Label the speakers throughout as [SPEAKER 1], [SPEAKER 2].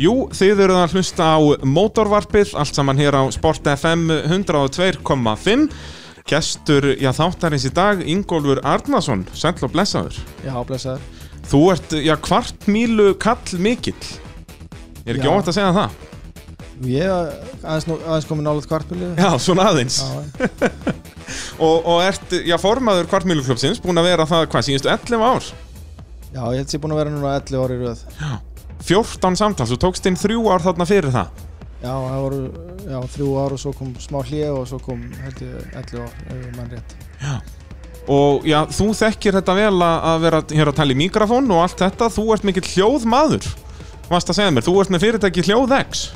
[SPEAKER 1] Jú, þið eruð að hlusta á mótorvarpið, allt saman hér á Sport FM 102.5 Gestur, já þáttarins í dag, Ingólfur Arnason, sæll og blessaður
[SPEAKER 2] Já, blessaður
[SPEAKER 1] Þú ert, já, hvart mílu kall mikill Er ekki
[SPEAKER 2] Já.
[SPEAKER 1] óvægt að segja það?
[SPEAKER 2] Ég er aðeins, nú- aðeins komin nálað kvartmjölu
[SPEAKER 1] Já, svona aðeins
[SPEAKER 2] Já,
[SPEAKER 1] Og, og ert, já, formaður hvart mílu klubbsins, búin að vera það, hvað, síðustu 11 ár?
[SPEAKER 2] já, ég held sér búin að vera núna 11 ári röð
[SPEAKER 1] 14 samtals, þú tókst inn þrjú ár þarna fyrir það
[SPEAKER 2] Já, það voru já, þrjú ár og svo kom smá hlið og svo kom held ég 11 ár, ef ég mann rétt
[SPEAKER 1] Og já, þú þekkir þetta vel að að vera hér að tala í mikrofón og allt þetta Þú ert mikill hljóðmaður Vast að segja mér, þú ert með fyrirtæki hljóðex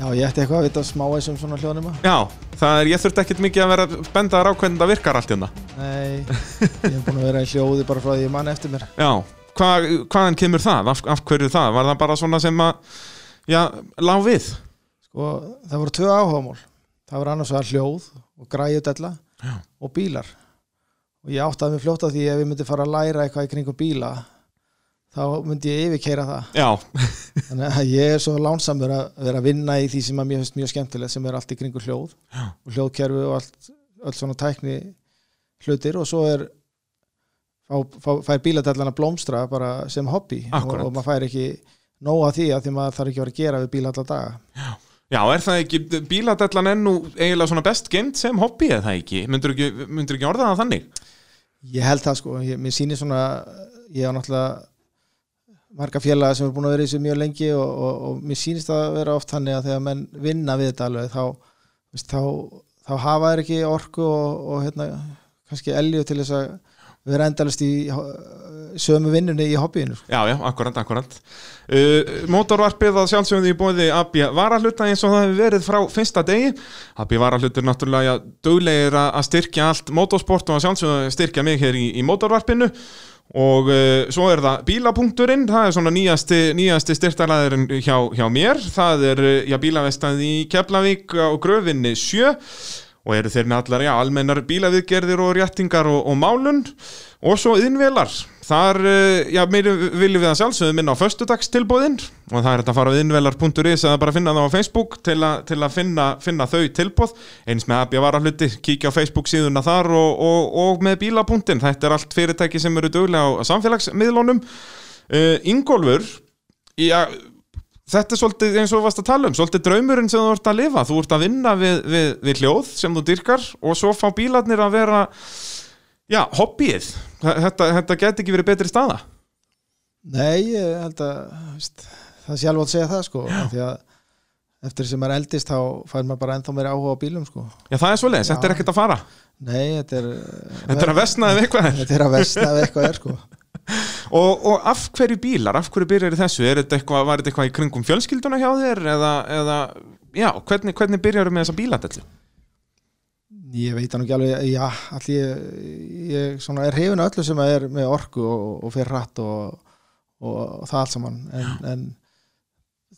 [SPEAKER 2] Já, ég ætti eitthvað að vita smá eins um svona hljóðnima
[SPEAKER 1] Já, það er, ég þurft ekkit mikið að vera bendaðar á hvernig það virkar allt hérna
[SPEAKER 2] Nei, ég hef búin að vera í hljóði bara frá því ég mann eftir mér
[SPEAKER 1] Já, hva, hvaðan kemur það? Af, af hverju það? Var það bara svona sem að, já, lág við?
[SPEAKER 2] Sko, það voru tvö áhugamál Það voru annars vegar hljóð og græjudella
[SPEAKER 1] Já.
[SPEAKER 2] og bílar og ég áttaði mig fljótt að því ef ég myndi fara að læra eitthvað í kringum bíla þá myndi ég yfirkeira það
[SPEAKER 1] Já,
[SPEAKER 2] Þannig að ég er svo lánsamur að vera að vinna í því sem að mér finnst mjög skemmtilegt sem er allt í kringu hljóð
[SPEAKER 1] Já.
[SPEAKER 2] og hljóðkerfi og allt, allt svona tækni hlutir og svo er fá, fá, fær bíladallan að blómstra bara sem hobby
[SPEAKER 1] Akkúrat.
[SPEAKER 2] og, og maður fær ekki nóga því að því maður þarf ekki að vera að gera við bíl alla daga
[SPEAKER 1] já, er það ekki, bíladellan er nú eiginlega svona best geimt sem hobby eða ekki? Myndur ekki, myndirðu ekki orða það þannig?
[SPEAKER 2] Ég held það sko, ég, mér sýnir svona ég á náttúrulega marga félaga sem er búin að vera í þessu mjög lengi og, og, og mér sýnist það að vera oft þannig að þegar menn vinna við þetta alveg þá, veist, þá, þá hafa þeir ekki orku og, og hérna, kannski elju til þess að vera endalist í ho- sömu vinnunni í hobbyinu sko.
[SPEAKER 1] Já, já, akkurat, akkurat uh, Mótorvarpið að sjálfsögum því bóði AB varahluta eins og það hefur verið frá fyrsta degi AB varahlutur náttúrulega já, duglegir að að styrkja allt motorsport og að sjálfsögum styrkja mig hér í, í mótorvarpinu og uh, svo er það bílapunkturinn, það er svona nýjasti, nýjasti styrtalæðurinn hjá, hjá mér það er uh, já, bílavestaði í Keflavík á gröfinni 7 og eru þeir með allar, já, almennar bílaviðgerðir og réttingar og, og málun og svo yðinvelar þar, eh, já, meiri viljum við að sjálfsögðu minna á föstudagstilbúðin og það er þetta að fara á yðinvelar.is eða bara finna það á Facebook til, a, til að finna, finna þau tilbúð eins með abja varahluti, kíkja á Facebook síðuna þar og, og, og með bílapunktin þetta er allt fyrirtæki sem eru duglega á samfélagsmiðlunum uh, Ingólfur já, þetta er svolítið eins og þú varst að tala um svolítið draumurinn sem þú ert að lifa þú ert að vinna við, við, við hljóð sem þú dyrkar og svo fá bílarnir að vera já, hobbyið þetta, þetta geti ekki verið betri staða
[SPEAKER 2] Nei, ég held að veist, það sé alveg að segja það sko, af því að eftir sem maður eldist þá fær maður bara ennþá meiri áhuga á bílum sko.
[SPEAKER 1] já, það er svoleiðis, þetta er ekkert að fara
[SPEAKER 2] Nei, þetta er
[SPEAKER 1] þetta er að vesna ef eitthvað er
[SPEAKER 2] Þetta er að vestna ef eitthvað er sko
[SPEAKER 1] og, og af hverju bílar, af hverju byrjar í þessu er þetta eitthvað, var þetta eitthvað í kringum fjölskylduna hjá þér eða, eða já, hvernig, hvernig byrjar með þessa bíladellu
[SPEAKER 2] Ég veit hann ekki alveg, já, allir ég, ég svona er hefin öllu sem er með orku og, og fyrir hratt og, og, það allt saman en, en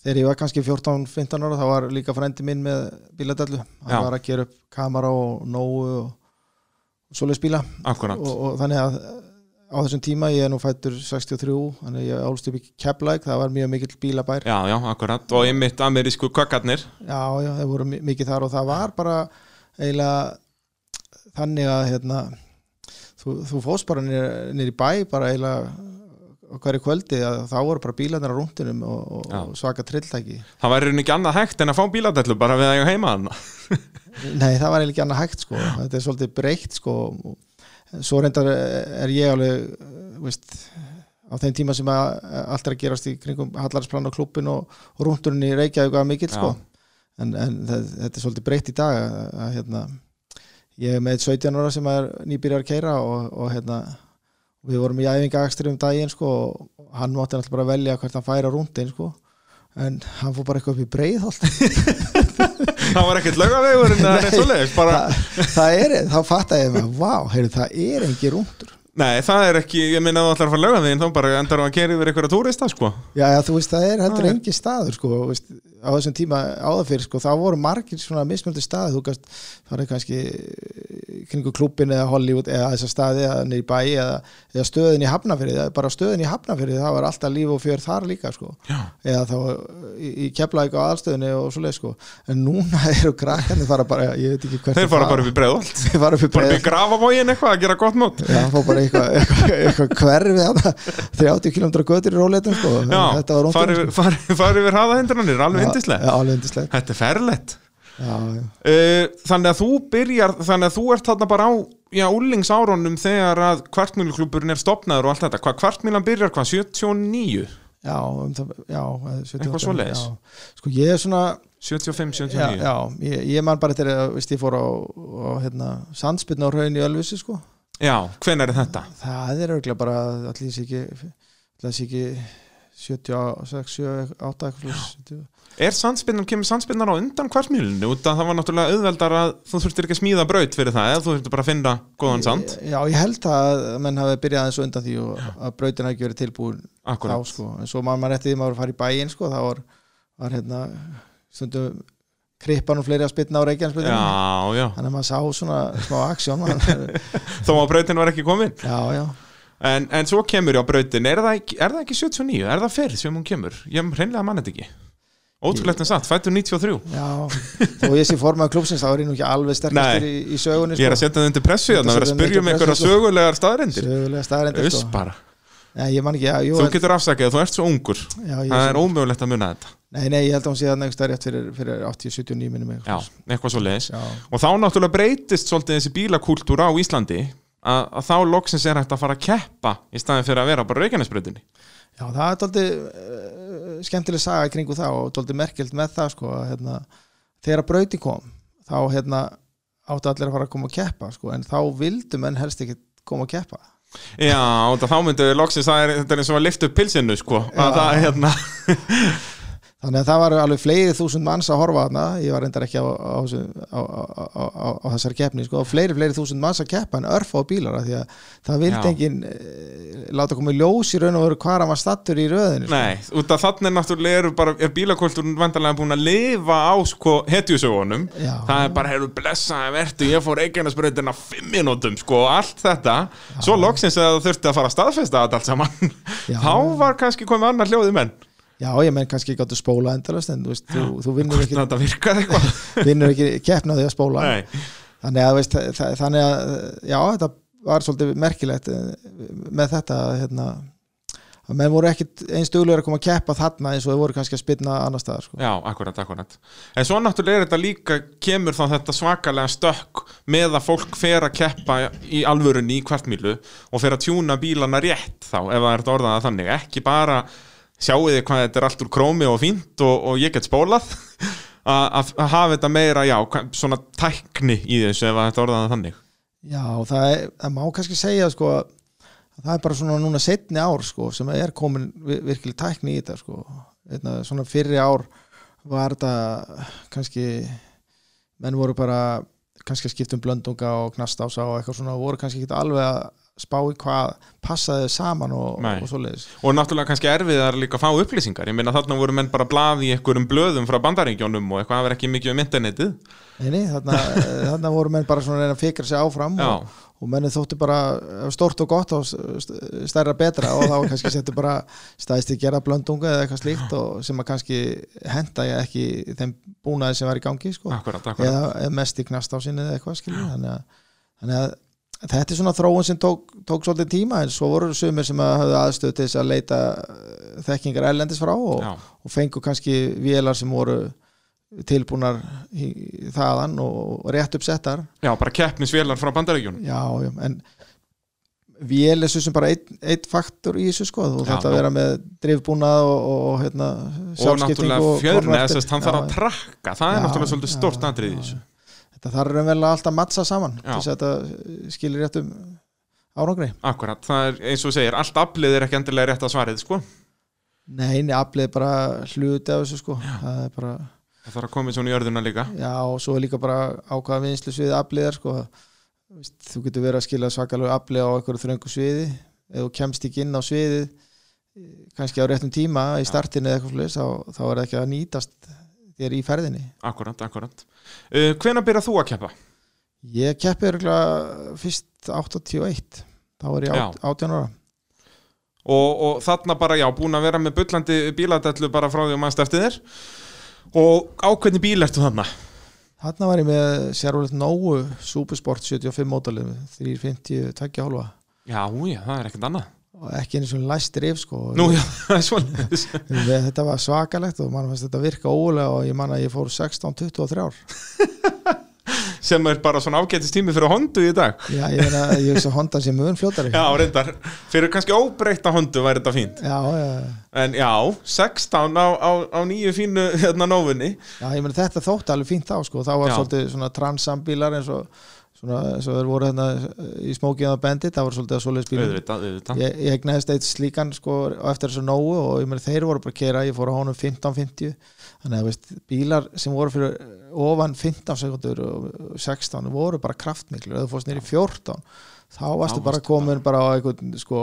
[SPEAKER 2] þegar ég var kannski 14-15 ára þá var líka frendi minn með bíladallu hann
[SPEAKER 1] Já.
[SPEAKER 2] var að gera upp kamera og nógu og, og svoleiðs bíla
[SPEAKER 1] akkurat,
[SPEAKER 2] og, og þannig að á þessum tíma ég er nú fættur 63 þannig að ég álst upp í Keflæk það var mjög mikill bílabær
[SPEAKER 1] já, já, akkurat og einmitt amerísku kökkarnir
[SPEAKER 2] Já, já, þeir voru mi- mikið þar og það var bara eiginlega þannig að hérna, þú, þú fóst bara nýr í bæ bara eiginlega á hverju kvöldi að þá voru bara bílarnir á rúndinum og, og,
[SPEAKER 1] Já.
[SPEAKER 2] og svaka trilltæki
[SPEAKER 1] Það væri í rauninni ekki annað hægt en að fá bíladellu bara við að ég heima hann.
[SPEAKER 2] Nei, það var eiginlega ekki annað hægt sko þetta er svolítið breytt sko svo reyndar er ég alveg eh, veist, á þeim tíma sem að eh, allt er að gerast í kringum Hallarsplan og klubbin og, og rúndurinn í Reykjavík var mikill sko
[SPEAKER 1] Já.
[SPEAKER 2] en, en það, þetta er svolítið breytt í dag að, að hérna ég er með einn 17 ára sem er nýbyrjar að keira og, og hérna við vorum í æfingaakstri um daginn sko og hann mátti náttúrulega bara velja hvert hann færa rúndin sko en hann fór bara eitthvað upp í breiðholt
[SPEAKER 1] Það var ekkert laugavegurinn eða neitt svoleiðis, bara,
[SPEAKER 2] Þa, það er, þá fatta ég með, vá, heyrðu, það er engi rúndur
[SPEAKER 1] Nei, það er ekki, ég minna að það ætlar að fara lögum því en þá bara endar hún að kera yfir einhverja túrista sko.
[SPEAKER 2] Já, já, þú veist, það er heldur
[SPEAKER 1] Já, já.
[SPEAKER 2] engin staður sko, þú veist, á þessum tíma áður fyrir sko, þá voru margir svona mismjöndi staði þú gast, það var kannski eh, kringu klúbbin eða Hollywood eða þessar staði eða niður í bæ eða, eða stöðin í Hafnafyrði, eða bara stöðin í Hafnafyrði það var alltaf líf og fjör þar líka sko
[SPEAKER 1] Já.
[SPEAKER 2] eða þá í, í keflaðið á aðstöðinni og svoleið sko, en núna eru krakkarnir fara bara, ég veit ekki hvert
[SPEAKER 1] Þeir fara bara upp í breiðolt
[SPEAKER 2] þeir fara upp í
[SPEAKER 1] Bara upp í
[SPEAKER 2] breiðholt.
[SPEAKER 1] grafamógin eitthvað að gera gott mót
[SPEAKER 2] Já, það fór bara eitthvað eitthva, eitthva hverfið þarna, 30 km götur í róleitum sko.
[SPEAKER 1] Já,
[SPEAKER 2] þetta var
[SPEAKER 1] fara
[SPEAKER 2] rúndurinn,
[SPEAKER 1] yfir, far, far yfir hraðahindranir, alveg
[SPEAKER 2] sko.
[SPEAKER 1] yndislegt
[SPEAKER 2] Já, alveg indislegt
[SPEAKER 1] Þetta er ferlegt
[SPEAKER 2] já, já.
[SPEAKER 1] uh, Þannig að þú byrjar, þannig að þú ert þarna bara á Já, úlingsárunum þegar að kvartmýluklúburinn er stopnaður og allt þetta Hvað kvartmýlan byrjar, hvað, 79?
[SPEAKER 2] Já, um það, já, 78,
[SPEAKER 1] Eitthvað svoleiðis.
[SPEAKER 2] já. Sko ég er svona
[SPEAKER 1] 75,
[SPEAKER 2] já,
[SPEAKER 1] 79?
[SPEAKER 2] já, ég, ég man bara til að veist, ég fór á, á hérna, sandspyrna á hraun í Ölfusi sko.
[SPEAKER 1] já hvenær er þetta?
[SPEAKER 2] Það er örgulega bara allir sé ekki allir sé ekki 76, 78 eitthvað svoleiðis, 70.
[SPEAKER 1] Er sandspinnar, kemur sandspinnar á undan kvartmýlunni út að það var náttúrulega auðveldar að þú þurftir ekki að smíða braut fyrir það eða þú þurftir bara að finna góðan sand
[SPEAKER 2] Já, ég held að menn hafi byrjað aðeins og undan því og að brautin hafi ekki verið tilbúin
[SPEAKER 1] Akkurat,
[SPEAKER 2] þá sko, en svo mann maður eftir því maður var að fara í bæinn sko, þá var, var hérna stundum krippan og fleiri að spytna á reikjansbyrðinu
[SPEAKER 1] já, já
[SPEAKER 2] þannig að maður sá svona smá aksjón já,
[SPEAKER 1] þó að brautin var ekki komin
[SPEAKER 2] já,
[SPEAKER 1] en, en svo kemur já brautin, er það ekki, er það ekki 79? Er það fyrr sem hún kemur? Ég hreinlega mann þetta ekki Ótrúlegt en satt, fættur 93
[SPEAKER 2] já þó ég sé formaður klúpsins, þá er ég nú ekki alveg sterkastur í, í sögunni sko.
[SPEAKER 1] Ég er að setja það undir pressu
[SPEAKER 2] Þetta
[SPEAKER 1] hérna, vera að
[SPEAKER 2] setur
[SPEAKER 1] spyrja um
[SPEAKER 2] mikið
[SPEAKER 1] einhverja
[SPEAKER 2] pressu, sko.
[SPEAKER 1] sögulegar staðrendir
[SPEAKER 2] sögulega staðarendur
[SPEAKER 1] Uss
[SPEAKER 2] sko.
[SPEAKER 1] bara,
[SPEAKER 2] Nei, ég man ekki, já, jú,
[SPEAKER 1] þú
[SPEAKER 2] en-
[SPEAKER 1] getur afsakið, þú ert svo ungur
[SPEAKER 2] já, ég,
[SPEAKER 1] Það er ómögulegt að muna þetta
[SPEAKER 2] nei, nei, ég held að hún sé þarna einhvers staðar rétt fyrir, fyrir 80-79 minnum
[SPEAKER 1] Já, eitthvað svo leiðis
[SPEAKER 2] já,
[SPEAKER 1] Og þá náttúrulega breytist svolítið þessi bílakúltúra á Íslandi að, að þá loksins er hægt að fara að keppa í staðin fyrir að vera bara raukinnesbreytinni
[SPEAKER 2] Já, það er tóldi uh, skemmtileg saga í kringu það og tóldi merkjöld með það sko, að, hérna, þegar að brauti kom þá hérna, áttu allir að fara að koma að keppa sko, en þá vildu menn helst ekki koma að keppa
[SPEAKER 1] Já, og það- þá myndu við loksins að er, þetta er eins og að lifta upp pilsinu sko að
[SPEAKER 2] Já.
[SPEAKER 1] það, hérna,
[SPEAKER 2] þannig að það var alveg fleiri þúsund manns að horfa þarna, ég var reyndar ekki á, á, þessu- á, á, á, á, á þessari keppni sko, og fleiri, fleiri þúsund manns að keppa en örf á bílar af því að það
[SPEAKER 1] Já.
[SPEAKER 2] vildi engin láta koma í ljós í raun og veru hvar hann var stattur í röðinu sko.
[SPEAKER 1] nei, út af þannig náttúrulega eru bara, er bílakúltúrun vandarlega búin að lifa á sko hetjusögunum
[SPEAKER 2] Já.
[SPEAKER 1] það er bara, heyrðu, blessaði vertu ég fór raukinnesbreytina fimm minútum sko og allt þetta, svo loksins að það þurfti að fara að staðfesta þetta allt saman
[SPEAKER 2] Já.
[SPEAKER 1] þá var kannski komið annar hljóði menn
[SPEAKER 2] Já, ég menn kannski gáttu spóla endalast en þú, veist, þú, þú vinnur ekki
[SPEAKER 1] hvernig þetta virkaði eitthvað
[SPEAKER 2] vinnur ekki keppna á því að spóla
[SPEAKER 1] Nei.
[SPEAKER 2] þannig að, veist, það, þannig að já, þetta var svolítið merkilegt eh, með þetta hérna, að menn voru ekkit eins duglegur að koma að keppa þarna eins og þau voru kannski að spynna annar staðar sko.
[SPEAKER 1] Já, akkurat, akkurat En svo náttúrulega er þetta líka kemur þá þetta svakalega stökk með að fólk fer að keppa í alvörunni í kvartmýlu og fer að tjúna bílana rétt þá ef það er þetta orðaða þannig ekki bara sjáu þið hvað þetta er allt úr krómi og fínt og, og ég get spólað að að- að hafa þetta meira, já, hva- svona tækni í þessu ef að þetta er orðaða þannig
[SPEAKER 2] já, og það, er, það má kannski segja sko, að það er bara svona núna setni ár sko, sem er komin vi- virkileg tækni í þetta sko. Einna, svona fyrri ár var þetta kannski menn voru bara kannski að skipta um blöndunga og knastása og eitthvað svona voru kannski ekki alveg að spá í hvað passaði saman og,
[SPEAKER 1] Nei.
[SPEAKER 2] og svoleiðis
[SPEAKER 1] Og náttúrulega kannski erfiðar líka að fá upplýsingar Ég meina þarna voru menn bara blað í einhverjum blöðum frá bandaríkjónum og eitthvað það var ekki mikið um internetið
[SPEAKER 2] Nei, nei, þarna, þarna voru menn bara svona að reyna að fikra sig áfram
[SPEAKER 1] Já.
[SPEAKER 2] og, og menni þóttu bara ef stórt og gott og stærra betra og þá kannski settu bara stæðst í gera blöndunga eða eitthvað slíkt og sem að kannski henda ég ekki þeim búnaði sem var í gangi sko.
[SPEAKER 1] Akkurat, Ah, akkurat
[SPEAKER 2] eða eða mest í knast á sinni eða eitthvað skilur þannig að, þannig að þetta er svona þróun sem tók, tók svolítið tíma en svo voru sumir sem að hafðu aðstöð til þess að leita eh, þekkingar erlendis frá og,
[SPEAKER 1] Já.
[SPEAKER 2] og fengu kannski vélar sem voru tilbúnar í, þaðan og, og rétt uppsettar
[SPEAKER 1] Já, bara keppnisvélar frá bandaríkjónum
[SPEAKER 2] já, já, en vél er svo sem bara einn ein faktor í þessu sko og
[SPEAKER 1] Já,
[SPEAKER 2] þetta
[SPEAKER 1] já.
[SPEAKER 2] að vera með drifbúnað og, og, og hérna,
[SPEAKER 1] og
[SPEAKER 2] sjálfskiptingu
[SPEAKER 1] náttúrulega fjörna
[SPEAKER 2] kornverktir.
[SPEAKER 1] þess að hann
[SPEAKER 2] Já,
[SPEAKER 1] þarf
[SPEAKER 2] já.
[SPEAKER 1] að trakka það er
[SPEAKER 2] Já,
[SPEAKER 1] náttúrulega svolítið
[SPEAKER 2] já,
[SPEAKER 1] stórt
[SPEAKER 2] já,
[SPEAKER 1] atrið í
[SPEAKER 2] já,
[SPEAKER 1] þessu
[SPEAKER 2] þetta þarf raunverulega allt að mattsa saman
[SPEAKER 1] Já.
[SPEAKER 2] til þess að þetta skilir rétt um árangri
[SPEAKER 1] akkurat, það er eins og þú segir, allt aflið er ekki endilega rétt að svarið sko.
[SPEAKER 2] nei, nei, aflið er bara hluti af þessu sko það er bara,
[SPEAKER 1] það þarf að koma í svona í örðuna líka
[SPEAKER 2] já, og svo er líka bara ákvaða vinslu sviðið aflið er sko veist, þú getur verið að skila svakalegu afli á einhverju þröngu sviði ef þú kemst ekki inn á sviðið eh, kannski á réttum tíma í startinu eða eitthvað slags, þá, þá er það ekki að nýtast þér í ferðinni
[SPEAKER 1] Akkurat, akkurat uh, Hvenær byrjar þú að keppa?
[SPEAKER 2] Ég keppi örgulega fyrst 81 þá var ég át, 18 ára
[SPEAKER 1] og, og þarna bara, já, búin að vera með bullandi bíladellu bara frá því og mannst eftir þér og á hvernig bíl ertu þarna?
[SPEAKER 2] Þarna var ég með sérvöld nógu Supersport 75 mótalið 350, 2 hálfa
[SPEAKER 1] Já, já, það er ekkert annað
[SPEAKER 2] og ekki einu svona læst rif sko
[SPEAKER 1] Nú, já, það er svolítið
[SPEAKER 2] Við- Þetta var svakalegt og mann fannst þetta virka ólega og ég man að ég fór 16, 23 ár
[SPEAKER 1] sem er bara svona ágætist tími fyrir hondu í dag
[SPEAKER 2] Já, ég meina, ég veist að Honda sé mun fljótari
[SPEAKER 1] Já, reyndar, fyrir kannski óbreyta hondu væri þetta fínt
[SPEAKER 2] já, já,
[SPEAKER 1] En já, 16 á, á, á nýju fínu hérna nófunni
[SPEAKER 2] já, ég meina þetta þótti alveg fínt þá sko, þá var
[SPEAKER 1] Já.
[SPEAKER 2] svolítið svona transambílar eins og svona, eins og þeir voru hérna í smókið á bandit, það var svolítið að svoleiðis bílum
[SPEAKER 1] Auðvitað, auðvitað
[SPEAKER 2] Ég, ég egnaðist eitt slíkan sko á eftir þessu nógu og ég meina þeir voru bara að keira, ég fór á honum 15.50 þannig að veist, bílar sem voru fyrir ofan 15 sekundur og 16 voru bara kraftmiklu eða þú fórst nýri 14 þá varstu
[SPEAKER 1] Þá
[SPEAKER 2] bara
[SPEAKER 1] varstu
[SPEAKER 2] komin bara á einhvern sko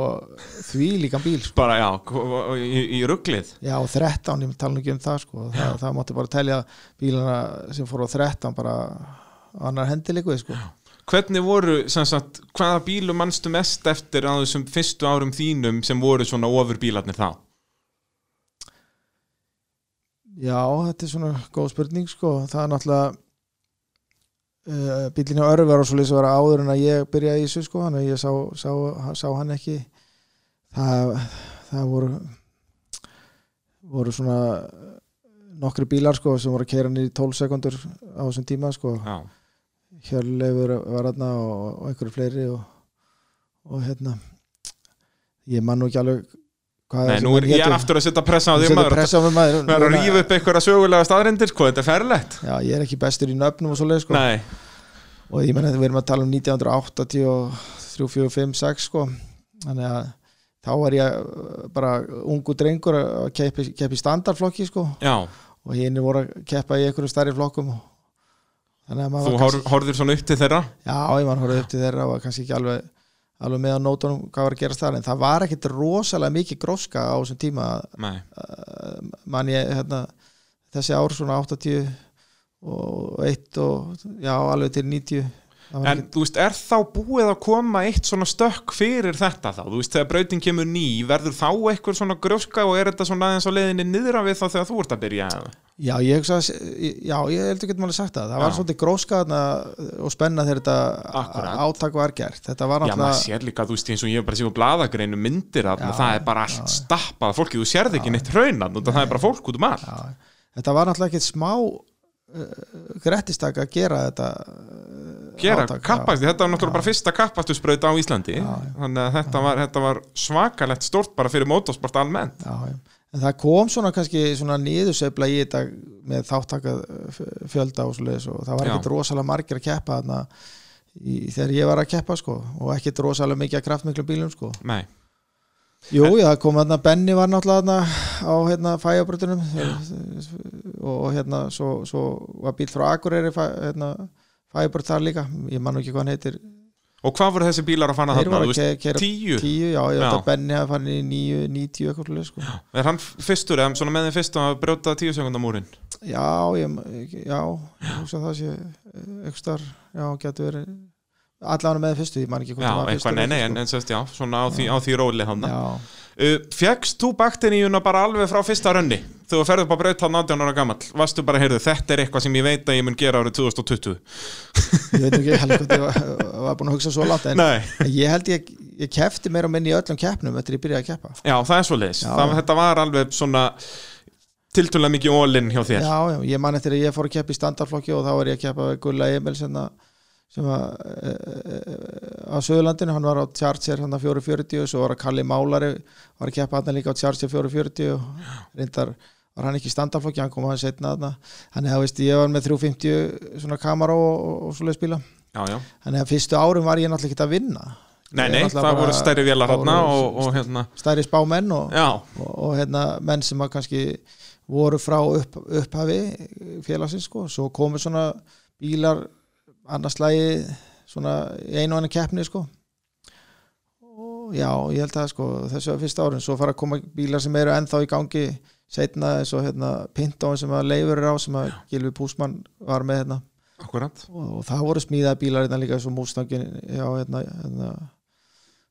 [SPEAKER 2] þvílíkan bíl sko.
[SPEAKER 1] Bara, já, k- og- og í, í rugglið
[SPEAKER 2] Já, og 13, ég tala nú ekki um það sko, það, það mátti bara telja bílana sem fór á 13 bara á annar hendilikuð sko.
[SPEAKER 1] Hvernig voru, sem sagt, hvaða bílu mannstu mest eftir á þessum fyrstu árum þínum sem voru svona ofur bílarnir þá?
[SPEAKER 2] Já, þetta er svona góð spurning sko, það er náttúrulega uh, bíllinn á örvar og svo lýsa vera áður en að ég byrjaði í þessu sko, þannig að ég sá, sá, sá hann ekki það, það voru voru svona nokkri bílar sko sem voru að keira niður í 12 sekundur á þessum tíma sko,
[SPEAKER 1] Já,
[SPEAKER 2] Hjörleifur var þarna og, og einhverju fleiri og, og hérna ég man nú ekki alveg hvað
[SPEAKER 1] Nei,
[SPEAKER 2] þessi
[SPEAKER 1] nú er
[SPEAKER 2] menn
[SPEAKER 1] ég
[SPEAKER 2] hétu.
[SPEAKER 1] er aftur að setja pressa á
[SPEAKER 2] Þú
[SPEAKER 1] því
[SPEAKER 2] setur
[SPEAKER 1] maður
[SPEAKER 2] pressu á mig, maður
[SPEAKER 1] Það er að rífa upp einhverja sögulega staðrindir, hvað sko, þetta er ferlegt?
[SPEAKER 2] Já, ég er ekki bestur í nöfnum og svoleið sko.
[SPEAKER 1] Nei,
[SPEAKER 2] og ég menna að við erum að tala um 1983, 4, 5, 6 sko. þannig að þá var ég uh, bara ungu drengur að keppa í- keppa í standardflokki sko.
[SPEAKER 1] já,
[SPEAKER 2] og hérna voru að keppa í einhverju stærri flokkum og- þannig að maður
[SPEAKER 1] þú
[SPEAKER 2] var
[SPEAKER 1] hor- horfðir svona upp til þeirra
[SPEAKER 2] já, ég mann horfði upp til þeirra og var kannski ekki alveg, alveg með á nótunum hvað var að gerast þar en það var ekkit rosalega mikið gróska á þessum tíma að
[SPEAKER 1] Nei,
[SPEAKER 2] man ég hérna, þessi ár svona 80 og 1 og já alveg til 90 Það var
[SPEAKER 1] en þú veist, er þá búið að koma eitt svona stökk fyrir þetta þá? Þú veist, þegar brautin kemur ný, verður þá eitthvað svona grjóska og er þetta svona aðeins á leiðinni niðra við þá þegar þú ert að byrja? eða?
[SPEAKER 2] Já, ég hugsa, já, ég heldur getum alveg sagt það það var
[SPEAKER 1] Já.
[SPEAKER 2] svolítið gróska þarna og spenna þegar þetta
[SPEAKER 1] Akkurat.
[SPEAKER 2] átak var gert þetta var
[SPEAKER 1] Já, maður
[SPEAKER 2] náttúrulega,
[SPEAKER 1] sér líka, þú veist, eins og ég er bara síðan bladagreinu myndir að
[SPEAKER 2] Já,
[SPEAKER 1] það er bara allt stappað fólki, þú sérð ekki neitt hraunan og það er bara fólk út um allt.
[SPEAKER 2] já, þetta var náttúrulega ekkit smá uh, grettistak að gera þetta uh,
[SPEAKER 1] Gera,
[SPEAKER 2] átak, já.
[SPEAKER 1] kappast, þetta var náttúrulega bara fyrsta kappastusbrauta á Íslandi, þannig að þetta var, þetta var svakalegt stort bara fyrir motorsport almennt.
[SPEAKER 2] já, já. en það kom svona kannski svona niðursveifla í þetta með þáttaka fjölda og svoleiðis og það var
[SPEAKER 1] Já.
[SPEAKER 2] ekkit rosalega margir að keppa þarna í, þegar ég var að keppa sko og ekkit rosalega mikið að kraftmiklu bílum sko
[SPEAKER 1] Nei,
[SPEAKER 2] Jú, já, það kom þarna, Benny var náttúrulega þarna á hérna fæjabrutunum og hérna svo, svo var bíl frá Akureyri fæ, hérna, fæjabrut þar líka ég man nú ekki hvað hann heitir
[SPEAKER 1] og hvað voru þessi bílar að fara
[SPEAKER 2] Þeir
[SPEAKER 1] þarna,
[SPEAKER 2] voru
[SPEAKER 1] þú
[SPEAKER 2] að ke-
[SPEAKER 1] veist,
[SPEAKER 2] keyra
[SPEAKER 1] tíu?
[SPEAKER 2] tíu, já, ég
[SPEAKER 1] Já.
[SPEAKER 2] veit að Benny hafði farin í níu, níutíu eitthvað svoleiðis, sko.
[SPEAKER 1] Er hann fyrstur, eða svona með þeim fyrst að brjóta tíu sekundamúrin?
[SPEAKER 2] Já, ég, já, ég hugsa að það sé aukstar, já, getur verið allan með fyrstu, ég man ekki hvort
[SPEAKER 1] Já,
[SPEAKER 2] það var fyrstu
[SPEAKER 1] eitthvað, nei, nei,
[SPEAKER 2] sko.
[SPEAKER 1] en, en sérst, já, svona á því, á því róli hann.
[SPEAKER 2] Já,
[SPEAKER 1] Uh, Fjekkst þú bakteríuna bara alveg frá fyrsta rönni? Þegar þú ferðu bara braut hann 18 ára gamall, varstu bara, heyrðu, þetta er eitthvað sem ég veit að ég mun gera árið 2020?
[SPEAKER 2] ég veit nú ekki alveg hvort ég var, var búin að hugsa svo látt en
[SPEAKER 1] Nei.
[SPEAKER 2] en ég held ég, ég kefti meira og minni í öllum keppnum eftir ég byrjaði að keppa
[SPEAKER 1] Já, það er svo leiðis.
[SPEAKER 2] Já.
[SPEAKER 1] Þetta var alveg svona tiltölulega mikið ólinn hjá þér.
[SPEAKER 2] Já, já, ég man eftir að ég fór að keppa í standardflokki og þá var ég að keppa við Gulla Emil sem að sem að e, e, á Söðurlandinu, hann var á Charger hann að 440 og svo var að Kalli Málari var að keppa hann líka á Charger 440 og reyndar var hann ekki í standardflokki hann kom hann setna þarna þannig að veist, ég var með 350 svona Camaro og, og, og svoleið spila
[SPEAKER 1] Já, já.
[SPEAKER 2] þannig að fyrstu árum var ég náttúrulega ekki að vinna
[SPEAKER 1] Nei,
[SPEAKER 2] Ég
[SPEAKER 1] nei,
[SPEAKER 2] náttúrulega
[SPEAKER 1] það
[SPEAKER 2] bara-
[SPEAKER 1] voru stærri vélar
[SPEAKER 2] það
[SPEAKER 1] hann
[SPEAKER 2] voru
[SPEAKER 1] og, og hérna,
[SPEAKER 2] stærri spámenn og,
[SPEAKER 1] já,
[SPEAKER 2] og, og hérna, menn sem að kannski voru frá upp, upphafi félagsins sko, svo komu svona bílar annars lagi svona í einu og annan keppni sko og já, ég held að sko þessu að fyrsta árin, svo fara að koma bílar sem eru ennþá í gangi setna eins og hérna Pintóin sem að leifur er á sem að Gilvi Púsmann var með hérna
[SPEAKER 1] akkurat
[SPEAKER 2] og, og það voru smíðaði bílar hérna líka svo Mustangin já, hérna, hérna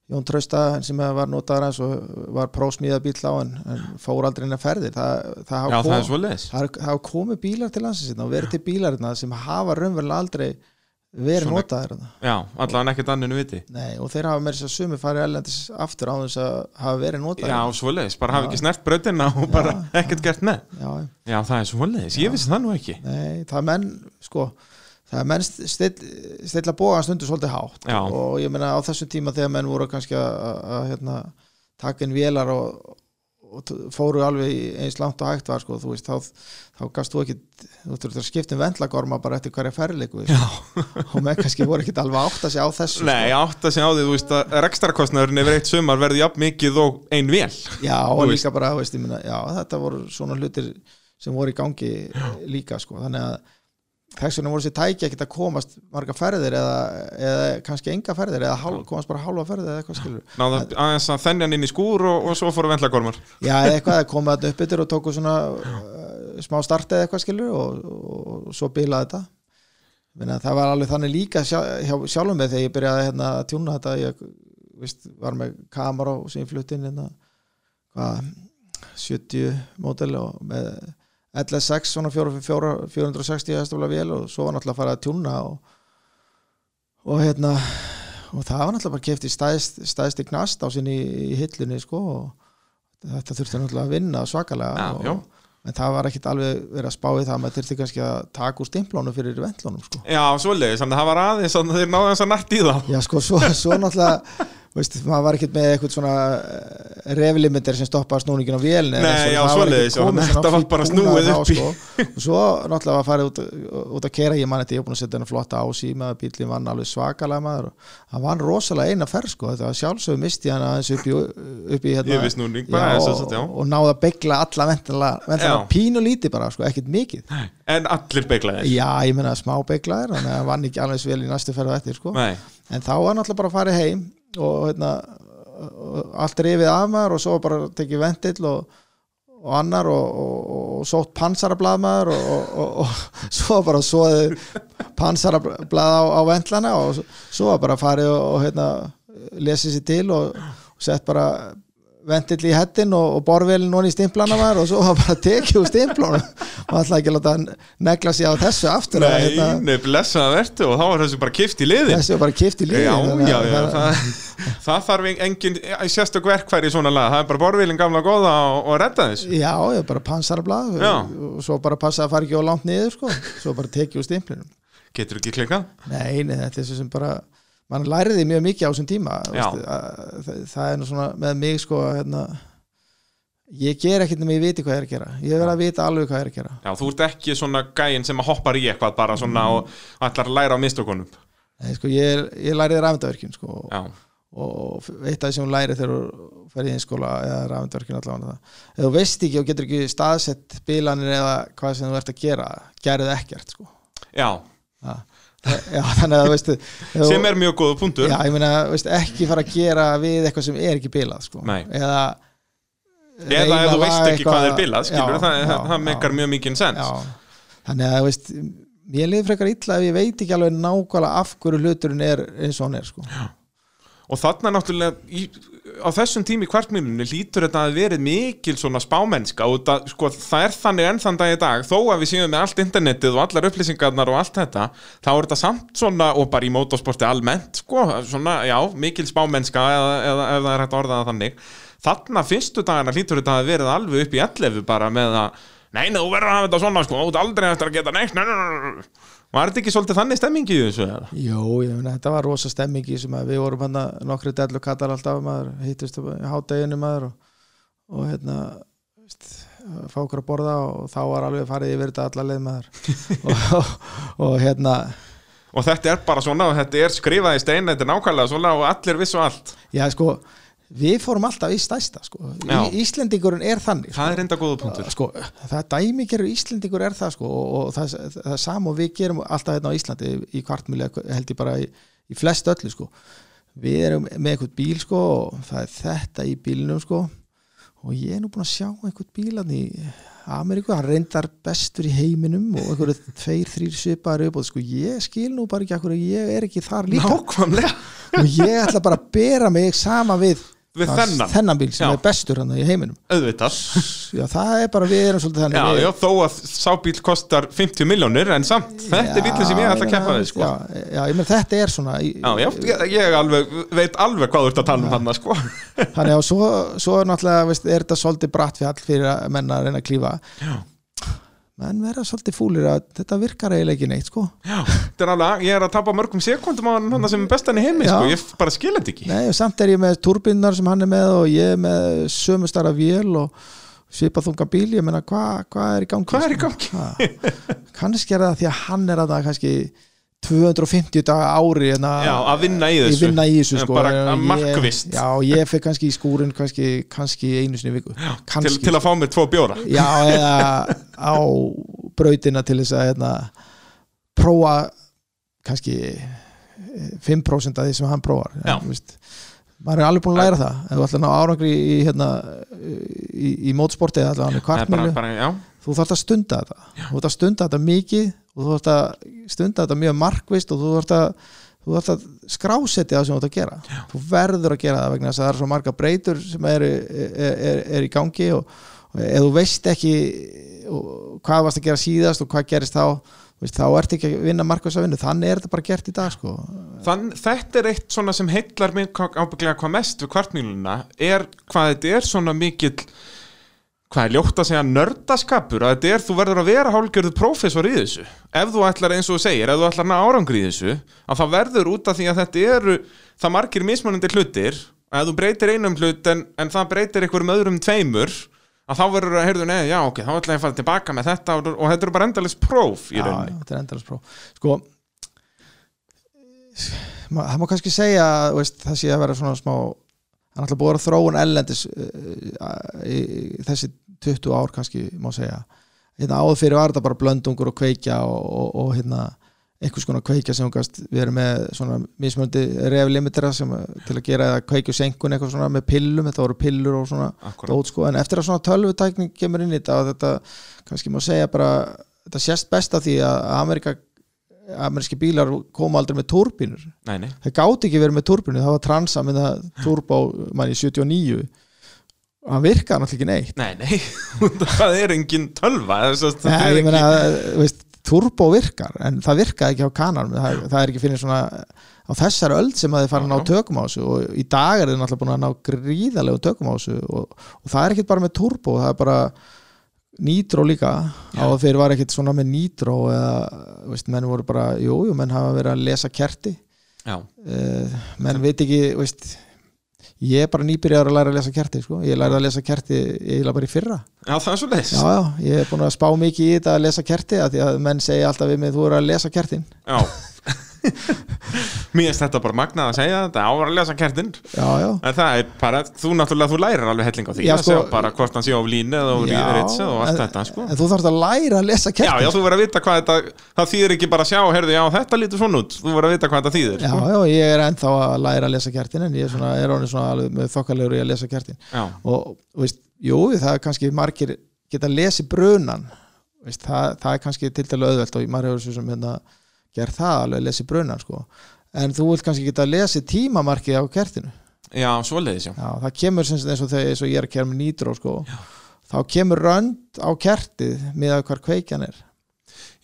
[SPEAKER 2] Jón Trausta hann sem að var notaður hans og var prósmíðað bíl á en, en fór aldrei inn að ferði það, það hafa
[SPEAKER 1] Já, það
[SPEAKER 2] kom-
[SPEAKER 1] er svo leis
[SPEAKER 2] það hafa- það hafa komið bílar til landsins hérna og verið til bílar hérna sem hafa raunverulega aldrei verið
[SPEAKER 1] Svona-
[SPEAKER 2] notaðir hérna.
[SPEAKER 1] Já, allan ekkert anninu viti
[SPEAKER 2] Nei, og þeir hafa með þess að sumi farið erlendis aftur á þess að hafa verið notaðir
[SPEAKER 1] Já, svo leis, bara hafa ekki snert brautina og bara ekkert gert með
[SPEAKER 2] Já,
[SPEAKER 1] Já, það er svo leis, ég vissi það nú ekki
[SPEAKER 2] nei, það er menn sko, það er menn still, stilla bógan stundu svolítið hátt
[SPEAKER 1] Já.
[SPEAKER 2] og ég meina á þessum tíma þegar menn voru kannski að, að, að hérna, taka inn vélar og, og t- fóru alveg í- eins langt og hægt var sko, þú veist, þá, þá gafst þú ekki þú þurftur að skipta um vendlagorma bara eftir hverja ferðleiku
[SPEAKER 1] Já,
[SPEAKER 2] og menn kannski voru ekkit alveg átt að segja á þessu
[SPEAKER 1] nei, átt að segja á því, þú veist að rekstrakostnaðurinn yfir eitt sumar verði jafn mikið og ein vél
[SPEAKER 2] Já, og
[SPEAKER 1] Þú
[SPEAKER 2] líka bara, þú veist, ég minna, já, þetta voru svona hlutir sem voru í gangi líka, sko, þannig að þess vegna voru þessi tæki ekkert að komast marga ferðir eða, eða kannski enga ferðir eða hálf, komast bara hálfa ferðir eða eitthvað skilur
[SPEAKER 1] Náða aðeins að þennja hann inn í skúr og, og svo fóru vendlakormar
[SPEAKER 2] Já, eða eitthvað að koma þetta upp yfir og tóku svona uh, smá starti eða eitthvað skilur og, og, og svo bilaði þetta Minna, það var alveg þannig líka sjá, hjá, sjálfum með þegar ég byrjaði hérna að tjúna þetta ég veist, var með kamera og sem ég flutti inn hérna, hvað, 70 mótel og með LS6 svona 4, 4, 460 hestafla vél og svo var náttúrulega að fara að tjúna og, og hérna og það var náttúrulega bara kefti stæðst, stæðst í knast á sinni í hillunni sko og þetta þurfti náttúrulega að vinna svakalega
[SPEAKER 1] Já, já.
[SPEAKER 2] og, en það var ekkit alveg verið að spá í það maður þurfti kannski að taka úr stimplónu fyrir vendlónum sko
[SPEAKER 1] Já, svo leis, þannig að það var aðeins að þeir náða aðeins að nært í þá
[SPEAKER 2] Já, sko, svo, svo náttúrulega veist, maður var ekkert með eitthvað svona revlimiter sem stoppaði snúningin á vélni eða
[SPEAKER 1] Nei,
[SPEAKER 2] svona,
[SPEAKER 1] já,
[SPEAKER 2] það var
[SPEAKER 1] svoleiðis,
[SPEAKER 2] ekki
[SPEAKER 1] já,
[SPEAKER 2] komið svona
[SPEAKER 1] þetta var
[SPEAKER 2] fínn
[SPEAKER 1] bara
[SPEAKER 2] búnaður
[SPEAKER 1] snúið
[SPEAKER 2] þá, sko.
[SPEAKER 1] upp í.
[SPEAKER 2] og svo náttúrulega var farið út, út að kera ég mann þetta, ég er búin að setja hennar flotta ásí með að bílinn vann alveg svakalega maður og hann vann rosalega eina ferð, sko, þetta var sjálfsögum misti hann aðeins upp í, upp í hérna,
[SPEAKER 1] Yfir snúning, bara
[SPEAKER 2] já,
[SPEAKER 1] aðeins
[SPEAKER 2] og,
[SPEAKER 1] að setja á.
[SPEAKER 2] og náða að begla alla vendanlega
[SPEAKER 1] Já.
[SPEAKER 2] pínu lítið bara, sko, ekkert mikið
[SPEAKER 1] En allir beiglaðir
[SPEAKER 2] Já, ég meina smá beglaðir, þannig að hann vann ekki alveg eins vel í næstu ferð og eftir, sko
[SPEAKER 1] Nei,
[SPEAKER 2] en þá var náttúrulega bara að fara heim og hérna og allt rifið af maður og svo var bara tekið ventill og, og annar og, og, og, og sótt pansarablað maður og, og, og, og svo var bara svoði pansarablað á, á ventlana og svo- svo var bara að fara og, og hérna lesið sér til og, og sett bara ventill í hettin og, og borvelin nonni í stimplana maður og svo var bara tekið úr stimplana maður ætlaði ekki að láta negla sér á þessu aftur að,
[SPEAKER 1] nei, nei, blessaða vertu og þá er þessu bara kift í liðin
[SPEAKER 2] þessu var bara kift í lífi
[SPEAKER 1] Já, já, já, það, það þarf engin sérstök verkfæri í svona laga, það er bara borvilin gamla góða og, og redda þessu
[SPEAKER 2] Já, ég bara pansarblað
[SPEAKER 1] Já.
[SPEAKER 2] og svo bara passa að fara ekki á langt niður sko. svo bara tekið úr stimplinum
[SPEAKER 1] Getur ekki klikkað?
[SPEAKER 2] Nei, nei, þetta er svo sem bara mann læriði mjög mikið á þessum tíma
[SPEAKER 1] Já.
[SPEAKER 2] veistu, að- það, það er nú svona með mig sko, hérna, ég ger ekkert nema ég viti hvað ég er að gera ég verð að vita alveg hvað ég er að gera
[SPEAKER 1] Já, þú ert ekki svona gæinn sem að hoppar í eitthvað bara svona og ætlar að læra á mistökunum
[SPEAKER 2] Nei, sko, ég, er- ég læriði rafendavirkjum sko, og-
[SPEAKER 1] Já,
[SPEAKER 2] og eitt af því sem hún læri þegar hún fer í einskóla eða rafendverkin allavega það. ef þú veist ekki og getur ekki staðsett bílanir eða hvað sem þú ert að gera gerðu ekkert sko.
[SPEAKER 1] já,
[SPEAKER 2] Já, Ah. já þannig að veistu,
[SPEAKER 1] sem er mjög góðu punktur
[SPEAKER 2] já, ég meina, veistu, ekki fara að gera við eitthvað sem er ekki bilað sko.
[SPEAKER 1] Nei.
[SPEAKER 2] eða
[SPEAKER 1] Eða ef
[SPEAKER 2] reyna
[SPEAKER 1] þú
[SPEAKER 2] að
[SPEAKER 1] veist
[SPEAKER 2] laga
[SPEAKER 1] ekki hvað
[SPEAKER 2] eitthvað-
[SPEAKER 1] er bilað,
[SPEAKER 2] Já,
[SPEAKER 1] skilur það,
[SPEAKER 2] já,
[SPEAKER 1] það, það
[SPEAKER 2] já.
[SPEAKER 1] meikar mjög mikinn sens
[SPEAKER 2] Já, þannig að veist, ég liði frekar illa ef ég veit ekki alveg nákvæmlega af hverju hluturinn er eins og hann er sko.
[SPEAKER 1] Og þarna náttúrulega, í, á þessum tími kvartmýlunni lítur þetta að verið mikil svona spámennska og það, sko, það er þannig enn þann dag í dag, þó að við séum með allt internetið og allar upplýsingarnar og allt þetta, þá er þetta samt svona, og bara í motorsporti almennt, sko, svona, já, mikil spámennska eða, eða ef það er hægt að orða það þannig. Þarna fyrstu dagana lítur þetta að verið alveg upp í 11 bara með að, nei, nei, þú verður að hafa þetta svona, sko, þú ert aldrei eftir að geta neitt, nei, nei, nei, nei, nei. Var þetta ekki svolítið þannig stemmingi í þessu, eða?
[SPEAKER 2] Jó, ég meina, þetta var rosa stemming í sem að við vorum hérna hann að nokkru dellu kattar alltaf maður, hittust upp í hádeginu maður og, og hérna veist, fá okkur að borða og þá var alveg farið yfir þetta alla leið maður og, og, og hérna
[SPEAKER 1] og þetta er bara svona og þetta er skrifað í stein þetta er nákvæmlega svona og allir vissu allt
[SPEAKER 2] já sko, við fórum alltaf í stæsta sko, í,
[SPEAKER 1] Já.
[SPEAKER 2] Íslendingurinn er þannig
[SPEAKER 1] það er enda góða punktur
[SPEAKER 2] sko, það dæmi gerur Íslendingur er það sko og, og það, það, það sam og við gerum alltaf hérna á Íslandi í kvartmjölu held ég bara í, í flest öllu sko við erum með eitthvað bíl sko og það er þetta í bílinum sko og ég er nú búin að sjá eitthvað bílan í Ameríku, hann reyndar bestur í heiminum og eitthvað tveir, þrýr svipaðar upp og sko ég skil nú bara ekki akkur ég er ekki þar líka
[SPEAKER 1] Nákvæmlega
[SPEAKER 2] og ég ætla bara að bera mig sama við,
[SPEAKER 1] Við
[SPEAKER 2] það-
[SPEAKER 1] þennan.
[SPEAKER 2] bíl sem
[SPEAKER 1] Já.
[SPEAKER 2] er bestur hann í heiminum
[SPEAKER 1] Auðvitað
[SPEAKER 2] já, það er bara við erum svolítið þannig
[SPEAKER 1] Já,
[SPEAKER 2] við,
[SPEAKER 1] já, þó að sábíl kostar 50 miljónir en samt, þetta er bílinn sem ég ætla að keppa við sko.
[SPEAKER 2] já, já, ég meina þetta er svona í-
[SPEAKER 1] Já, já, ég, ég alveg, veit alveg hvað þú ert að tala um hann sko.
[SPEAKER 2] þannig að svo, svo er náttúrulega veist, er þetta svolítið bratt fyrir all fyrir að menna að reyna að klífa
[SPEAKER 1] Já.
[SPEAKER 2] menn verða svolítið fúlir að þetta virkar eiginlega ekki neitt sko
[SPEAKER 1] Já, þetta er alveg, ég er að tapa mörgum sekundum á hann hann sem er bestan í heimi,
[SPEAKER 2] Já.
[SPEAKER 1] sko, ég bara skil þetta ekki
[SPEAKER 2] Nei, og samt er ég með turbinnar sem hann er með og ég er með sömustara vél og svipað þunga bíl, ég meina hvað hva er í gangi?
[SPEAKER 1] Hvað er í gangi?
[SPEAKER 2] gangi? kannski er það því að hann er að það kannski 250 daga á ári hérna. en að
[SPEAKER 1] Já, að vinna í
[SPEAKER 2] ég
[SPEAKER 1] þessu
[SPEAKER 2] vinna í þessu sko
[SPEAKER 1] Bara
[SPEAKER 2] Ég-
[SPEAKER 1] að markvist
[SPEAKER 2] Já, ég fer kannski í skúrin kannski, kannski einu sinni í viku já,
[SPEAKER 1] til, til að fá mér tvo bjóra
[SPEAKER 2] Já, eða á brautina til þess að hérna, prófa kannski eh, 5% af því sem hann prófar
[SPEAKER 1] Já.
[SPEAKER 2] Þú veist, maður er alveg búin að læra það ef þú ætlar að ná árangri í, hérna, í, í mótsporti eða allavega hann í
[SPEAKER 1] Nei, bara,
[SPEAKER 2] kvartmílu
[SPEAKER 1] bara, já,
[SPEAKER 2] þú þarft að stunda þetta þú þarft að stunda þetta mikið og þú þarft að stunda þetta mjög markvist og þú þarft að, þú þarft að skrásetja það sem þú þarft að gera þú verður að gera það vegna þess að það eru svo marga breytur sem eru er, er, er í gangi og, og ef þú veist ekki og, hvað varst að gera síðast og hvað gerist þá þú veist, þá ert ekki að vinna markvist að vinna þannig er þetta bara gert í dag sko.
[SPEAKER 1] Þann, þetta er eitt svona sem heillar mig hva- ábyggilega hvað mest við kvartmíluna er hvað þetta er svona mikill hvað er ljótt að segja nördaskapur að þetta er þú verður að vera hálgjörðu prófessor í þessu ef þú ætlar eins og þú segir, ef þú ætlar að ná árangri í þessu að það verður út af því að þetta eru það margir mismunandi hlutir að ef þú breytir einum hlut en, en það breytir einhverjum öðrum tveimur að þá verður að heyrðu neði, já ok, þá ætla ég að fara tilbaka með þetta og, og þetta eru bara endalist próf í
[SPEAKER 2] Já,
[SPEAKER 1] rauninni
[SPEAKER 2] já, þetta er endalans próf sko ma- það má kannski segja þú veist, það sé að vera svona smá hann ætla búið að þróun ellendis uh, í, í þessi 20 ár kannski má segja hérna áður fyrir var þetta bara blöndungur og kveikja og, og, og hérna einhvers konar kveikja sem hún gast, við erum með svona mismöndi reflimitera sem uh, til að gera eða kveikju senkun eitthvað svona með pillum, þetta voru pillur og svona
[SPEAKER 1] Akkúrat.
[SPEAKER 2] dót sko, en eftir að svona tölvutækning kemur inn í þetta og þetta kannski má segja bara, þetta sést best af því að Amerika, ameríski bílar koma aldrei með turbinur
[SPEAKER 1] Nei, nei,
[SPEAKER 2] það gáti ekki verið með turbinu, það var transa með það turbo, manni, 79 og hann virkaði náttúrulega ekki neitt
[SPEAKER 1] nei, nei. það er engin tölva þess að það
[SPEAKER 2] Nei,
[SPEAKER 1] er
[SPEAKER 2] ég meina, þú veist, turbo virkar en það virkaði ekki á kanarm það, það er ekki finnir svona á þessar öld sem að þið fara að ná tökum á þessu og í dag er þið náttúrulega búin að ná gríðarlegu tökum á þessu og, og það er ekkit bara með turbo það er bara nýtró líka á að fyrir var ekkit svona með nýtró eða, þú veist, menn voru bara jú, jú, menn hafa verið að lesa kerti
[SPEAKER 1] Já,
[SPEAKER 2] uh, menn veit ekki, þú veist ég er bara nýbyrjar að læra að lesa kerti sko. ég lærði að lesa kerti eiginlega bara í fyrra
[SPEAKER 1] já það er svo leis
[SPEAKER 2] Já, já, ég er búin að spá mikið í þetta að lesa kerti að því að menn segja alltaf við mig þú eru að lesa kertin
[SPEAKER 1] Já Mér er þetta bara magnað að segja þetta á að lesa kertin
[SPEAKER 2] Já, já,
[SPEAKER 1] En það er bara, þú náttúrulega, þú lærir alveg helling á því
[SPEAKER 2] Já,
[SPEAKER 1] að
[SPEAKER 2] sko-
[SPEAKER 1] sjá bara hvort hann sé á línu eða á
[SPEAKER 2] já
[SPEAKER 1] ritsa og allt
[SPEAKER 2] en,
[SPEAKER 1] þetta sko.
[SPEAKER 2] en þú þarfst að læra að lesa
[SPEAKER 1] Já,
[SPEAKER 2] kertin sko.
[SPEAKER 1] já, þú verður að vita hvað þetta það þýðir ekki bara að sjá, heyrðu, já, þetta lítur svona út þú verður að vita hvað þetta þýðir
[SPEAKER 2] já,
[SPEAKER 1] sko.
[SPEAKER 2] já, ég er ennþá að læra að lesa kertin en ég er, svona, er honum svona alveg með þokkalegur í að lesa kertin
[SPEAKER 1] já,
[SPEAKER 2] og, og veist, jú, það er kannski margir geta lesið brunan veist, það, það er kannski til dælu auðvelt og maður hefur svo sem hérna gerð það alveg lesið brunan sko en þú vilt kannski geta lesið tímamarkið á kertinu
[SPEAKER 1] já, svoleiðis, já
[SPEAKER 2] Já, það kemur sem sagt eins og þegar eins og ég er að kera með nýtró sko, þá kemur rönd á kertið með að hvar kveikjan er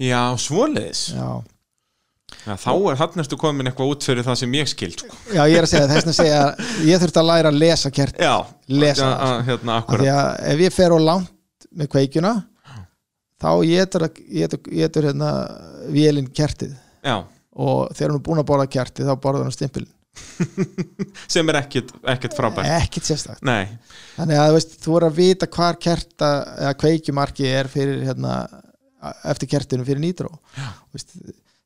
[SPEAKER 1] Já, svoleiðis
[SPEAKER 2] já.
[SPEAKER 1] já, Þá er hann ertu komin eitthvað út fyrir það sem ég skild sko.
[SPEAKER 2] já, ég er að segja þess að segja ég þurfti að læra að lesa kertið
[SPEAKER 1] Já,
[SPEAKER 2] Lesa.
[SPEAKER 1] já, hérna,
[SPEAKER 2] af
[SPEAKER 1] akkurat
[SPEAKER 2] því að ef ég fer á langt með kveikjuna þá ég etur, ég etur hérna vélinn kertið
[SPEAKER 1] Já,
[SPEAKER 2] og þegar hún er búin að borða kertið þá borða hún stimpil
[SPEAKER 1] sem er ekkit, ekkit frábært
[SPEAKER 2] ekkit sérstakt
[SPEAKER 1] Nei,
[SPEAKER 2] þannig að þú veist, þú voru að vita hvar kerta eða kveikjumarki er fyrir hérna, eftir kertinu fyrir nýtró Þú veist,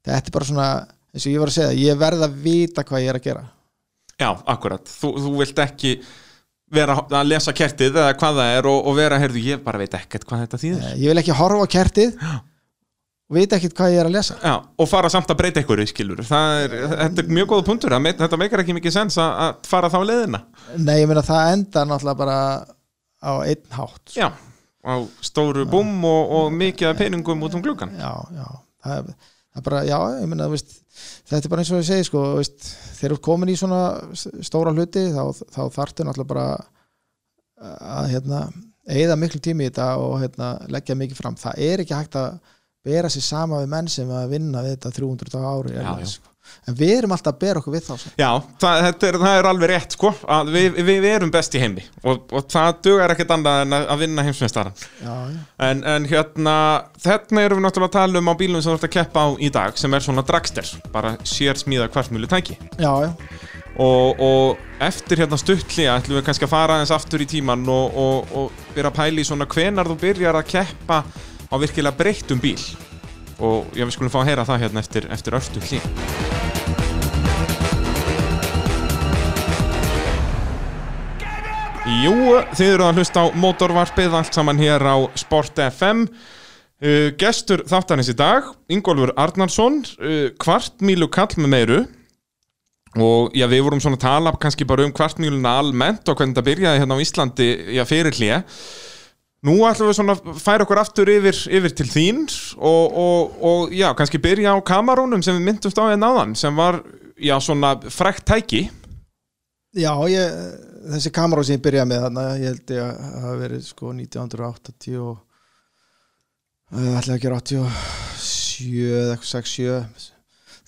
[SPEAKER 2] þetta er bara svona eins og ég var að segja, ég verð að vita hvað ég er að gera
[SPEAKER 1] Já, akkurat, þú, þú vilt ekki vera að lesa kertið eða hvað það er og, og vera, heyrðu, ég bara veit ekkert hvað þetta þýðir
[SPEAKER 2] Eh, ég vil ekki horfa á kertið og veit ekkert hvað ég er að lesa
[SPEAKER 1] Já, og fara samt að breyta einhverju, skilur það er, þetta er mjög góða punktur, það me- þetta meikar ekki mikið sens að, að fara þá leiðina
[SPEAKER 2] Nei, ég meina það endar náttúrulega bara á einn hátt sko.
[SPEAKER 1] Já, á stóru búm og, og mikið af peningum út um gluggan
[SPEAKER 2] Já, já, það er, það er bara, já, ég meina þú veist, þetta er bara eins og ég segi sko, þú veist, þegar þú ert komin í svona s- stóra hluti þá, þá þarftu náttúrulega bara að hérna, eigða miklu tími í þetta og hérna, leggja mikið fram það er ekki hægt að bera sér sama við menn sem að vinna við þetta 300 daga á ári
[SPEAKER 1] Já,
[SPEAKER 2] erlendis,
[SPEAKER 1] já.
[SPEAKER 2] sko. en við erum alltaf að bera okkur við þá sko.
[SPEAKER 1] Já, það, þetta er, það er alveg rétt sko að við, við, við erum best í heimi og, og það dugar ekkert annað en að að vinna heimsmeistaran
[SPEAKER 2] já, já,
[SPEAKER 1] en, en hérna, þarna erum við náttúrulega að tala um á bílum sem þú ert að keppa á í dag sem er svona dragster, bara sér smíða hversmjölu tæki
[SPEAKER 2] já, já,
[SPEAKER 1] og, og eftir hérna stuttli ætlum við kannski að fara aðeins aftur í tíman og, og, og byrja að pæla í svona hvenar þú byrjar að keppa á virkilega breyttum bíl og já, við skulum fá að heyra það hérna eftir, eftir örstu hlý Jú, þið eru að hlusta á motorvarpið allt saman hér á Sport FM uh, Gestur þáttanins í dag, Ingólfur Arnarsson uh, Kvart Mílu Kall með meiru og já, við vorum svona að tala kannski bara um kvartmjöluna almennt og hvernig þetta byrjaði hérna á Íslandi já, fyrir hlýja Nú ætlum við svona að færa okkur aftur yfir, yfir til þín og, og, og já, kannski byrja á kamarónum sem við myndumst á hérna áðan sem var, já, svona frækt tæki
[SPEAKER 2] Já, ég, þessi kamerá sem ég byrjaði með þarna, ég held ég að það hafi verið sko 1980 og uh, ætlaði að gera 87 eða eitthvað 67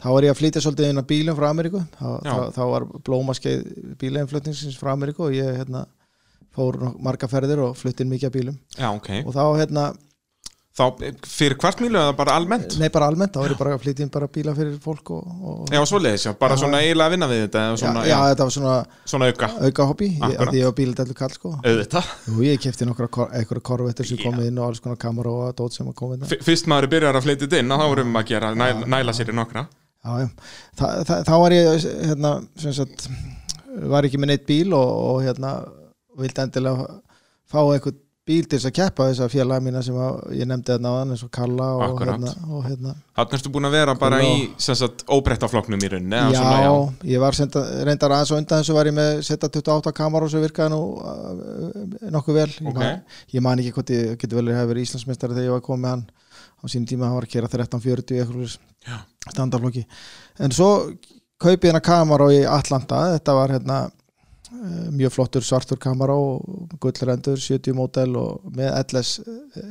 [SPEAKER 2] þá var ég að flytja svolítið inn á bílum frá Ameríku þá,
[SPEAKER 1] Já.
[SPEAKER 2] þá, þá var blómaskeið bílainflutningsins frá Ameríku og ég hérna, fór nok- marga ferðir og flutti inn mikið af bílum
[SPEAKER 1] Já, ok
[SPEAKER 2] og þá hérna,
[SPEAKER 1] Þá fyrir kvartmjölu eða bara almennt?
[SPEAKER 2] nei bara almennt þá var ég bara að flytja inn bara bíla fyrir fólk og, og
[SPEAKER 1] Já, svoleiðis, já, bara
[SPEAKER 2] Já.
[SPEAKER 1] svona eiginlega að vinna við þetta eða svona,
[SPEAKER 2] já, já, þetta var svona
[SPEAKER 1] svona auka
[SPEAKER 2] auka hobby, ég,
[SPEAKER 1] Akkurat.
[SPEAKER 2] af því ég var bíladællu kall sko
[SPEAKER 1] Auðvitað
[SPEAKER 2] Jú, ég kefti nokkra einhverja korvettur sem
[SPEAKER 1] Já.
[SPEAKER 2] komið inn og alls konar kamera og dót sem að komið inn
[SPEAKER 1] F- Fyrst maður byrjar að flytja þetta inn að þá erum við að gera, næ, næla sér í nokkra
[SPEAKER 2] Já, já. Þa, þa, þá var ég hérna, sem sagt var ekki með neitt bíl og, og hérna vildi endilega fá eitthvað bíl til þess að keppa þess að félaga mína sem að, ég nefndi þarna á þann eins og Kalla og
[SPEAKER 1] Akkurat.
[SPEAKER 2] hérna, og hérna
[SPEAKER 1] Þannig ertu búin að vera bara í sem sagt, óbreyttafloknum í rauninni eða
[SPEAKER 2] já,
[SPEAKER 1] svona,
[SPEAKER 2] ég var senda, reyndar aðeins og undan þessu var ég með setta 28 kamar og svo virkaði nú uh, nokkuð vel ég,
[SPEAKER 1] Ok.
[SPEAKER 2] man, ég man ekki hvort ég getur vel hefur verið Íslandsmeistari þegar ég var komið með hann á sínum tíma hann var að kera 13-40
[SPEAKER 1] Já.
[SPEAKER 2] eitthvað standarflokki en svo kaupið hennar Camaro í Atlanta þetta var hérna eh, mjög flottur svartur Camaro gullrendur, 70 mótel og með LS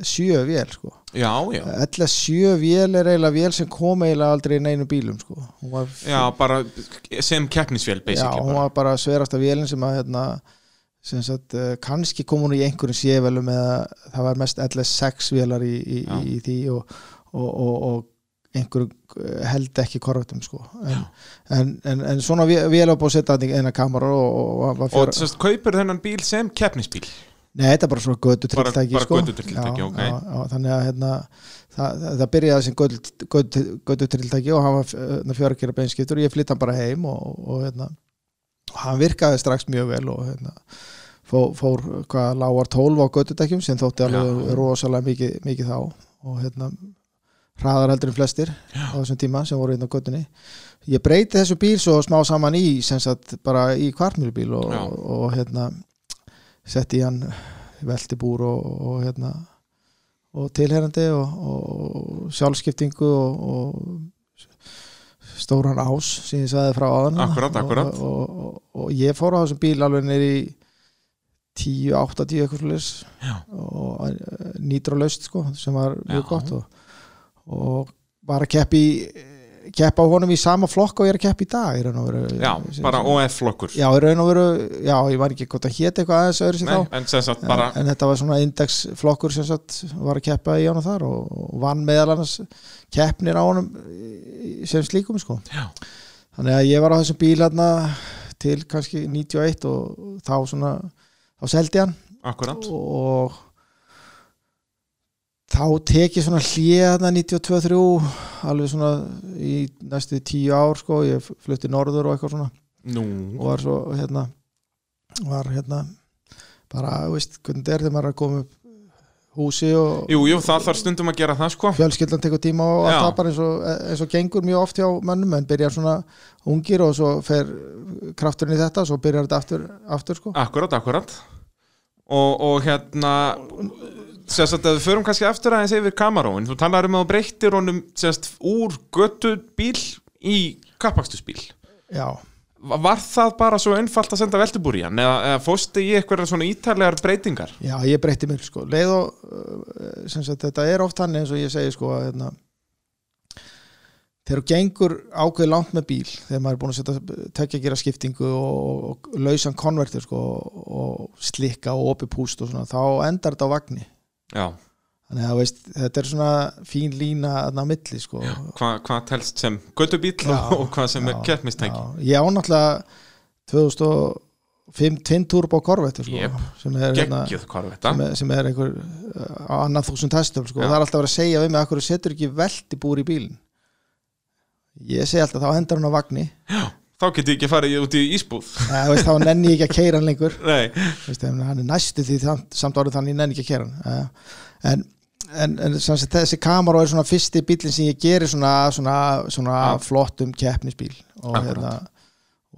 [SPEAKER 2] 7 vél sko.
[SPEAKER 1] já, já,
[SPEAKER 2] LS 7 vél er eiginlega vél sem kom eiginlega aldrei í neinum bílum sko. hún var
[SPEAKER 1] Já, bara sem keppnisvél
[SPEAKER 2] Já,
[SPEAKER 1] basically
[SPEAKER 2] hún
[SPEAKER 1] bara.
[SPEAKER 2] var bara sverasta vélinn sem að hérna, sem sagt, eh, kannski kom hún í einhverjum sévelum eða það var mest LS6 vélar í, í,
[SPEAKER 1] Já.
[SPEAKER 2] í því og, og, og, og einhverjum eh, held ekki korvetum sko. en, en, en, en svona vél var búið að setja þarna í eina kamara og, og, og, var
[SPEAKER 1] Og
[SPEAKER 2] fjör,
[SPEAKER 1] sérst, kaupir þennan bíl sem keppnisbíl
[SPEAKER 2] Nei, þetta er bara svona gödutrilltæki
[SPEAKER 1] Bara- bara
[SPEAKER 2] sko.
[SPEAKER 1] götutrilltæki,
[SPEAKER 2] Já,
[SPEAKER 1] ok.
[SPEAKER 2] já, já, Þannig að hérna, það, það það byrjaði sem gödut- gödut- gödutrilltæki og hann var hérna, fjörakera beinskiptur og ég flytt hann bara heim og, og hérna, og hann virkaði strax mjög vel og hérna, fór, fór hvað lágar 12 á gödutækjum sem þótti alveg
[SPEAKER 1] Já.
[SPEAKER 2] rosalega mikið, mikið þá og hérna hraðar heldur en flestir á þessum tíma sem voru hérna á göttunni ég breyti þessu bíl svo smá saman í sem sagt bara í kvartmjölbíl og,
[SPEAKER 1] Já.
[SPEAKER 2] og, og hérna setti í hann veltibúr og, og hérna og tilherandi og, og sjálfskiptingu og, og stóran ás sem ég sagði frá aðan
[SPEAKER 1] Akkúrat, akkúrat.
[SPEAKER 2] og, og, og, og ég fór á þessum bíl alveg neyri í 10, 8, 10 eitthvað slags
[SPEAKER 1] Já.
[SPEAKER 2] og nýtralaust sko sem var mjög
[SPEAKER 1] Já.
[SPEAKER 2] gott og, og var að keppi keppa á honum í sama flokk og ég er að keppa í dag í raun og veru
[SPEAKER 1] Já, bara OF-flokkur
[SPEAKER 2] Já, í raun og veru, já, ég var ekki hvort að hétt eitthvað aðeins öðru sér
[SPEAKER 1] Nei,
[SPEAKER 2] þá
[SPEAKER 1] En sem sagt
[SPEAKER 2] en,
[SPEAKER 1] bara,
[SPEAKER 2] en þetta var svona indexflokkur sem sagt var að keppa í honum þar og, og vann meðal annars keppnir á honum í- sem slíkum sko
[SPEAKER 1] Já.
[SPEAKER 2] þannig að ég var á þessum bíl hérna til kannski 91 og þá svona þá seldi ég hann
[SPEAKER 1] akkurat
[SPEAKER 2] og þá tek ég svona hljéðna 92-3 alveg svona í næstu tíu ár sko, ég flutti norður og eitthvað svona og
[SPEAKER 1] Nú,
[SPEAKER 2] var svo hérna var hérna bara, þú veist, hvernig þetta er þegar maður er að koma upp húsi og
[SPEAKER 1] Jú, jú, það þarf stundum að gera það sko
[SPEAKER 2] fjölskyldan tekur tíma og allt
[SPEAKER 1] Já.
[SPEAKER 2] tapar eins og, eins og gengur mjög oft hjá mönnum en byrjar svona ungir og svo fer krafturinn í þetta, svo byrjar þetta aftur, aftur sko.
[SPEAKER 1] Akkurat, akkurat Og, og hérna Sérst að við förum kannski eftir aðeins yfir kamaróin Þú talar um að þú breyttir honum sérst úr götu bíl í kappakstusbíl
[SPEAKER 2] Já,
[SPEAKER 1] Var það bara svo einfalt að senda veltubúr í hann eða, eða fóstu í eitthvað svona ítarlegar breytingar?
[SPEAKER 2] já, ég breytti mér sko. leið og uh, sem sagt þetta er oft hann eins og ég segi sko að hérna, þegar þú gengur ákveð langt með bíl, þegar maður er búin að setja tekja að gera skiptingu og, og lausan konvertir sko og slikka og opið púst og svona, þá endar þetta á vagni
[SPEAKER 1] Já,
[SPEAKER 2] þannig að þú veist, þetta er svona fín lína þarna á milli sko já,
[SPEAKER 1] hvað hva telst sem göttubíl og,
[SPEAKER 2] Já,
[SPEAKER 1] og hvað sem er keppmistæki?
[SPEAKER 2] já, ég á náttúrulega 2005 Twin Turbo Corvette sko,
[SPEAKER 1] Jep.
[SPEAKER 2] sem, er, hérna,
[SPEAKER 1] Gekkið hvað er
[SPEAKER 2] sem,
[SPEAKER 1] þetta?
[SPEAKER 2] er, sem er einhver uh, annan þúsund hestum sko,
[SPEAKER 1] Já.
[SPEAKER 2] og það er alltaf að vera að segja við mig akkur setur ekki veltibúr í bílinn ég segi alltaf þá endar hún á vagni
[SPEAKER 1] Þá geti ég ekki farið út í ísbúð
[SPEAKER 2] Nei, þú veist, þá nenni ég ekki að keira hann lengur
[SPEAKER 1] Nei,
[SPEAKER 2] Þú veist, ef hann er næstu því samt, samt orðið þannig nenni ekki að keira hann Eh, en, en, en sem sagt, þessi Camaro er svona fyrsti bílinn sem ég geri svona, svona, svona
[SPEAKER 1] Já.
[SPEAKER 2] flottum keppnisbíl og, hérna,
[SPEAKER 1] Akkúrat.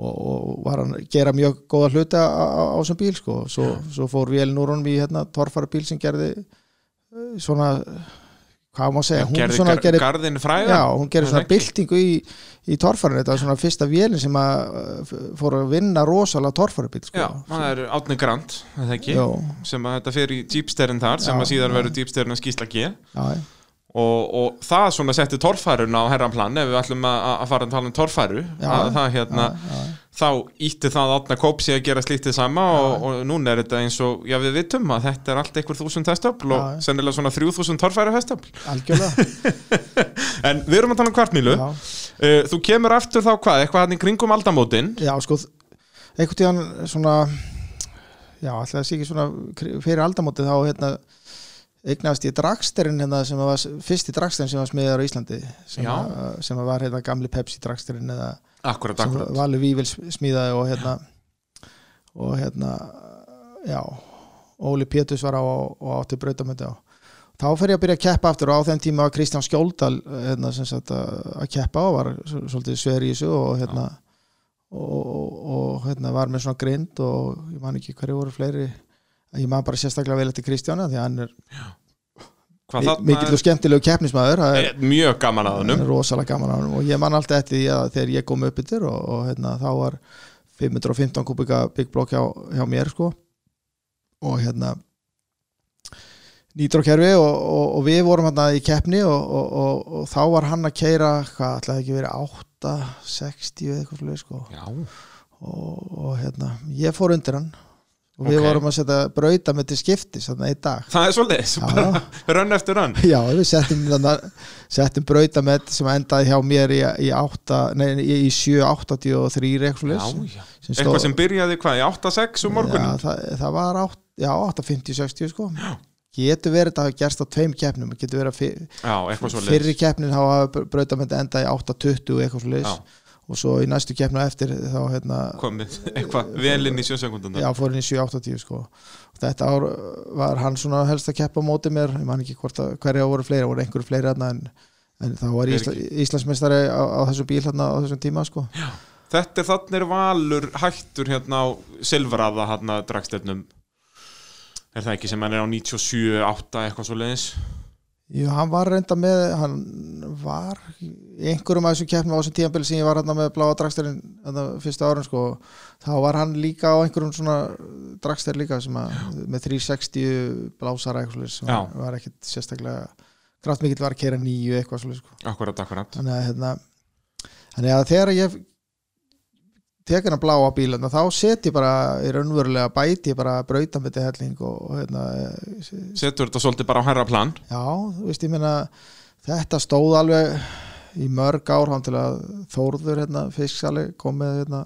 [SPEAKER 2] og, og var hann að gera mjög góða hluti á- á á þessum bíl sko. svo, svo fór vélinn úr honum í hérna, torfara bíl sem gerði eh, svona hvað má segja, hún
[SPEAKER 1] gerði
[SPEAKER 2] svona
[SPEAKER 1] gar,
[SPEAKER 2] gerði
[SPEAKER 1] garðin fræga
[SPEAKER 2] Já, hún gerir
[SPEAKER 1] Það er
[SPEAKER 2] svona
[SPEAKER 1] ekki.
[SPEAKER 2] byltingu í, í torfarinu, þetta var svona fyrsta vélin sem að uh, f- fór að vinna rosalega torfarubíl sko.
[SPEAKER 1] Já, það er Átni Grand, er það ekki
[SPEAKER 2] Já,
[SPEAKER 1] sem að þetta fer í Jeepsterin þar sem
[SPEAKER 2] Já,
[SPEAKER 1] að síðan
[SPEAKER 2] já.
[SPEAKER 1] verður Jeepsterin að skýsla G og,
[SPEAKER 2] já, já.
[SPEAKER 1] og það svona setti torfærun á herranplan ef við ætlum að, að fara að tala um torfæru
[SPEAKER 2] Já,
[SPEAKER 1] að það hérna, þá ítti það Átna Kópsi að gera slíkt þið sama og, og núna er þetta eins og, já við vitum að þetta er allt einhver þúsund hestöfl
[SPEAKER 2] Já, já.
[SPEAKER 1] og sennilega svona þrjú þúsund torfæru hestöfl
[SPEAKER 2] algjörlega
[SPEAKER 1] en við erum að tala um kvartmílu
[SPEAKER 2] já.
[SPEAKER 1] Uh, Þú kemur aftur þá hvað, eitthvað hann í kringum aldamótin
[SPEAKER 2] já, sko, þ- einhvern tíðan svona já, alltaf það sé ekki svona kri- fyrir aldamóti þá hérna eignast ég dragsterinn hérna sem að var s- fyrsti dragsterinn sem var smiðar á Íslandi sem,
[SPEAKER 1] Já.
[SPEAKER 2] að, sem að var hérna gamli Pepsi dragsterinn eða
[SPEAKER 1] Akkurat,
[SPEAKER 2] sem
[SPEAKER 1] akkurat
[SPEAKER 2] Valur Vível smíðaði og hérna og hérna já, Óli Pétus var á og, og átti brautamöndi á þá fer ég að byrja að keppa aftur og á þeim tíma var Kristján Skjóldal hérna, sem sagt, að að keppa og var s- svolítið sver í þessu og hérna og, og, og hérna var með svona grind og ég man ekki hverju voru fleiri ég man bara sérstaklega vel eftir Kristjána því að hann er
[SPEAKER 1] Hvað þarna
[SPEAKER 2] mikill og skemmtilegu keppnismæður það er,
[SPEAKER 1] er mjög gaman að honum
[SPEAKER 2] Það er rosalega gaman á hann og ég man alltaf eftir því að þegar ég kom upp yfir og, og hérna, þá var 515 kubika big block hjá, hjá mér sko og hérna nýtrókerfi og, og, og við vorum hérna í keppni og, og, og, og þá var hann að keira hvað ætlaði ekki verið 8, 60 eða eitthvað slúið sko
[SPEAKER 1] Já,
[SPEAKER 2] og, og hérna ég fór undir hann og við
[SPEAKER 1] Ok.
[SPEAKER 2] vorum að setja brauta með til skiptis hérna í dag
[SPEAKER 1] það er svo leis,
[SPEAKER 2] Já.
[SPEAKER 1] bara rönn eftir rönn
[SPEAKER 2] Já, við settum, þarna, settum brautamett sem endaði hjá mér í, í, átta, nei, í, í 7.83
[SPEAKER 1] Já,
[SPEAKER 2] eitthvað
[SPEAKER 1] já Eitthvað sem byrjaði hvað, í 8-6 um morgunum?
[SPEAKER 2] Já, það, það var átt, já, 8.50-60 sko. Getur verið að það hafi gerst á tveim keppnum, getur verið að fyr,
[SPEAKER 1] Já, eitthvað svo leis
[SPEAKER 2] fyrri keppnin hafa brautamett endaði í 8.20 eitthvað svo
[SPEAKER 1] Já.
[SPEAKER 2] og svo í næstu keppnu á eftir þá hérna,
[SPEAKER 1] Komið, eitthvað velinn í sjösekundunum
[SPEAKER 2] já, fór inn í 7.80 sko. Og þetta ár uh, var hann svona helst að keppa á móti mér, ég man ekki hvort að hverja voru fleira, voru einhverju fleira þarna en, en þá var
[SPEAKER 1] Er
[SPEAKER 2] Ísla, Íslandsmeistari á, á þessum bíl hérna á þessum tíma sko.
[SPEAKER 1] Þetta er þannig valur hættur hérna á silfraða hérna dragstefnum Er það ekki sem hann er á 97-8 eitthvað svo leis?
[SPEAKER 2] Jú, hann var reynda með, hann var í einhverjum af þessum keppnum á þessum tímabili sem ég var hérna með bláa dragstærin fyrsta árun sko, þá var hann líka á einhverjum svona dragstæri líka sem að, með 360 blásara eitthvað svoleiðis, sem
[SPEAKER 1] Já.
[SPEAKER 2] var- var ekkit sérstaklega kraftmikill var að keira nýju eitthvað svolítið sko.
[SPEAKER 1] Akkurat, akkurat
[SPEAKER 2] þannig að, hérna, þannig að þegar ég tek hennar bláa bíl hérna, þá set ég bara í raunverulega bæti ég bara brautamöti helling og, og hérna, eh,
[SPEAKER 1] Setur þetta svolítið bara á herra plan
[SPEAKER 2] já, þú veist ég meina þetta stóð alveg í mörg ár hann til að Þórður hérna, fiskali kom með hérna,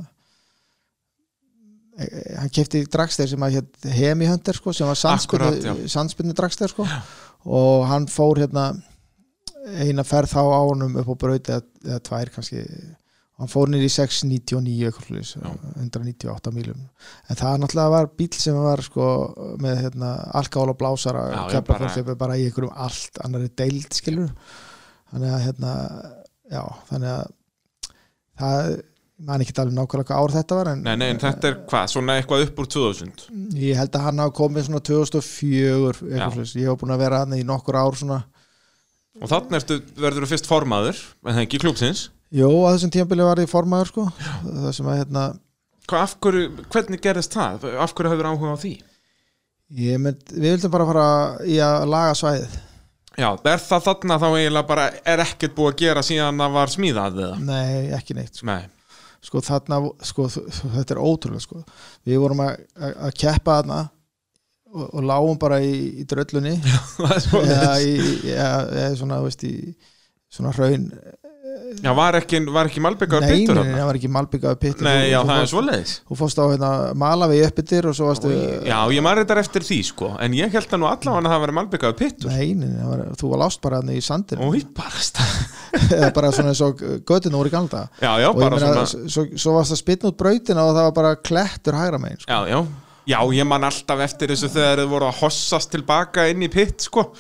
[SPEAKER 2] eh, eh, hann kefti dragstæð sem að hétt Hemihöndir sko, sem var
[SPEAKER 1] Akkúrat,
[SPEAKER 2] sandspinnu, sandspinnu dragstæð sko. og hann fór hérna eina ferð þá á honum upp á braut eða, eða tvær kannski hann fór nýr í 699 eitthvað svoleiðis,
[SPEAKER 1] Já.
[SPEAKER 2] 198 mílum en það náttúrulega var bíl sem var sko, með hérna, alkohol og blásara
[SPEAKER 1] Já, já,
[SPEAKER 2] keflafólksleipi bara... bara í einhverjum allt annari deild skilur þannig að hérna, já, þannig að það man ekki alveg nákvæmlega hvað ár þetta var en
[SPEAKER 1] Nei, nei, en þetta er hvað, svona eitthvað upp úr 2000
[SPEAKER 2] ég held að hann hafa komið svona 2004
[SPEAKER 1] Já.
[SPEAKER 2] eitthvað svoleiðis. ég hef búin að vera hann í nokkur ár svona
[SPEAKER 1] Og þannig ertu, verður þú fyrst formaður, en það er ekki klúpsins
[SPEAKER 2] Jó, að þessum tímabili var ég formaður sko það sem að hérna
[SPEAKER 1] Hvað, af hverju, hvernig gerðist það? Af hverju hafður áhuga á því?
[SPEAKER 2] ég mynd, við vildum bara fara í að laga svæðið
[SPEAKER 1] Já, er það þarna þá eiginlega bara er ekkert búið að gera síðan það var smíðað eða?
[SPEAKER 2] Nei, ekki neitt sko,
[SPEAKER 1] Nei,
[SPEAKER 2] sko þarna, sko, þ- þetta er ótrúlega sko við vorum að, að að keppa þarna og, og lágum bara í, í dröllunni
[SPEAKER 1] það er svo
[SPEAKER 2] eða í, eða, eða svona, þú veist, í svona hraun
[SPEAKER 1] Já, var ekki, var ekki malbyggar
[SPEAKER 2] Nei, nei,
[SPEAKER 1] byttur
[SPEAKER 2] nei,
[SPEAKER 1] þarna?
[SPEAKER 2] það var ekki malbyggaðu pittur
[SPEAKER 1] Nei,
[SPEAKER 2] Þú- þú
[SPEAKER 1] já, það er
[SPEAKER 2] fórst-
[SPEAKER 1] svoleiðis
[SPEAKER 2] Þú fórst á hérna, Malavi uppbyttir og svo varstu
[SPEAKER 1] Já, ég maður þetta eftir því, sko En ég held að nú allavega að það var malbyggar byttur
[SPEAKER 2] Nei, nei, nei, það var, þú var lást bara þarna í sandir
[SPEAKER 1] Úi, bara stað
[SPEAKER 2] eða bara svona eins og götin úr í galda
[SPEAKER 1] Já, já,
[SPEAKER 2] og ég
[SPEAKER 1] bara
[SPEAKER 2] meina,
[SPEAKER 1] svona
[SPEAKER 2] svo, svo varst að spytna út brautina og það var bara klettur hægra megin sko.
[SPEAKER 1] Já, já Já, ég man alltaf eftir þessu þegar þau voru að hossast tilbaka inn í pitt, sko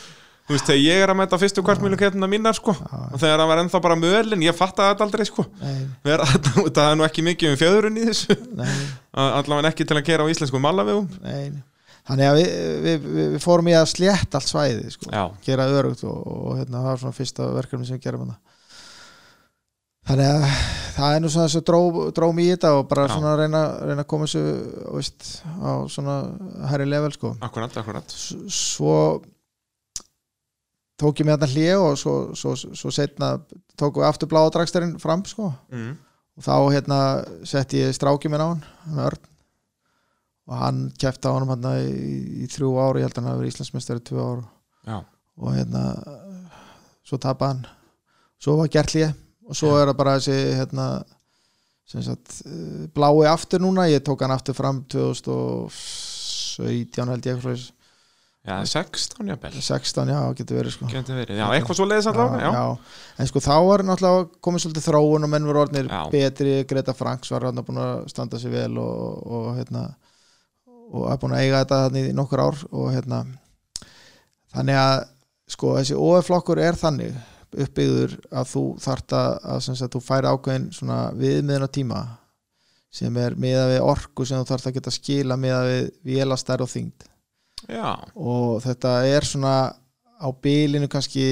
[SPEAKER 1] Þú veist, þegar ég er að mæta fyrstu kvartmýluketina mínar, sko Og þegar það var ennþá bara mölin, ég fattaði þetta aldrei, sko
[SPEAKER 2] nei,
[SPEAKER 1] Vera, Það er nú ekki mikið um fjöðrun í þessu
[SPEAKER 2] nei,
[SPEAKER 1] Allavega ekki til að gera á íslensku malavegum
[SPEAKER 2] nei. þannig að við, við, við, við fórum í að slétt allt svæði sko.
[SPEAKER 1] Já,
[SPEAKER 2] gera örugt og, og hérna, það var svona fyrsta verkefni sem við gerum hana þannig að það er nú svona sem dró, dró mig í þetta og bara
[SPEAKER 1] Já.
[SPEAKER 2] svona að reyna, reyna að koma þessu þú veist, á svona herri level sko.
[SPEAKER 1] akkurat, akkurat
[SPEAKER 2] S- svo tók ég með þetta hlið og svo, svo, svo setna tók við aftur bláa dragsterinn fram sko
[SPEAKER 1] mm.
[SPEAKER 2] og þá hérna setti ég stráki minn á hann, hann Örn og hann kæfti á honum hann í, í þrjú ár, ég held að hann hafi verið Íslandsmeistari í tvö ár
[SPEAKER 1] Já,
[SPEAKER 2] og hérna svo tapaði hann svo var gert hlið og svo er það bara þessi hérna sem sagt, eh, blái aftur núna ég tók hann aftur fram 2017 held ég eitthvað svoleiðis.
[SPEAKER 1] já 16 jafnvel
[SPEAKER 2] 16, já, getur verið sko
[SPEAKER 1] Geti verið, já, eitthvað svo leiðis allavega Já,
[SPEAKER 2] en sko þá var náttúrulega komið svolítið þróun og menn voru orðnir
[SPEAKER 1] Já.
[SPEAKER 2] betri Greta Franks var hann búin að standa sig vel og, og hérna og er búin að eiga þetta þannig í nokkur ár og hérna þannig að sko þessi OF-flokkur er þannig uppbyggður að þú þart að, að sem sagt, þú færi ákveðin svona viðmiðna tíma sem er miðað við orku sem þú þart að geta skila miðað við vélastær og þyngd
[SPEAKER 1] já,
[SPEAKER 2] og þetta er svona á bilinu kannski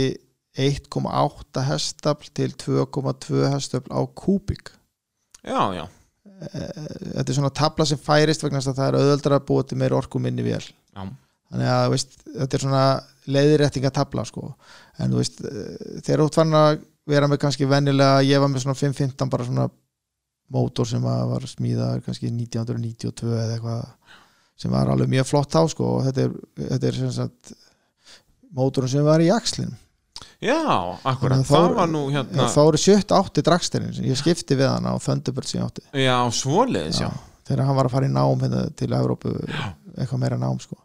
[SPEAKER 2] 1,8 hestafl til 2,2 hestafl á kúbík Eh,
[SPEAKER 1] já, já,
[SPEAKER 2] þetta er svona tabla sem færist vegna þess að það er auðveldara að búa til meir orku minni vél
[SPEAKER 1] já.
[SPEAKER 2] þannig að þú veist, þetta er svona leiðiréttinga tabla sko en þú veist, eh, þegar út fann að vera með kannski venjulega, ég var með svona 5.15 bara svona mótor sem að var smíðaður kannski 1992 eða eitthvað sem var alveg mjög flott á sko og þetta er, þetta er sem sagt mótorun sem var í jaxlin
[SPEAKER 1] Já, akkurat,
[SPEAKER 2] Þannig að
[SPEAKER 1] það
[SPEAKER 2] þá-
[SPEAKER 1] var nú hérna
[SPEAKER 2] þá eru 78 dragsterinn sem ég skipti við hana á Thunderbird sem ég átti
[SPEAKER 1] Já, svoleiðis, já,
[SPEAKER 2] þegar hann var að fara í nám hérna, til Evrópu, eitthvað meira nám sko.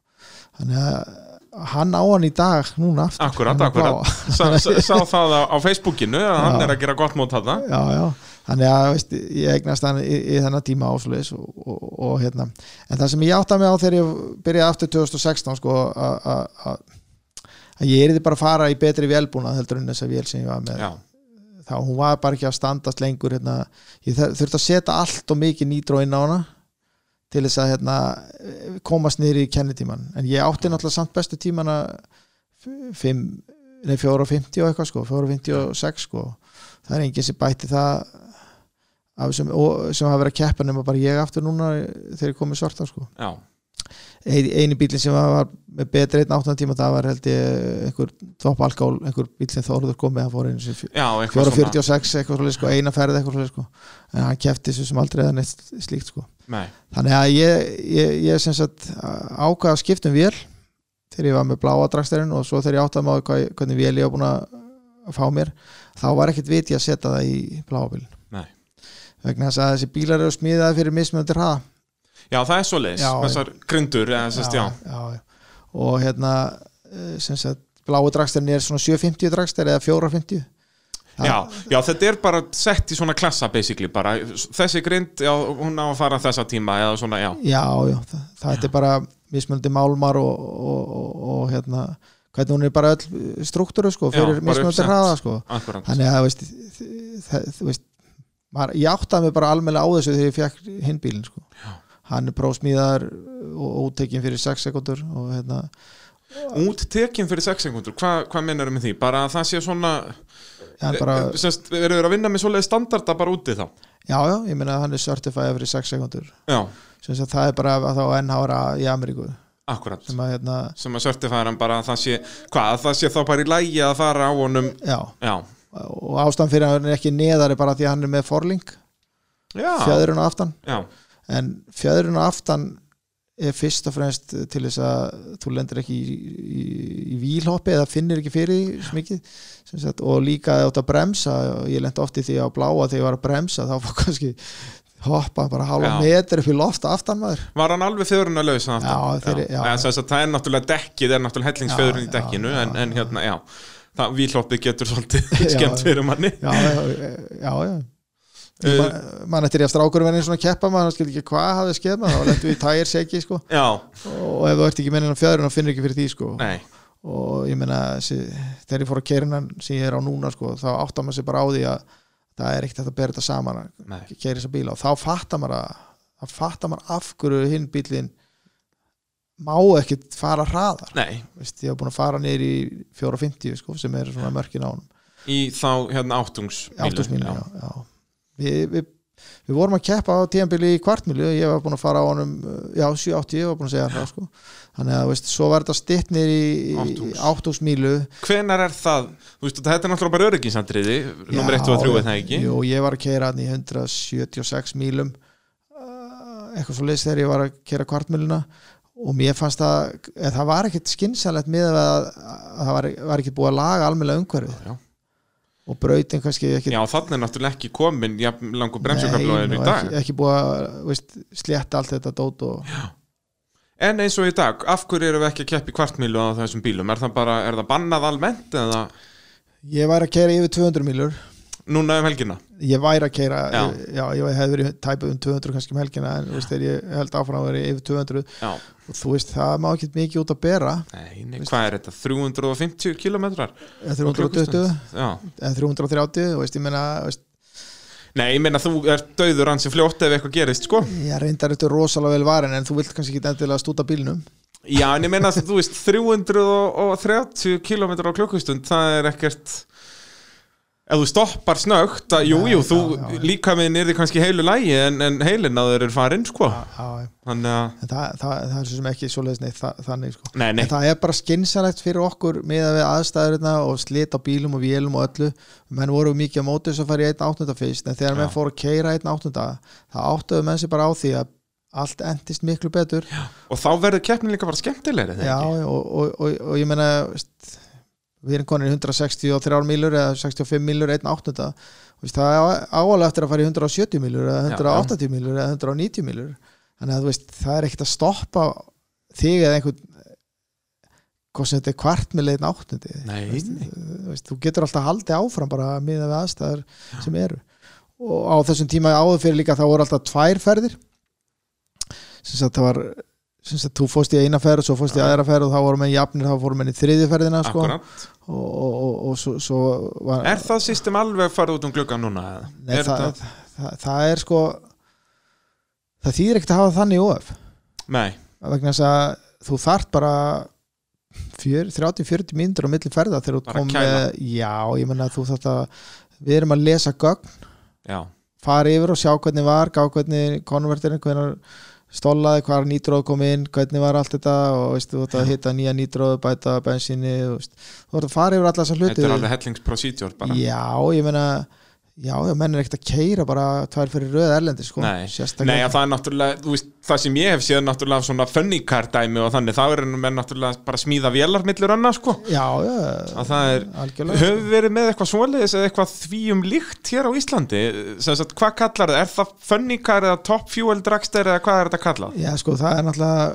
[SPEAKER 2] þannig að hann á hann í dag núna aftur
[SPEAKER 1] Akkurat,
[SPEAKER 2] Hann er
[SPEAKER 1] akkurat.
[SPEAKER 2] blá.
[SPEAKER 1] Sá, sá- sá það á, á Facebookinu að hann
[SPEAKER 2] Já.
[SPEAKER 1] er að gera gott mót þarna
[SPEAKER 2] já, já. þannig að veist, ég eignast hann í, í þennan tíma ásleis og, og, og hérna en það sem ég átta mig á þegar ég byrjaði aftur 2016 sko að- að að- að ég erði bara að fara í betri velbúna heldur en þessa vél sem ég var með
[SPEAKER 1] Já,
[SPEAKER 2] þá hún var bara ekki að standast lengur hérna. ég þur- þurfti að setja allt og mikið nýtró inn á hana til þess að hérna, komast niður í kennitíman en ég átti náttúrulega samt bestu tímana 5, nei 4.50 og eitthvað sko, 4.56 sko það er enginn sem bæti það af sem, og, sem hafa verið að keppa nema bara ég aftur núna þegar ég komið svarta sko
[SPEAKER 1] já,
[SPEAKER 2] Ein- eini bílinn sem var með betri einn áttan tíma það var held ég einhver topp alkohol, einhver bíl sem Þórður kom með að fóra einu sem
[SPEAKER 1] já, eitthvað
[SPEAKER 2] 446 eitthvað svolítið sko, eina ferð eitthvað svolítið sko en hann kefti þessu sem aldrei eða neitt slíkt sko
[SPEAKER 1] Nei,
[SPEAKER 2] þannig að ég, ég, ég sem sagt ákvaða að skipta um vél þegar ég var með bláa dragsterinn og svo þegar ég áttaði maður hvað, hvernig vél ég var búin að fá mér þá var ekkert viti að setja það í bláa bíl
[SPEAKER 1] nei
[SPEAKER 2] vegna þess að þessi bílar eru smíðaði fyrir mismunandi hraða
[SPEAKER 1] Já, það er svoleiðis,
[SPEAKER 2] Já,
[SPEAKER 1] þessar grindur eða, sest, já.
[SPEAKER 2] já, já. og hérna eh, sem sagt bláa dragsterinn er svona 750 dragster eða 450
[SPEAKER 1] já, já, þetta er bara sett í svona klassa basically bara, þessi grind, já, hún á að fara þessa tíma eða svona, já,
[SPEAKER 2] já, já, það, það er bara mismunandi málmar og, og, og, og hérna, hvernig hún er bara öll struktúru sko,
[SPEAKER 1] Já,
[SPEAKER 2] fyrir
[SPEAKER 1] bara
[SPEAKER 2] mismunandi
[SPEAKER 1] uppsett.
[SPEAKER 2] hraða sko
[SPEAKER 1] akkurat
[SPEAKER 2] þannig að þú veist, það, þú veist maður, ég áttaði mig bara almennilega á þessu þegar ég fekk hinn bílinn sko. hann er prófsmíðar og ótekinn fyrir 6 sekundur og hérna,
[SPEAKER 1] út tekin fyrir 6 sekundur, Hva, hvað minnarum með því bara að það sé svona
[SPEAKER 2] hann bara
[SPEAKER 1] semst, eru þeir að vinna með svoleiði standarda bara úti þá
[SPEAKER 2] já, já, ég meina að hann er certified fyrir 6 sekundur
[SPEAKER 1] já,
[SPEAKER 2] sem sagt, það er bara að þá NHRA í Ameríku
[SPEAKER 1] akkurat
[SPEAKER 2] sem að hérna,
[SPEAKER 1] sem að certifæra hann bara að það sé hvað, að það sé þá bara í lægi að fara á honum
[SPEAKER 2] já
[SPEAKER 1] já,
[SPEAKER 2] og ástæðan fyrir að hann er ekki neðar er bara því að hann er með forling,
[SPEAKER 1] já,
[SPEAKER 2] fjöðurinn og aftan
[SPEAKER 1] já.
[SPEAKER 2] en fjöðurinn og aftan er fyrst og fremst til þess að þú lendir ekki í, í, í výlhoppi eða finnir ekki fyrir því svo mikið sem sagt, og líka að átt að bremsa og ég lendi oft í því á bláa þegar ég var að bremsa þá var kannski hoppa bara hálfa
[SPEAKER 1] Já.
[SPEAKER 2] metri upp í loft aftan maður
[SPEAKER 1] Var hann alveg fjöðurinn að lausa
[SPEAKER 2] Já, þeir- já.
[SPEAKER 1] Það er náttúrulega dekkið, það er náttúrulega hellingsfjöðurinn
[SPEAKER 2] Já,
[SPEAKER 1] í
[SPEAKER 2] já,
[SPEAKER 1] dekkinu
[SPEAKER 2] já,
[SPEAKER 1] en, en hérna, já Það výhloppið getur svolítið skemmt fyrir manni
[SPEAKER 2] já, já, já, já. Ég
[SPEAKER 1] Uh,
[SPEAKER 2] man- man eftir ég að strákur verið svona keppa maður, hann skildi ekki hvað hafði skeð maður þá lentum við í tægir segi sko
[SPEAKER 1] Já,
[SPEAKER 2] og ef þú ert ekki meina fjöðurinn og finnir ekki fyrir því sko
[SPEAKER 1] nei,
[SPEAKER 2] og ég meina þessi- þegar ég fór að keirina sem ég er á núna sko, þá áttar maður sér bara á því að það er ekkert hægt að bera þetta saman að
[SPEAKER 1] nei
[SPEAKER 2] keira þessa bíla og þá fattar maður að þá fattar maður af hverju hinn bílinn má ekkert fara hraðar
[SPEAKER 1] Nei,
[SPEAKER 2] Vist, ég hef búin að fara niður í 4.50 sko, sem er svona mörkin á honum
[SPEAKER 1] í þá hérna áttungsmílu
[SPEAKER 2] áttúsmínu við, við, við vorum að keppa á tíðanbíli í kvartmílu ég var búin að fara á honum uh, já 7.80 ég var búin að segja það sko. þannig að veist, svo var þetta stitt niður í
[SPEAKER 1] Áttungs.
[SPEAKER 2] áttúsmílu
[SPEAKER 1] Hvenar er það, þú veist þetta er náttúrulega bara örygginsandriði Númer 1 og 3 er það ekki
[SPEAKER 2] Jú, ég var að keira hann í 176 mílum uh, eitthvað svo leys þegar ég var að keira kvartmíluna og mér fannst að eða það var ekkit skynsalegt með að, að það var, var ekkit búið að laga almennlega umhverfið
[SPEAKER 1] Já.
[SPEAKER 2] og brautin kannski ekkit
[SPEAKER 1] Já, þannig er náttúrulega ekki komin jafn langur
[SPEAKER 2] Nei,
[SPEAKER 1] bremsukaflóðin í
[SPEAKER 2] nú,
[SPEAKER 1] dag
[SPEAKER 2] ekki, ekki búið að veist, slétta allt þetta dót og
[SPEAKER 1] En eins og í dag, af hverju erum við ekki að keppi kvartmílu á þessum bílum? Er það bara, er það bannað almennt eða
[SPEAKER 2] ég væri að keira yfir 200 mílur
[SPEAKER 1] núna um helgina?
[SPEAKER 2] ég væri að keira, já,
[SPEAKER 1] Já.
[SPEAKER 2] ég hefði verið tæpið um 200 kannski um helgina en veist, þegar ég held áfram að vera yfir 200
[SPEAKER 1] Já,
[SPEAKER 2] og þú veist, það má ekkit mikið út að bera
[SPEAKER 1] Nei, nei, hvað er þetta? 350 kilometrar?
[SPEAKER 2] eða 320
[SPEAKER 1] Já.
[SPEAKER 2] eða 330 og veist, ég meina veist,
[SPEAKER 1] Nei, ég meina þú ert döður hans í fljótt ef eitthvað gerist, sko
[SPEAKER 2] ég reyndar þetta rosalega vel varin en þú vilt kannski ekki endilega stúta bílnum
[SPEAKER 1] Já, en ég meina að þú veist 330 kilometrar á klukkustund það er ekkert ef þú stoppar snögt að, jú,
[SPEAKER 2] Nei,
[SPEAKER 1] jú, þú
[SPEAKER 2] já, já.
[SPEAKER 1] líka minn er þið kannski heilu lægi en, en heilin að þau eru farin, sko
[SPEAKER 2] já, já, já.
[SPEAKER 1] Þannig að,
[SPEAKER 2] en það, það, það er svo sem ekki svoleiðis neitt þa þannig sko.
[SPEAKER 1] nei, nei,
[SPEAKER 2] en það er bara skynsalegt fyrir okkur með að við aðstæðurna og slit á bílum og vélum og öllu menn voru mikið á móti þess að fara í 1.8 fyrst en þegar
[SPEAKER 1] Já.
[SPEAKER 2] menn fóru að keira 1.8 það áttuðu menn sér bara á því að allt endist miklu betur
[SPEAKER 1] og þá verður keppnin líka bara skemmtilegri þegar
[SPEAKER 2] Já,
[SPEAKER 1] ekki
[SPEAKER 2] og, og, og, og ég meina veist, við erum konir í 163 mílur eða 65 mílur, 1.8 veist, það er áalega eftir að fara í 170 mílur eða
[SPEAKER 1] Já,
[SPEAKER 2] 180 já. mílur eða 190 mílur þannig að þú veist, það er ekkert að stoppa þig eða einhvern hvort sem þetta er kvart með leiðin áttandi
[SPEAKER 1] Nei,
[SPEAKER 2] veist,
[SPEAKER 1] nei.
[SPEAKER 2] þú veist, þú getur alltaf haldið áfram bara miða við aðstæður sem eru og á þessum tíma áður fyrir líka þá voru alltaf tvær ferðir sem sagt það var sem sagt þú fórst í eina ferð og svo fórst í aðra ferð og þá voru menn jafnir, þá voru menn í þriði ferðina sko, og,
[SPEAKER 1] Akkurat
[SPEAKER 2] og, og, og svo, svo var,
[SPEAKER 1] Er það system alveg farið út um gluggan núna? eða?
[SPEAKER 2] nei,
[SPEAKER 1] er
[SPEAKER 2] það, það, það, er sko það þýðir ekkert að hafa þannig of
[SPEAKER 1] Nei,
[SPEAKER 2] vegna þess að þú þart bara fjör- 30-40 mínútur á milli ferða þegar þú
[SPEAKER 1] Bara
[SPEAKER 2] kom með
[SPEAKER 1] kæla.
[SPEAKER 2] já, ég menna þú þart að við erum að lesa gögn,
[SPEAKER 1] já,
[SPEAKER 2] fara yfir og sjá hvernig var, gá hvernig konvertirinn hvernig stólaði, hvar nýtróð kom inn hvernig var allt þetta og veist, þú ætti að hitta nýja nýtróð, bæta bensinni þú veist. þú ætti að fara yfir alla þessa hluti
[SPEAKER 1] þetta er alveg hellingsprocedure bara
[SPEAKER 2] já, ég menna já, já, menn er ekkert að keira bara tvær fyrir röð erlendi sko,
[SPEAKER 1] Nei,
[SPEAKER 2] sérstaklega
[SPEAKER 1] Nei, að það er náttúrulega, þú veist, það sem ég hef séð náttúrulega af svona fönningardæmi og þannig, þá er menn náttúrulega bara að smíða vélar millur annað, sko,
[SPEAKER 2] já, já,
[SPEAKER 1] að það er
[SPEAKER 2] algjörlega
[SPEAKER 1] höfum við verið með eitthvað svoleiðis eða eitthvað þvíum líkt hér á Íslandi sem sagt, hvað kallar það, er það fönningar eða top fuel dragster eða hvað er þetta kallað?
[SPEAKER 2] Já, sko, það er náttúrulega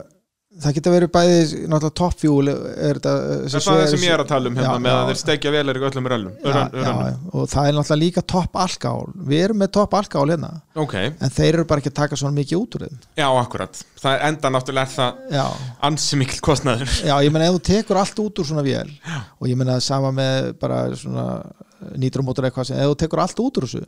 [SPEAKER 2] það geta verið bæði náttúrulega toppfjúl er þetta eh,
[SPEAKER 1] Það er það sem ég er að tala um hérna
[SPEAKER 2] Já,
[SPEAKER 1] með að
[SPEAKER 2] já.
[SPEAKER 1] þeir steikja vel er öllum röllum
[SPEAKER 2] já,
[SPEAKER 1] Örn-
[SPEAKER 2] já,
[SPEAKER 1] örnum.
[SPEAKER 2] já, og það er náttúrulega líka topp alkohol við erum með topp alkohol hérna
[SPEAKER 1] Ok,
[SPEAKER 2] en þeir eru bara ekki að taka svona mikið út úr þeim
[SPEAKER 1] já, akkurat Það er enda náttúrulega er það
[SPEAKER 2] já,
[SPEAKER 1] ansi mikil kostnaður
[SPEAKER 2] já ég meina ef þú tekur allt út úr svona vél og ég meina sama með bara svona nýtrumótur eitthvað sem, ef þú tekur allt út úr þessu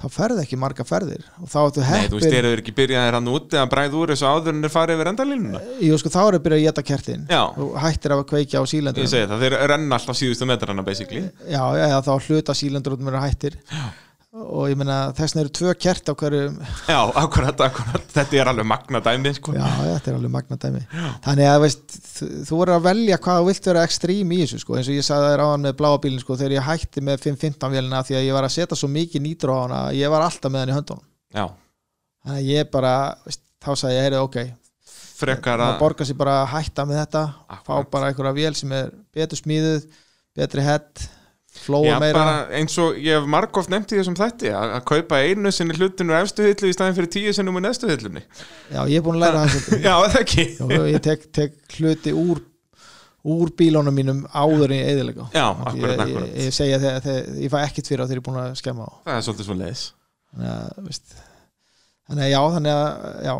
[SPEAKER 2] þá ferði ekki marga ferðir og þá ertu
[SPEAKER 1] Nei, þú veist,
[SPEAKER 2] heppin,
[SPEAKER 1] eru þeir ekki byrjaðir hann úti að bræða úr þessu áður en þeir farið yfir endalínuna
[SPEAKER 2] jú sko þá eru að byrja að geta kertin
[SPEAKER 1] Já,
[SPEAKER 2] og hættir af að kveikja á sílendur
[SPEAKER 1] ég segi það, þeir renna alltaf síðustu metrana basically
[SPEAKER 2] já, já, já, þá hluta sílendur út mér að hættir já. og ég meina þessna eru tvö kert á hverjum
[SPEAKER 1] Já, akkurat, akkurat, þetta er alveg magna dæmi sko.
[SPEAKER 2] Já, þetta er alveg magna dæmi Þannig að veist, þ- þú verður að velja hvað þú vilt vera ekstrím í þessu sko. eins og ég sagði þér áðan með bláa bílinn sko, þegar ég hætti með 515 vélina því að ég var að setja svo mikið nýtrú á hana að ég var alltaf með hann í höndunum
[SPEAKER 1] Já,
[SPEAKER 2] Þannig að ég bara, veist, þá sagði ég, heyrðu, ok
[SPEAKER 1] frekar
[SPEAKER 2] það
[SPEAKER 1] að
[SPEAKER 2] borgar sér bara að hætta með þetta fá
[SPEAKER 1] Akkúrat.
[SPEAKER 2] bara einhverja vél sem er betur smíðuð betri hett,
[SPEAKER 1] Já,
[SPEAKER 2] flóa meira
[SPEAKER 1] bara eins og ég hef margóft nefnt í þessum þætti að að kaupa einu sinni hlutinu efstu hillu í staðin fyrir tíu sinnum í neðstu hillunni
[SPEAKER 2] Já, ég er búin að læra það svolítið.
[SPEAKER 1] Já, er það ekki
[SPEAKER 2] Já, ég tek, tek hluti úr úr bílónum mínum áður en ég eðilega
[SPEAKER 1] Já,
[SPEAKER 2] ég,
[SPEAKER 1] akkurat,
[SPEAKER 2] ég,
[SPEAKER 1] akkurat
[SPEAKER 2] ég segja þegar, þegar ég fæ ekkert fyrir á þegar ég er búin að skemma á
[SPEAKER 1] Það er svolítið svo leiðis
[SPEAKER 2] þannig að, veist, þannig að já, þannig að já,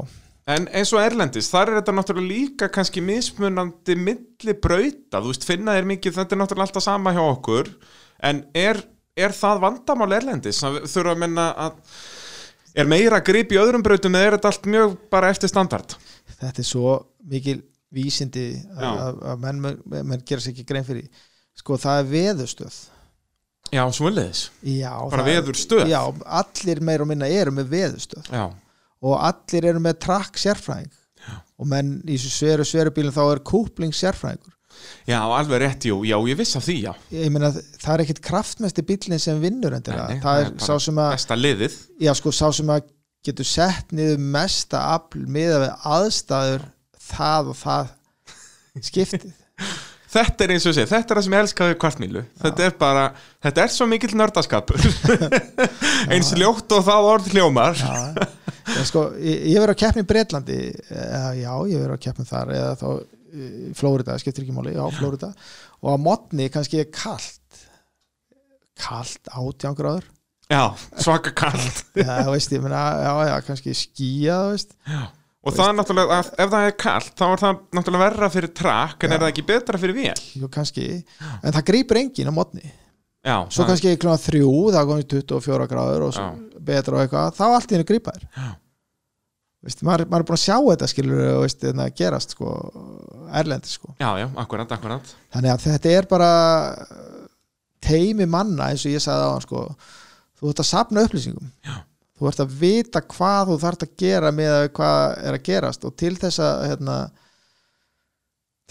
[SPEAKER 1] En eins og Erlendis, þar er þetta náttúrulega líka kannski mismunandi milli brauta, þú veist, finna þér mikið, þetta er náttúrulega alltaf sama hjá okkur, en er, er það vandamál Erlendis? Það þurfa að menna að, er meira grip í öðrum brautum eða er þetta allt mjög bara eftir standard?
[SPEAKER 2] þetta er svo mikil vísindi að,
[SPEAKER 1] Já.
[SPEAKER 2] að, að menn, menn, menn gera sér ekki grein fyrir því. sko það er veðustöð
[SPEAKER 1] Já, svoleiðis.
[SPEAKER 2] já,
[SPEAKER 1] Bara
[SPEAKER 2] það-
[SPEAKER 1] veðurstöð?
[SPEAKER 2] já, allir meir og minna eru með veðustöð
[SPEAKER 1] Já,
[SPEAKER 2] og allir eru með trakk sérfræðing já. og menn í þessu sveru sveru bílum þá er kúpling sérfræðingur
[SPEAKER 1] já alveg rétt, jú, já, ég viss af því, já.
[SPEAKER 2] ég meina það er ekkit kraftmesti bílinn sem vinnur endilega,
[SPEAKER 1] Nei, nei,
[SPEAKER 2] það er
[SPEAKER 1] bara
[SPEAKER 2] sá sem að
[SPEAKER 1] Besta liðið,
[SPEAKER 2] já sko sá sem að getur sett niður mesta afl miða við aðstæður það og það skiptið
[SPEAKER 1] þetta er eins og sé, þetta er það sem ég elskaði kvartmílu, þetta er bara, þetta er svo mikill nördaskapur, eins ljótt og það orð hljómar.
[SPEAKER 2] já, já, sko, ég, ég verið að keppni í Breitlandi eða, já, ég verið að keppni þar eða þá e, Flórida, skiptir ekki máli já, Flórida, og á modni kannski er kalt kalt átjángraður
[SPEAKER 1] Já, svaka kallt.
[SPEAKER 2] já, þú veist, ég meina, já, já, kannski skýjað, þú veist
[SPEAKER 1] Og það er náttúrulega, að, ef það er kallt þá er það náttúrulega verra fyrir trakk en er það ekki betra fyrir vél?
[SPEAKER 2] jú, kannski, en það grýpur enginn á modni
[SPEAKER 1] Já,
[SPEAKER 2] svo
[SPEAKER 1] það-
[SPEAKER 2] kannski kljóna þrjú, það komið 24 gráður og svo betra og eitthvað þá allt í hennu grípa þér Veist, maður, maður er búin að sjá þetta skilur og veist, þetta gerast sko, erlendi sko.
[SPEAKER 1] Já, já, akkurat, akkurat
[SPEAKER 2] þannig að þetta er bara teimi manna eins og ég sagði á hann sko. þú ert að sapna upplýsingum Já. þú ert að vita hvað þú þarft að gera með að hvað er að gerast og til þess að hérna,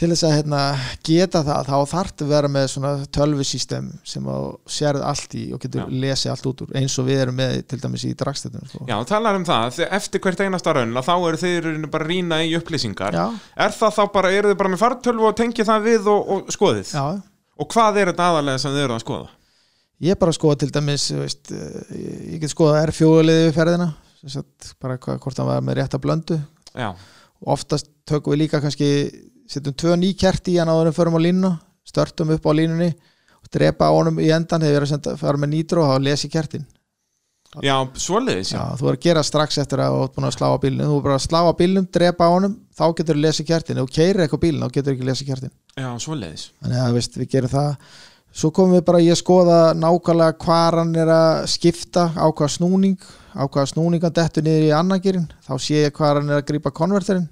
[SPEAKER 2] til þess að hérna, geta það þá þarft að vera með svona tölvusystem sem þú sérð allt í og getur
[SPEAKER 1] Já.
[SPEAKER 2] lesið allt út úr eins og við erum með til dæmis í dragstættum sko.
[SPEAKER 1] Já, talar um það, þegar- eftir hvert einasta raun að þá eru þeir í rauninni bara að rýna í upplýsingar
[SPEAKER 2] Já.
[SPEAKER 1] Er það þá bara, eru þið bara með fartölvu og tengið það við og, og skoðið?
[SPEAKER 2] Já.
[SPEAKER 1] Og hvað er þetta aðalega sem þið eru að skoða?
[SPEAKER 2] ég bara skoða til dæmis þú veist, eh, ég get skoða R4-liði við ferðina sem sagt, bara hvað, hvort hann var með rétt að blöndu
[SPEAKER 1] Já,
[SPEAKER 2] og oftast tökum við líka kannski setjum tvö ný kert í hann áður en förum á línuna störtum upp á línunni og drepa á honum í endan þegar við erum að senda- fara með nýtró og þá lesi kertin
[SPEAKER 1] já, svoleiðis, já,
[SPEAKER 2] Já, þú er að gera strax eftir að þú ert búin að slá á bílnum þú er bara að slá á bílnum, drepa á honum þá getur þú lesi kertin, þú keirir eitthvað bíln þá getur þú ekki lesi kertin
[SPEAKER 1] já, svoleiðis
[SPEAKER 2] þannig að veist, við gerum það svo komum við bara í að skoða nákvæmlega hvar hann er að skipta á hvað snúning, á hvað snúning hann dettur niður í annargirinn, þá sé ég hvar hann er að grípa konverterinn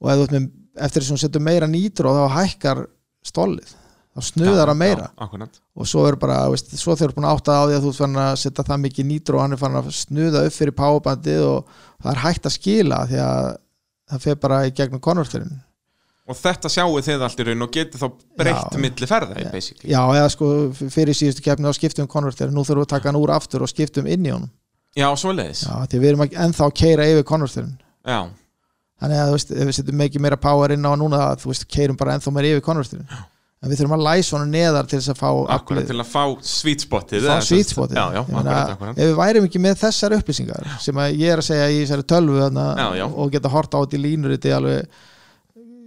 [SPEAKER 2] og ef þú ert með, eftir þess að hún setur meira nýtur og þá hækkar stólið þá snuðar hann meira
[SPEAKER 1] Já, akkurat
[SPEAKER 2] og svo er bara, veist, svo þau eru búin að átta á því að þú ert fann að setja það mikið nýtur og hann er fann að snuða upp fyrir pábandið og það er hægt að skila því að það fer bara í gegnum konverterinn
[SPEAKER 1] Og þetta sjáu þið allt í raun og getið þá breytt
[SPEAKER 2] Já.
[SPEAKER 1] milli ferða,
[SPEAKER 2] Já.
[SPEAKER 1] basically
[SPEAKER 2] Já, eða sko fyrir síðustu keppni þá skiptum við konverter, nú þurfum við að taka hann úr aftur og skiptum inn í honum.
[SPEAKER 1] Já, svoleiðis
[SPEAKER 2] Já, því við erum ekki ennþá að keira yfir konverterin.
[SPEAKER 1] já.
[SPEAKER 2] Þannig að þú veist, ef við setjum mikið meira power inn á hann núna, þú veist, keirum bara ennþá meira yfir konverterin. En við þurfum að læsa honum neðar til þess að fá
[SPEAKER 1] Akkurat til að fá sweet spotið
[SPEAKER 2] fá
[SPEAKER 1] eða sem sagt-
[SPEAKER 2] svítspotið.
[SPEAKER 1] Já, já, akkurat, akkurat
[SPEAKER 2] Ef við værum ekki með þessar upplýsingar, sem að ég er að segja í þessari tölvu þarna
[SPEAKER 1] Já, já.
[SPEAKER 2] og geta horta át í línuriti alveg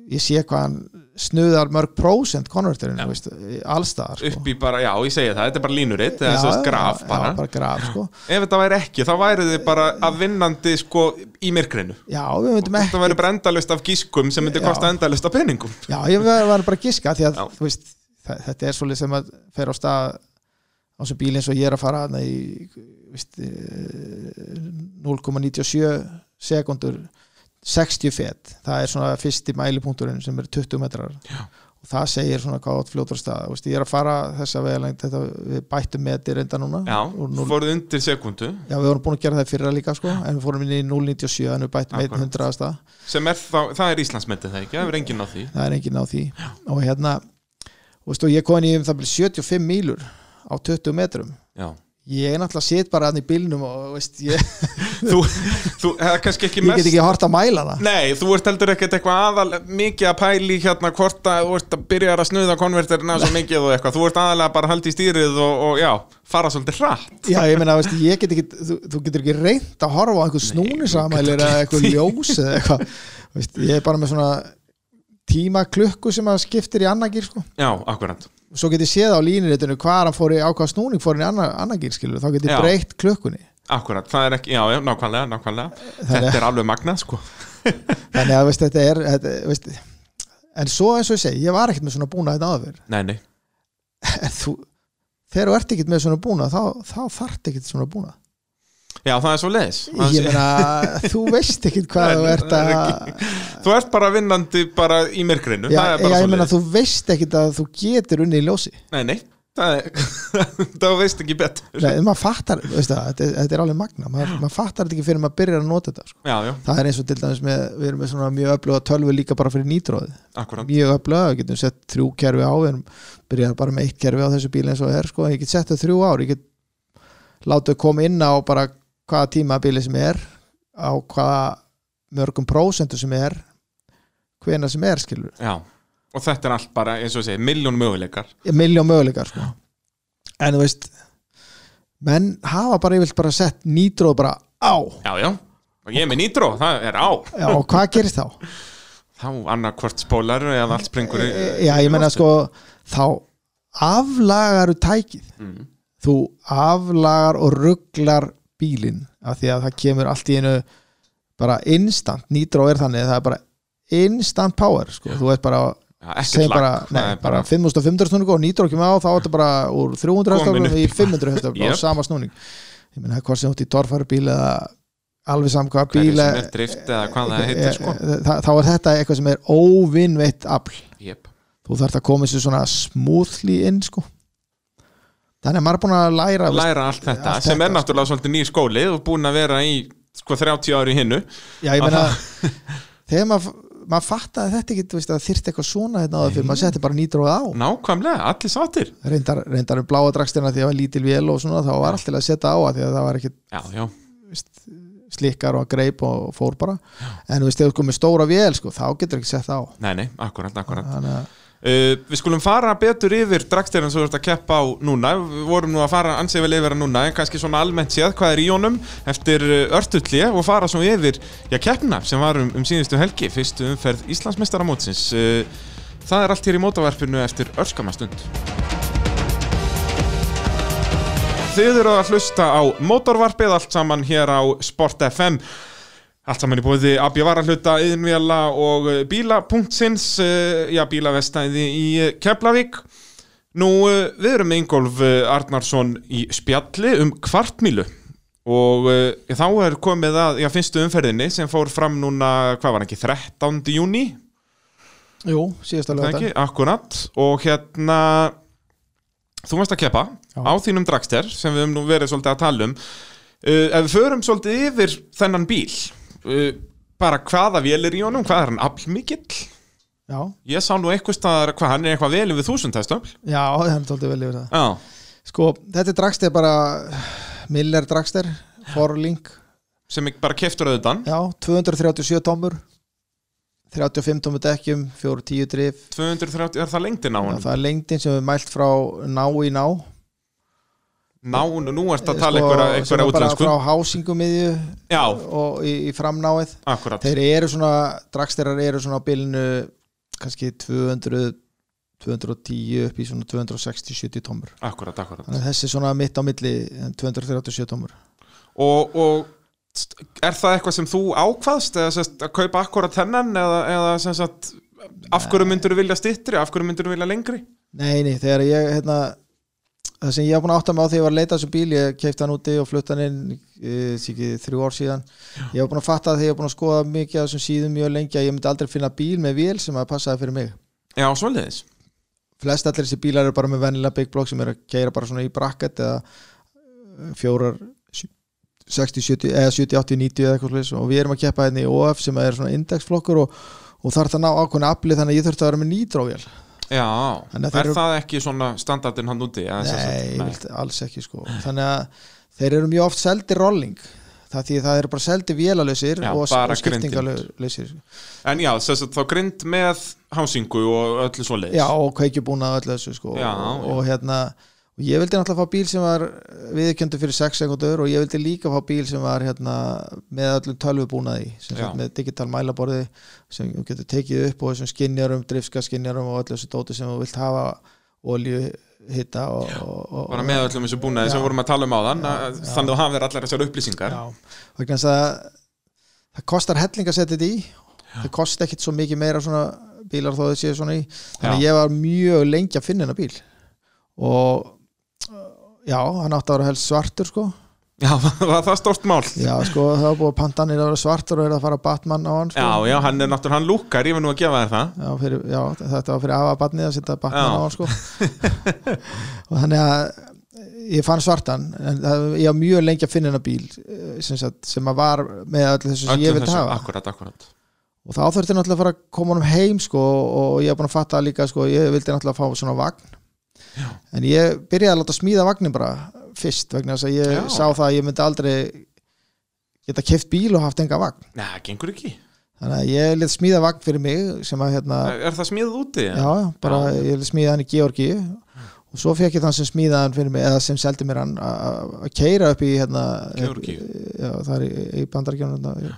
[SPEAKER 2] ég sé hvað hann snuðar mörg prósent konverterinn
[SPEAKER 1] Já.
[SPEAKER 2] allstaðar sko.
[SPEAKER 1] upp í bara, já ég segi það, þetta er bara línuritt eða þess að graf bara,
[SPEAKER 2] já, bara graf, sko.
[SPEAKER 1] ef þetta væri ekki þá væri þið bara að vinnandi sko í myrkrinu
[SPEAKER 2] já, við myndum ekki
[SPEAKER 1] þetta væri bara endalust af gískum sem myndi
[SPEAKER 2] Já.
[SPEAKER 1] kosta endalust af peningum
[SPEAKER 2] já, ég var var bara að giska því að
[SPEAKER 1] Já.
[SPEAKER 2] þú veist, þa- þetta er svolítið sem að fer á stað á þessu bíl eins og ég er að fara hana í þú veist, eh, 0,97 sekundur 60 fet, það er svona fyrsti mælipunkturinn sem er 20 metrar
[SPEAKER 1] Já.
[SPEAKER 2] og það segir svona hvað átt fljótur af stað Þú veist, ég er að fara þessa vegalengt þetta, við bættum með þetta reynda núna
[SPEAKER 1] já,
[SPEAKER 2] úr 0,97
[SPEAKER 1] fóruð undir sekundu
[SPEAKER 2] Já, við vorum búin að gera það í fyrra líka sko, en við fórum inn í 097 en við bættum
[SPEAKER 1] Akkurat.
[SPEAKER 2] 100 að stað
[SPEAKER 1] sem er þá, það er Íslandsmetið það ekki, það er enginn á því
[SPEAKER 2] það er enginn á því og hérna, og veistu, ég kom inn í um það byrja 75 mílur á 20 metrum
[SPEAKER 1] já.
[SPEAKER 2] ég er náttúrulega sitt bara hann í bílnum og veist, ég,
[SPEAKER 1] þú, þú, það er kannski ekki
[SPEAKER 2] ég
[SPEAKER 1] mest
[SPEAKER 2] get ekki hort að mæla það
[SPEAKER 1] Nei, þú ert heldur ekkert eitthvað aðal mikið að pæli hérna hvort að þú ert að byrja að snuða konverterina svo mikið og eitthvað, þú ert aðalega bara að halda í stýrið og, og já, fara svolítið hratt
[SPEAKER 2] Já, ég meina, veist, ég get ekki, þú, þú getur ekki reynt að horfa á einhver snúnisamæli eða einhver ljós eða eitthvað veist, ég er bara með svona tíma klukku sem að skiptir í annagir sko.
[SPEAKER 1] Já, akkurat
[SPEAKER 2] svo get ég séð á líniritinu hvað hann fór í ákvað snúning fór hann í annar, annar gír skilur þá get ég
[SPEAKER 1] Já.
[SPEAKER 2] breytt klukkunni
[SPEAKER 1] Akkurat, það er ekki, já, já, nákvæmlega, nákvæmlega Þetta er alveg magnað, sko
[SPEAKER 2] þannig að veist, þetta er þetta, veist, en svo eins og ég segi, ég var ekkert með svona búna þetta áður
[SPEAKER 1] Nei, nei,
[SPEAKER 2] en þú, þegar þú ert ekkert með svona búna þá, þá þarft ekkert svona búna
[SPEAKER 1] já, það er svo leis
[SPEAKER 2] ég meina, þú veist ekkert hvað
[SPEAKER 1] Nei,
[SPEAKER 2] þú ert
[SPEAKER 1] það
[SPEAKER 2] að
[SPEAKER 1] er Þú ert bara vinnandi bara í myrkrinu
[SPEAKER 2] já,
[SPEAKER 1] Það er
[SPEAKER 2] já,
[SPEAKER 1] bara
[SPEAKER 2] ég
[SPEAKER 1] svo
[SPEAKER 2] meina,
[SPEAKER 1] leis
[SPEAKER 2] þú veist ekkert að þú getur unni í ljósi
[SPEAKER 1] Nei, nei, það er Það veist ekki betur
[SPEAKER 2] Nei, maður fattar, veist það, þetta, er- þetta er alveg magna maður, maður fattar þetta ekki fyrir maður byrjar að nota þetta sko.
[SPEAKER 1] Já, já,
[SPEAKER 2] það er eins og til dæmis með, við erum með svona mjög öfluga tölvu líka bara fyrir nýtróði
[SPEAKER 1] akkurat
[SPEAKER 2] mjög öfluga, við getum sett þrjú kerfi á við erum byrjar bara með eitt kerfi á þessu bíl eins og er sko, ég get sett þau þrjú ár ég get látið að koma inn á bara hvaða tíma bíli sem er á hvaða mörgum prósentu sem er hvena sem er skilur
[SPEAKER 1] Já, og þetta er allt bara, eins og ég segi, miljón möguleikar
[SPEAKER 2] miljón möguleikar sko. en þú veist menn hafa bara, ég vilt bara sett nýtróð bara á
[SPEAKER 1] Já, já, og ég er með nýtró, það er ár
[SPEAKER 2] Já, og hvað gerist þá?
[SPEAKER 1] þá annarkvort spólar eða allt springur í-
[SPEAKER 2] Já, ég menna sko þá aflagaru tækið
[SPEAKER 1] mm.
[SPEAKER 2] þú aflagar og rugglar bílinn af því að það kemur allt í einu bara instant, nýtró er þannig það er bara instant power sko. þú veist bara,
[SPEAKER 1] Já, ekkert
[SPEAKER 2] segjum
[SPEAKER 1] lag
[SPEAKER 2] bara, nei,
[SPEAKER 1] Það er
[SPEAKER 2] bara 5.500 snúning og nýtró kemur á þá er þetta bara úr 300
[SPEAKER 1] Komin
[SPEAKER 2] höstaflum í 500 höstaflum
[SPEAKER 1] Yep.
[SPEAKER 2] á sama snúning ég meina hvort sem þú ert í torfærubíl eða alveg saman hvað
[SPEAKER 1] hverju
[SPEAKER 2] bíla Eh,
[SPEAKER 1] sem er drift eða hvað það heitir sko
[SPEAKER 2] þá er þetta eitthvað sem er óvinnveitt afl
[SPEAKER 1] yep.
[SPEAKER 2] þú þarf að koma þessu svona smoothly inn sko þannig að maður er búin að læra veist-
[SPEAKER 1] læra allt þetta
[SPEAKER 2] Allt þetta,
[SPEAKER 1] sem
[SPEAKER 2] sko.
[SPEAKER 1] er náttúrulega svolítið nýr skóli og búin að vera í sko 30 ári hinnu
[SPEAKER 2] já ég meina þegar maður maður fattaði þetta ekki, þú veist að þyrfti eitthvað svona hérna áður fyrir maður setti bara nýtróð á
[SPEAKER 1] nákvæmlega, allir sáttir
[SPEAKER 2] reyndar, reyndar um bláa dragstina því að það var lítil vél og svona þá var alltaf að setja á að því að það var ekki
[SPEAKER 1] já, já,
[SPEAKER 2] slikkar og greip og fór bara en þú veist þegar þú komið stóra vél sko þá getur ekki sett á
[SPEAKER 1] nei, nei, akkurat, akkurat
[SPEAKER 2] þannig að
[SPEAKER 1] uh, við skulum fara betur yfir dragstirinn sem þú ert að keppa á núna við vorum nú að fara ansið vel yfir að núna en kannski svona almennt séð hvað er í honum eftir eh, örtulli og fara svo yfir já, keppna sem var um, um síðustu helgi fyrstu umferð Íslandsmeistaramótsins uh, það er allt hér í mótavarpinu eftir örskamastund Þið eru að hlusta á mótorvarpið allt saman hér á Sport FM Allt saman í bóði Abja Varahluta, Yðinvela og eh, Bíla.sins, eh, já bílavestæði í eh, Keflavík. Nú, eh, við erum með Ingolf eh, Arnarsson í spjalli um kvartmílu og eh, þá er komið að, já, finnstu umferðinni sem fór fram núna, hvað var hann ekki, 13. júni,
[SPEAKER 2] jú, síðast að
[SPEAKER 1] það
[SPEAKER 2] lögða
[SPEAKER 1] ekki, akkurat, og hérna, þú varst að keppa
[SPEAKER 2] Já.
[SPEAKER 1] á þínum dragster sem við höfum nú verið svolítið að tala um. Uh, ef við förum svolítið yfir þennan bíl, uh, bara hvaða vél er í honum, hvað er hann aflmikill?
[SPEAKER 2] já,
[SPEAKER 1] Ég sá nú eitthvað staðar hvað hann er eitthvað vel yfir þúsundhestöfl.
[SPEAKER 2] já, hann tóldi vel yfir það
[SPEAKER 1] Já,
[SPEAKER 2] Sko, þetta er dragster bara Miller dragster, Forling
[SPEAKER 1] sem ég bara keftur auðvitaðan.
[SPEAKER 2] Já, 237 tómur 35 tómur dekkjum 410 drif
[SPEAKER 1] 230, er það lengdin á
[SPEAKER 2] Já,
[SPEAKER 1] honum?
[SPEAKER 2] Það er lengdin sem við mælt frá ná í ná
[SPEAKER 1] Ná, nú- nú ert að
[SPEAKER 2] Eh,
[SPEAKER 1] tala
[SPEAKER 2] sko,
[SPEAKER 1] einhverja,
[SPEAKER 2] sem
[SPEAKER 1] einhverja
[SPEAKER 2] er bara
[SPEAKER 1] útlensku.
[SPEAKER 2] frá hásingum miðju
[SPEAKER 1] Já,
[SPEAKER 2] og í, í framnáið
[SPEAKER 1] akkurat.
[SPEAKER 2] Þeir eru svona, dragsterar eru svona á bilinu kannski 200 210 upp í svona 260-70 tómur
[SPEAKER 1] akkurat, akkurat
[SPEAKER 2] þannig að þessi er svona mitt á milli en 237 tómur
[SPEAKER 1] og, og st- er það eitthvað sem þú ákvaðst eða sest, að kaupa akkurat þennan eða, eða sem sagt af hverju myndur vilja stittri, af hverju myndur vilja lengri
[SPEAKER 2] Nei, nei, þegar ég hérna, það sem ég var búin að átta mig á þegar ég var að leita að þessu bíl, ég keipti hann úti og flutt hann inn eh, sé ekki, þrjú ár síðan ég var búin að fatta að þegar ég var búin að skoða mikið af þessum síðum mjög lengi að ég myndi aldrei finna bíl með vél sem að passaði fyrir mig
[SPEAKER 1] Já, svoleiðis
[SPEAKER 2] flest allir þessi bílar eru bara með vennilega big block sem eru að keira bara svona í bracket eða eh, fjórar sjö- 60, 70, eða 70, 80, 90 eða eitthvað slags og við erum að keppa hérna í OF sem er svona indexflokkur og, og þarf það að ná ákveðna afli þannig að ég þurfti að vera með nýtróvél
[SPEAKER 1] Já,
[SPEAKER 2] Þannig að
[SPEAKER 1] er
[SPEAKER 2] þeir eru-
[SPEAKER 1] það ekki svona standardin hann úti? eða sem sagt-
[SPEAKER 2] Nei, ég vildi alls ekki sko Þannig að þeir eru mjög oft seldi rolling Það því að það eru bara seldi vélalösir
[SPEAKER 1] Já,
[SPEAKER 2] og,
[SPEAKER 1] bara
[SPEAKER 2] og skiptingalösir
[SPEAKER 1] En já, sem sagt, þá grind með hásingu og öllu svoleiðis
[SPEAKER 2] Já, og kveikjubúna og öllu þessu sko
[SPEAKER 1] Já,
[SPEAKER 2] og,
[SPEAKER 1] já.
[SPEAKER 2] og hérna og ég vildi náttúrulega fá bíl sem var viðkjöndu fyrir 6 sekundur og ég vildi líka fá bíl sem var hérna með öllum tölvubúnaði sem
[SPEAKER 1] Já.
[SPEAKER 2] sagt með digital mælaborði sem þú getur tekið upp og þessum skinjarum, driftskaskinjarum og öllu þessu dóti sem þú vilt hafa olju hitta og, og, og,
[SPEAKER 1] bara með öllum þessu búnaði sem við vorum að tala um á þann þannig að hann verið allar þessar upplýsingar
[SPEAKER 2] Já, vegna þess að það kostar helling að setja þetta í það kosti ekkit svo mikið meira svona bílar þó þið séu svona í þannig að
[SPEAKER 1] Já.
[SPEAKER 2] ég var mjög lengi að finna hennar bíl og uh, já, hann átti að vera helst svartur sko
[SPEAKER 1] Já, var það stort mál
[SPEAKER 2] já, sko, það var búið að panta hann í að vera svartur og er að fara Batman á hann sko.
[SPEAKER 1] Já, já, hann er náttúrulega, hann lúkar, ég vil nú að gefa þér það
[SPEAKER 2] Já, fyrir, já, þetta var fyrir afa barnið að setja batnan
[SPEAKER 1] Já.
[SPEAKER 2] á hann sko. og þannig að ég fann svartan en það, ég var mjög lengi að finna hennar bíl eh, sem, sagt, sem að var með öllu þessu sem
[SPEAKER 1] Öllu
[SPEAKER 2] ég vildi
[SPEAKER 1] þessu,
[SPEAKER 2] hafa
[SPEAKER 1] Akkurat, akkurat
[SPEAKER 2] og þá þurfti náttúrulega að fara að koma honum heim sko, og ég er búin að fatta líka sko, ég vildi náttúrulega fá svona vagn Já. en ég byrjaði að láta smíða vagnin bara fyrst vegna þess að ég
[SPEAKER 1] Já.
[SPEAKER 2] sá það að ég myndi aldrei geta keft bíl og haft enga vagn
[SPEAKER 1] Nei, það gengur ekki
[SPEAKER 2] þannig að ég lit smíða vagn fyrir mig sem að hérna
[SPEAKER 1] Er það smíðið úti?
[SPEAKER 2] já, bara
[SPEAKER 1] Já.
[SPEAKER 2] ég lit smíða hann í Georgi og svo fekk ég þann sem smíða hann fyrir mig eða sem seldi mér hann að- að að keira upp í hérna
[SPEAKER 1] Georgíu.
[SPEAKER 2] já, það er í, í bandargjónum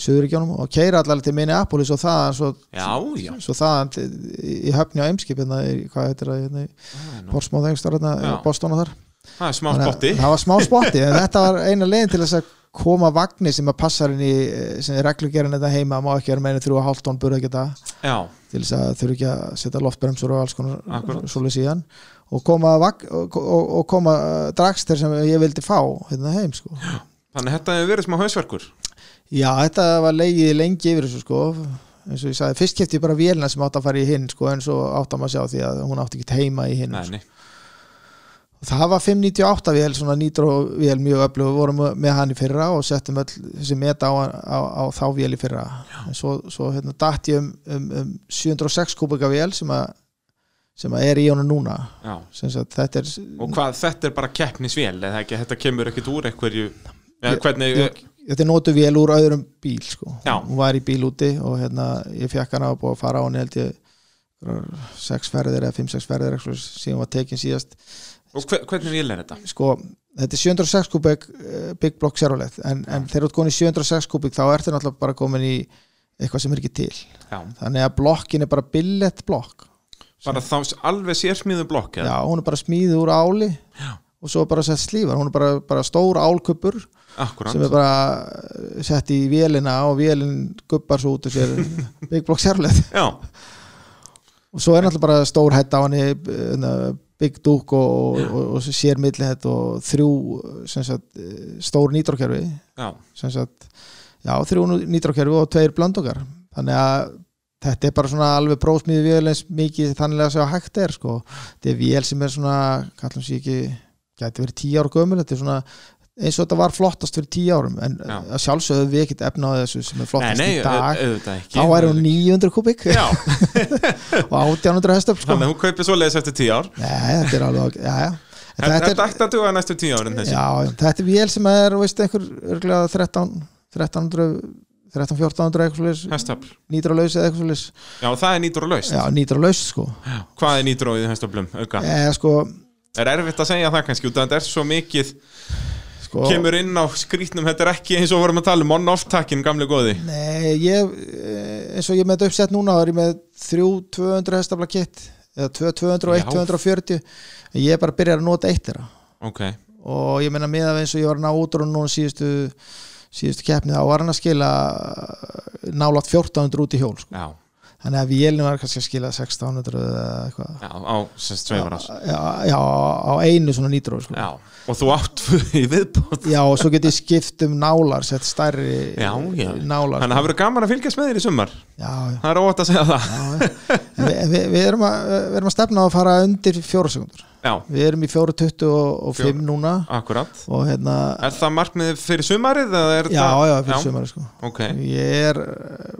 [SPEAKER 2] söðurgjónum og keira allar til Minneapolis og það svo
[SPEAKER 1] Já, já,
[SPEAKER 2] svo þaðan til- í höfni á Eimskip hérna, í- hvað heitir það, hérna,
[SPEAKER 1] það er nú-
[SPEAKER 2] Borsmóð engstar, hérna,
[SPEAKER 1] Já.
[SPEAKER 2] Boston og þar
[SPEAKER 1] það er smá
[SPEAKER 2] Þannig að
[SPEAKER 1] spotti
[SPEAKER 2] það var smá spotti, en þetta var eina leiðin til þess að koma vagni sem að passar inn í eh, sem reglugerinn þetta heima, má ekki vera meina þrjú og hálft tón burða geta,
[SPEAKER 1] Já,
[SPEAKER 2] til þess að þurfi ekki að setja loftbremsur og alls konar
[SPEAKER 1] Akkúrat.
[SPEAKER 2] svoleið síðan og koma, vagn, og, og, og koma eh, dragster sem ég vildi fá hérna heim, sko.
[SPEAKER 1] þannig að þetta hefur verið smá hausverkur
[SPEAKER 2] Já, þetta var leiðið lengi yfir þessu sko eins og ég sagði, fyrst kefti ég bara vélina sem átt að fara í hinn sko, en svo átt að maður sjá því að hún átti ekki heima í hinn
[SPEAKER 1] Nei, nei,
[SPEAKER 2] og það var 598 vél, svona nýtróvél mjög öflug, við vorum með hann í fyrra og settum öll þessi meta á, á, á þá vél í fyrra en svo, svo hérna, datt ég um, um, um 706 kubika vél sem að sem að er í honum núna
[SPEAKER 1] já
[SPEAKER 2] sem sagt, þetta er
[SPEAKER 1] Og hvað, þetta er bara keppnisvél eða ekki, þetta kemur ekkit úr einhverju eða
[SPEAKER 2] Ég-
[SPEAKER 1] hvernig,
[SPEAKER 2] ég, þetta er notu vél úr öðrum bíl sko.
[SPEAKER 1] Já.
[SPEAKER 2] hún var í bíl úti og hérna ég fekk hana og búið að fara á henni held ég einhverjar sex ferðir eða fimm sex ferðir eitthvað, svoleiðis, síðan var tekin síðast
[SPEAKER 1] og hve- hvernig vél er þetta?
[SPEAKER 2] sko, þetta er 706 kubik eh, big block sérulegt en, en þegar þú ert komin í 706 kubik þá ertu náttúrulega bara komin í eitthvað sem er ekki til
[SPEAKER 1] Já,
[SPEAKER 2] þannig að blokkin er bara billett blokk
[SPEAKER 1] bara þá alveg sérsmíðu blokk
[SPEAKER 2] já,
[SPEAKER 1] eða?
[SPEAKER 2] hún er bara smíðið úr áli já. og svo bara sett slífar, hún er bara, bara stór álköpur
[SPEAKER 1] Akkúrat.
[SPEAKER 2] sem er bara eh, sett í vélina og vélin gubbar svo út úr sér Big Block sérlega
[SPEAKER 1] Já,
[SPEAKER 2] og svo er náttúrulega bara stór hætt á henni hérna, Big Duke og, og, og sér milli hætt og þrjú sem sagt, eh, stór nýtrókerfi
[SPEAKER 1] já,
[SPEAKER 2] sem sagt, já, þrjú nú- nýtrókerfi og tveir blöndokar þannig að þetta er bara svona alveg prófsmíði vél eins mikið þannig að segja hægt er sko. þetta er vél sem er svona kallum sér ekki, gæti verið tíu ára gömul þetta er svona eins og þetta var flottast fyrir tíu árum en
[SPEAKER 1] Já.
[SPEAKER 2] að sjálfsögðu við ekkert efna á þessu sem er
[SPEAKER 1] nei,
[SPEAKER 2] flottast
[SPEAKER 1] nei,
[SPEAKER 2] í dag
[SPEAKER 1] au- auðvitað ekki
[SPEAKER 2] þá er hún 900 kubik
[SPEAKER 1] Já,
[SPEAKER 2] og 1800 hestöfl sko.
[SPEAKER 1] þannig að hún kaupir svo leiðis eftir tíu ár
[SPEAKER 2] nei, þetta er alveg já, já. En
[SPEAKER 1] Þetta
[SPEAKER 2] þetta,
[SPEAKER 1] er dægt að duga næstu tíu árin
[SPEAKER 2] er,
[SPEAKER 1] þessi
[SPEAKER 2] já, já, þetta er vél sem er veist, einhver, örglega 13 1300 13-1400 eitthvað svoleiðis
[SPEAKER 1] Hestöfl,
[SPEAKER 2] nýtralaus eða eitthvað svolítið
[SPEAKER 1] já það er nýtur og laust
[SPEAKER 2] já, nýtralaus sko
[SPEAKER 1] Hvað er nýtur og í hestöflum, auka?
[SPEAKER 2] eða sko,
[SPEAKER 1] Er erfitt að segja það kannski, út af þetta er svo mikið
[SPEAKER 2] sko,
[SPEAKER 1] kemur inn á skrítnum, þetta er ekki eins og vorum að tala um on-off-takkin, gamle góði
[SPEAKER 2] Nei, ég, eh, eins og ég er með þetta uppsett núna þá er ég með 3-200 hestafla kit eða 2-200 og
[SPEAKER 1] Já.
[SPEAKER 2] 1-240 en ég er bara að byrja að nota eitt þeirra
[SPEAKER 1] ok,
[SPEAKER 2] og ég meina með að eins og ég var að ná útrun núna síðustu, síðustu keppni þá var hann að skila eh, nálægt 1400 út í hjól sko.
[SPEAKER 1] já,
[SPEAKER 2] þannig að vélni var kannski að skila 1600 eða eitthvað
[SPEAKER 1] já, á sem sveifar ás
[SPEAKER 2] já, já, á einu svona nýtró sko.
[SPEAKER 1] já, og þú átt í viðbót
[SPEAKER 2] já, og svo get ég skipt um nálar sett stærri
[SPEAKER 1] Já, já.
[SPEAKER 2] nálar
[SPEAKER 1] þannig að það verður gaman að fylgjast með þér í sumar
[SPEAKER 2] já, já,
[SPEAKER 1] það er óvægt að segja það
[SPEAKER 2] já, já. En við, við, við, erum að, við erum að stefna á að fara undir fjóra sekundur
[SPEAKER 1] já,
[SPEAKER 2] við erum í 4.25 og, og
[SPEAKER 1] Fjóra.
[SPEAKER 2] 5 núna
[SPEAKER 1] akkurat
[SPEAKER 2] og hérna
[SPEAKER 1] er það markmið fyrir sumarið? eða er
[SPEAKER 2] já,
[SPEAKER 1] það...
[SPEAKER 2] já, fyrir sumari sko.
[SPEAKER 1] ok,
[SPEAKER 2] ég er eh,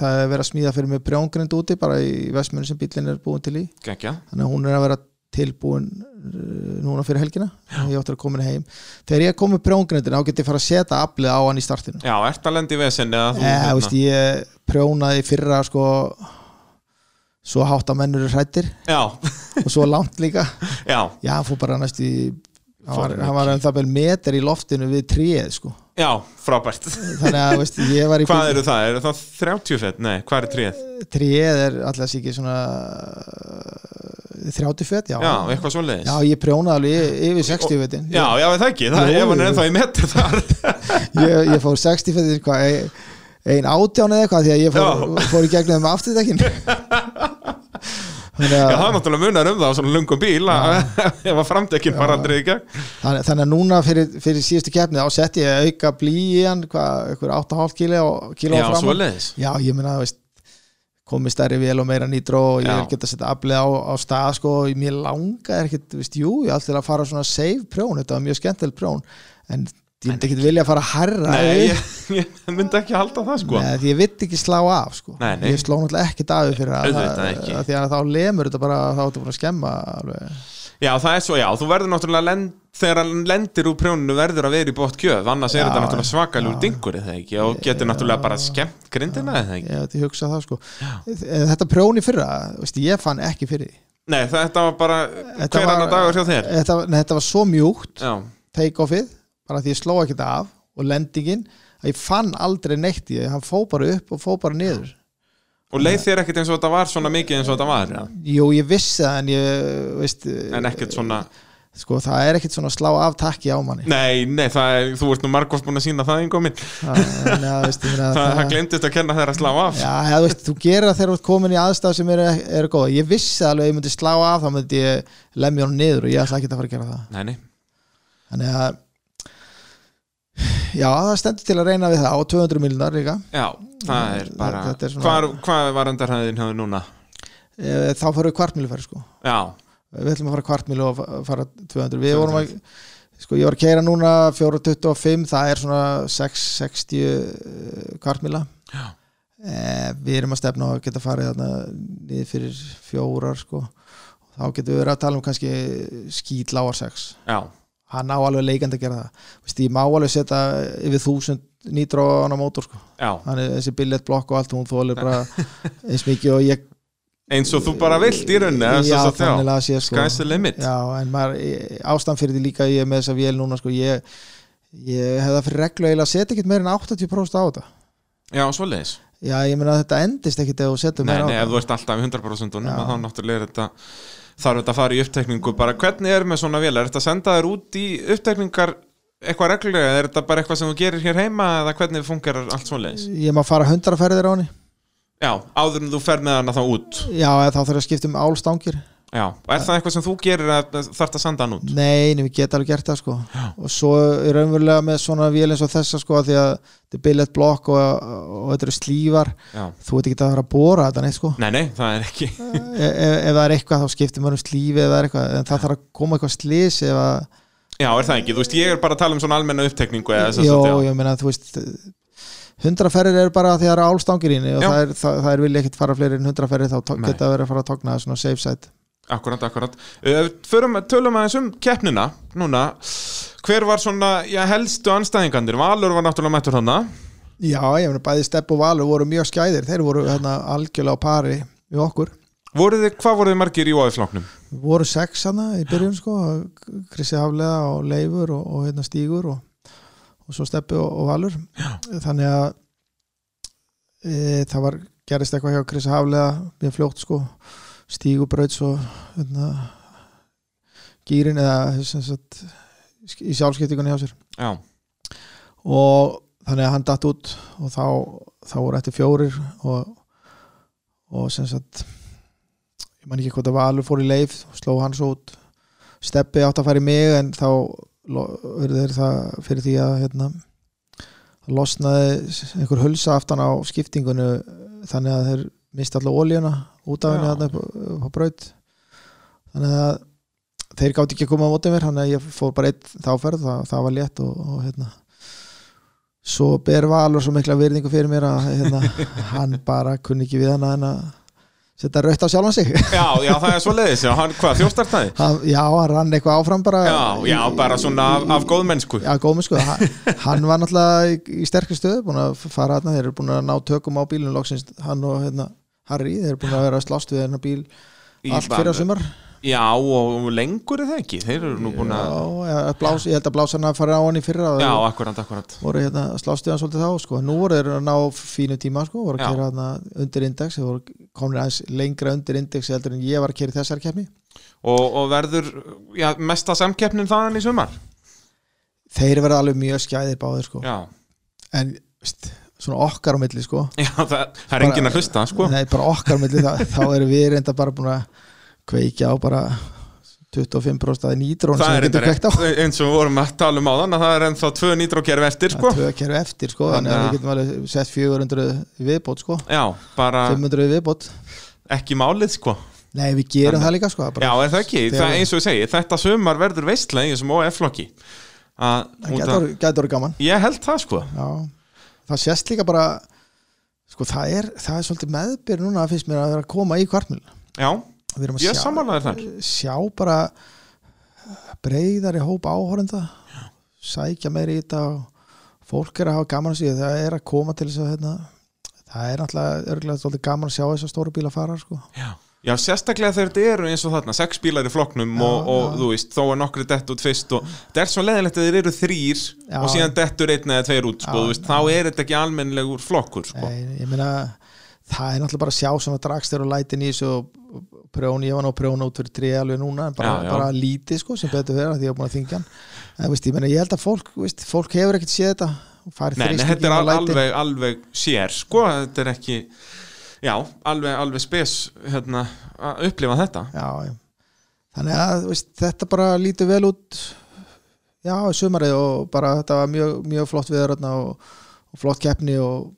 [SPEAKER 2] það er verið að smíða fyrir mig brjóngrind úti bara í vestmjörn sem bílinn er búin til í
[SPEAKER 1] geggja
[SPEAKER 2] þannig að hún er að vera tilbúin uh, núna fyrir helgina ég áttur að komin heim þegar ég kom með prjóngrindin þá get ég fara að setja aflið á hann í startinu
[SPEAKER 1] já, ert að lenda í vesenni eða þú hérna.
[SPEAKER 2] eh, þú veist, ég prjónaði í fyrra sko svo hátt að mennur er hrættir
[SPEAKER 1] já,
[SPEAKER 2] og svo langt líka
[SPEAKER 1] já,
[SPEAKER 2] já, hann fór bara næst í hann var,
[SPEAKER 1] Fór
[SPEAKER 2] hann var um það bel meter í loftinu við tríð sko
[SPEAKER 1] já, frábært
[SPEAKER 2] þannig að þú veist, ég var í
[SPEAKER 1] hvað eru það? eru það 30 fett? nei, hvað er tríð?
[SPEAKER 2] tríð er alltaf sikið svona eh, 30 fett, já
[SPEAKER 1] já, eitthvað svoleiðis
[SPEAKER 2] Já, ég prjónaði alveg yfir 60 vetin
[SPEAKER 1] Já, já, er það ekki, það,
[SPEAKER 2] Jú,
[SPEAKER 1] ef hann
[SPEAKER 2] jú.
[SPEAKER 1] er ennþá í metri þar
[SPEAKER 2] ég, ég fór 60 fyrir hvað, ein- ein átján eða eitthvað því að ég fór, fór í gegnum með afturdekkin þannig,
[SPEAKER 1] Já,
[SPEAKER 2] að-
[SPEAKER 1] það er náttúrulega munar um það á svona lungum bíl að ef að framdekkin bara aldrei í gegn
[SPEAKER 2] þannig, þannig að núna fyrir, fyrir síðustu keppni þá setti ég auka blý í hann hvað, einhver 8,5 kíla og kíla
[SPEAKER 1] Já,
[SPEAKER 2] og fram
[SPEAKER 1] svoleiðis
[SPEAKER 2] já, ég meina, þú veist komið stærri vél og meira nýtró og ég
[SPEAKER 1] Já.
[SPEAKER 2] er geta að setja aflið á, á stað sko, og mér langa er ekkit, veist, jú, ég alltaf að fara svona save prjón, þetta var mjög skemmtileg prjón en ég myndi ekkit vilja að fara hærra
[SPEAKER 1] Nei,
[SPEAKER 2] upp.
[SPEAKER 1] ég, ég myndi ekki halda það sko
[SPEAKER 2] Nei, því ég vitt ekki slá af sko.
[SPEAKER 1] Nei, nei.
[SPEAKER 2] Ég sló náttúrulega ekki dagu fyrir að,
[SPEAKER 1] Auðvitað ekki.
[SPEAKER 2] að Því að þá lemur þetta bara þá ertu búin að skemma alveg.
[SPEAKER 1] Já, það er svo, já, þú verður náttúrulega lend, þegar hann lendir úr prjóninu verður að vera í bótt gjöf annars er
[SPEAKER 2] Já,
[SPEAKER 1] þetta náttúrulega svakalur dingur eða ekki og getur náttúrulega bara skemmt grindina eða ekki
[SPEAKER 2] Ég hefði hugsað það sko. En Þetta prjón í fyrra, veist, ég fann ekki fyrir því
[SPEAKER 1] Nei, það, þetta var bara
[SPEAKER 2] Þetta
[SPEAKER 1] hver
[SPEAKER 2] var-
[SPEAKER 1] annar dagur hjá þér
[SPEAKER 2] þetta, nei, þetta var svo mjúkt
[SPEAKER 1] Já,
[SPEAKER 2] take-offið, bara því ég sló ekki þetta af og lendingin, að ég fann aldrei neitt í því, hann fó bara upp og fó bara niður
[SPEAKER 1] og leið þér ekkert eins og þetta var svona mikið eins og þetta var já.
[SPEAKER 2] Jú, ég vissi það en ég veist, eh,
[SPEAKER 1] En ekkert svona,
[SPEAKER 2] sko, það er ekkert svona slá af takki á manni
[SPEAKER 1] nei, nei, það er, þú ert nú margóft búin að sína það einhver minn
[SPEAKER 2] það, en, ja, veist, ég meina,
[SPEAKER 1] Það, það glemdist að kenna þær að slá af
[SPEAKER 2] Já, eða, þú veist, þú gerir það þegar þú ert komin í aðstæð sem eru er góða. Ég vissi alveg að ég myndi slá af, þá myndi ég lemja honum niður og ég ætla ekki að fara að gera það.
[SPEAKER 1] Nei, nei,
[SPEAKER 2] Þannig að, já, það stendur til að reyna við það á 200 miljonar líka.
[SPEAKER 1] já, það er bara
[SPEAKER 2] Þetta er svona-
[SPEAKER 1] Hvar, Hvað var endarhæðin hefur núna?
[SPEAKER 2] Eh, Þá fyrir við kvartmílu færi, sko.
[SPEAKER 1] Já,
[SPEAKER 2] Við ætlum að fara kvartmílu og fa- fara 200. Við vorum að, sko, ég var að keira núna 425, það er svona 660 kvartmíla.
[SPEAKER 1] Já.
[SPEAKER 2] Eh, við erum að stefna á að geta farið þarna niður fyrir fjórar sko. Og þá getum við verið að tala um kannski skýt lágar sex
[SPEAKER 1] já,
[SPEAKER 2] hann á alveg leikandi að gera það Vist, ég má alveg setja yfir þúsund nýtrá á hann á mótor sko.
[SPEAKER 1] já
[SPEAKER 2] hann er þessi billet blokk og allt hún þólir bara eins mikið og ég
[SPEAKER 1] eins og þú bara vilt í rauninni eða
[SPEAKER 2] já,
[SPEAKER 1] svo- svo-
[SPEAKER 2] þannig
[SPEAKER 1] já.
[SPEAKER 2] að sé sko.
[SPEAKER 1] sky's the limit
[SPEAKER 2] já, en maður, ég- ástæðan fyrir því líka að ég er með þessa vél núna sko, ég, ég hefða fyrir reglu eiginlega að setja ekkert meira en 80% á þetta
[SPEAKER 1] já, svoleiðis
[SPEAKER 2] já, ég meina að þetta endist ekkert ef þú setja
[SPEAKER 1] nei,
[SPEAKER 2] meira á
[SPEAKER 1] nei,
[SPEAKER 2] þetta
[SPEAKER 1] ef þú ert alltaf í 100% og
[SPEAKER 2] Já.
[SPEAKER 1] þá náttúrulega er þetta þarf þetta að fara í upptekningu bara hvernig er með svona vel, er þetta að senda þér út í upptekningar eitthvað reglulega eða er þetta bara eitthvað sem þú gerir hér heima eða hvernig funkar allt svoleiðis
[SPEAKER 2] ég má fara hundra ferðir á henni
[SPEAKER 1] já, áður en þú fer með hana þá út
[SPEAKER 2] já, eða þá þarf að skipta um álstangir
[SPEAKER 1] já, og er það eitthvað sem þú gerir að þarf að senda hann út
[SPEAKER 2] nei, nei, við geta alveg gert það sko og svo er raunverulega með svona vél eins og þessa sko, af því að þetta er billet blokk og, og þetta eru slívar
[SPEAKER 1] já,
[SPEAKER 2] þú veit ekki að það er að bóra þetta neitt sko
[SPEAKER 1] nei, nei, það er ekki
[SPEAKER 2] e ef, ef það er eitthvað þá skiptir maður um slífi ef það er eitthvað, en það þarf að koma eitthvað slís ef að,
[SPEAKER 1] já, er það ekki, þú veist, ég er bara að tala um svona almenna upptekningu eða sem
[SPEAKER 2] jó,
[SPEAKER 1] sagt, já.
[SPEAKER 2] ég meina þú veist hundra ferðir eru bara því að það eru álstangir í henni og
[SPEAKER 1] Já.
[SPEAKER 2] það er, það, það er vilja ekkert fara fleiri en hundra ferðir þá to-
[SPEAKER 1] Nei.
[SPEAKER 2] geta verið að fara að togna svona safe side
[SPEAKER 1] Akkurat, akkurat. Uh, förum, tölum aðeins um keppnina núna. Hver var svona já, helstu anstæðingandir? Valur var náttúrulega mættur hana.
[SPEAKER 2] já, ég meina bæði Stepp og Valur voru mjög skæðir þeir voru hérna, algjörlega á pari við okkur
[SPEAKER 1] Voruð þið, hvað voruð þið margir í óæðfloknum?
[SPEAKER 2] Við voru sex hana í byrjun sko Krissi Hafleða og Leifur og, og hérna Stígur og og svo steppi og, og valur Já. þannig að e, það var gerist eitthvað hjá Chris Haflega mjög fljótt sko stígu braut svo hérna, gýrin eða sem sagt, í sjálfskiptingunni hjá sér
[SPEAKER 1] já,
[SPEAKER 2] og þannig að hann datt út og þá, þá voru eftir fjórir og, og sem sagt ég man ekki hvort að Valur fór í leif og sló hann svo út steppi átt að fara í mig en þá verður þeir það fyrir því að hérna, það losnaði einhver hulsa aftan á skiptingunu þannig að þeir misti allar ólíuna út af henni
[SPEAKER 1] Já.
[SPEAKER 2] þarna upp, á- upp á braut þannig að þeir gátt ekki að koma á mótið mér þannig að ég fór bara einn þáferð það, það var létt og, og hérna svo ber Valur svo mikla virðingu fyrir mér að hérna, hann bara kunni ekki við hann að hérna setja rautt á sjálfan sig
[SPEAKER 1] já, já, það er svo leiðis já, hann, hvað, þjóstartaði?
[SPEAKER 2] hann, já, hann rann eitthvað áfram bara
[SPEAKER 1] Já, já, bara svona af, af góð mennsku
[SPEAKER 2] já, gómi sko, hann, hann var náttúrulega í- í sterkri stöðu, búin að fara hann þeir eru búin að ná tökum á bílinu loksins hann og hérna, Harry, þeir eru búin að vera að slást við hennar bíl
[SPEAKER 1] Í
[SPEAKER 2] allt
[SPEAKER 1] bara-
[SPEAKER 2] fyrir á sumar
[SPEAKER 1] Já, og lengur er það ekki, þeir eru nú búin að
[SPEAKER 2] já, ja, blás, ég held að blásana fara á hann í fyrra og
[SPEAKER 1] Já,
[SPEAKER 2] þeir
[SPEAKER 1] akkurat, akkurat
[SPEAKER 2] voru hérna að slást við hann svolítið þá sko, nú voru þeir að ná fínu tíma sko, voru
[SPEAKER 1] Já.
[SPEAKER 2] að kera hérna undir index þeir voru komin aðeins lengra undir index heldur en ég var að kera þessar kefni
[SPEAKER 1] og, og verður, já, mesta samkeppnin þaðan í sumar
[SPEAKER 2] þeir verða alveg mjög skæðir báðir sko.
[SPEAKER 1] Já,
[SPEAKER 2] en veist, svona okkar á milli sko
[SPEAKER 1] já það, það er enginn að hlusta, sko
[SPEAKER 2] Nei, bara okkar milli þá, þá erum við reynda bara búin að kveikja á bara 25% að nýtrón sem
[SPEAKER 1] Það
[SPEAKER 2] við
[SPEAKER 1] er
[SPEAKER 2] getum kveikt á
[SPEAKER 1] reyndar, eins og við vorum að tala um áðan að það er ennþá tvö nýtrókerfi eftir, sko
[SPEAKER 2] Tvö kerfi eftir sko, þannig að
[SPEAKER 1] Þannig að-
[SPEAKER 2] við getum alveg sett 400 í viðbót sko
[SPEAKER 1] Já, bara
[SPEAKER 2] 500 í viðbót
[SPEAKER 1] ekki málið, sko
[SPEAKER 2] Nei, við gerum það líka sko það er
[SPEAKER 1] Já,
[SPEAKER 2] bara,
[SPEAKER 1] er það ekki,
[SPEAKER 2] þegar-
[SPEAKER 1] það, eins og ég segi Þetta sumar verður veistla eins og OF-flokki
[SPEAKER 2] Það gæti orðið- gæti orðið gaman
[SPEAKER 1] Ég held það, sko
[SPEAKER 2] Já, það sést líka bara sko það er, það er svolítið meðbyr núna finnst mér að vera að koma í kvartmjöl
[SPEAKER 1] Já,
[SPEAKER 2] Við erum að
[SPEAKER 1] ég
[SPEAKER 2] sjá-
[SPEAKER 1] samanlega þar
[SPEAKER 2] sjá bara breyðari hóp áhorenda sækja meiri í þetta og fólk er að hafa gaman að séu það er að koma til þess að hérna, það er náttúrulega örgulega svolítið gaman að sjá þess að stóru bíla fara sko.
[SPEAKER 1] Já. Já, sérstaklega þegar þetta eru eins og þarna sex bílar í flokknum og,
[SPEAKER 2] Já,
[SPEAKER 1] og
[SPEAKER 2] já.
[SPEAKER 1] þú veist, þó er nokkri dett út fyrst og þetta er svo leðilegt að þeir eru þrýr
[SPEAKER 2] Já.
[SPEAKER 1] og síðan dettur einn eða tveir út sko,
[SPEAKER 2] Já,
[SPEAKER 1] þú veist, þá er þetta ekki almennilegur flokkur sko.
[SPEAKER 2] Nei, ég meina það er náttúrulega bara að sjá svona dragstir og lætin í þessu og prjón, ég var nú að prjóna út fyrir tré alveg núna, en bara,
[SPEAKER 1] Já, já.
[SPEAKER 2] bara lítið sko, sem betur vera því ég var búin að þingja hann en veist, ég, meina, ég held að fólk, veist, fólk hefur ekkert séð þetta og farið
[SPEAKER 1] Nei, nei, þetta er
[SPEAKER 2] þrýstingin og
[SPEAKER 1] al
[SPEAKER 2] lætin
[SPEAKER 1] alveg, alveg sér sko, þetta er ekki já, alveg, alveg spes hérna, að upplifa þetta
[SPEAKER 2] já, já. þannig að þú veist, þetta bara lítur vel út já, í sumarið og bara þetta var mjög, mjög flott viður þarna og, og flott keppni og,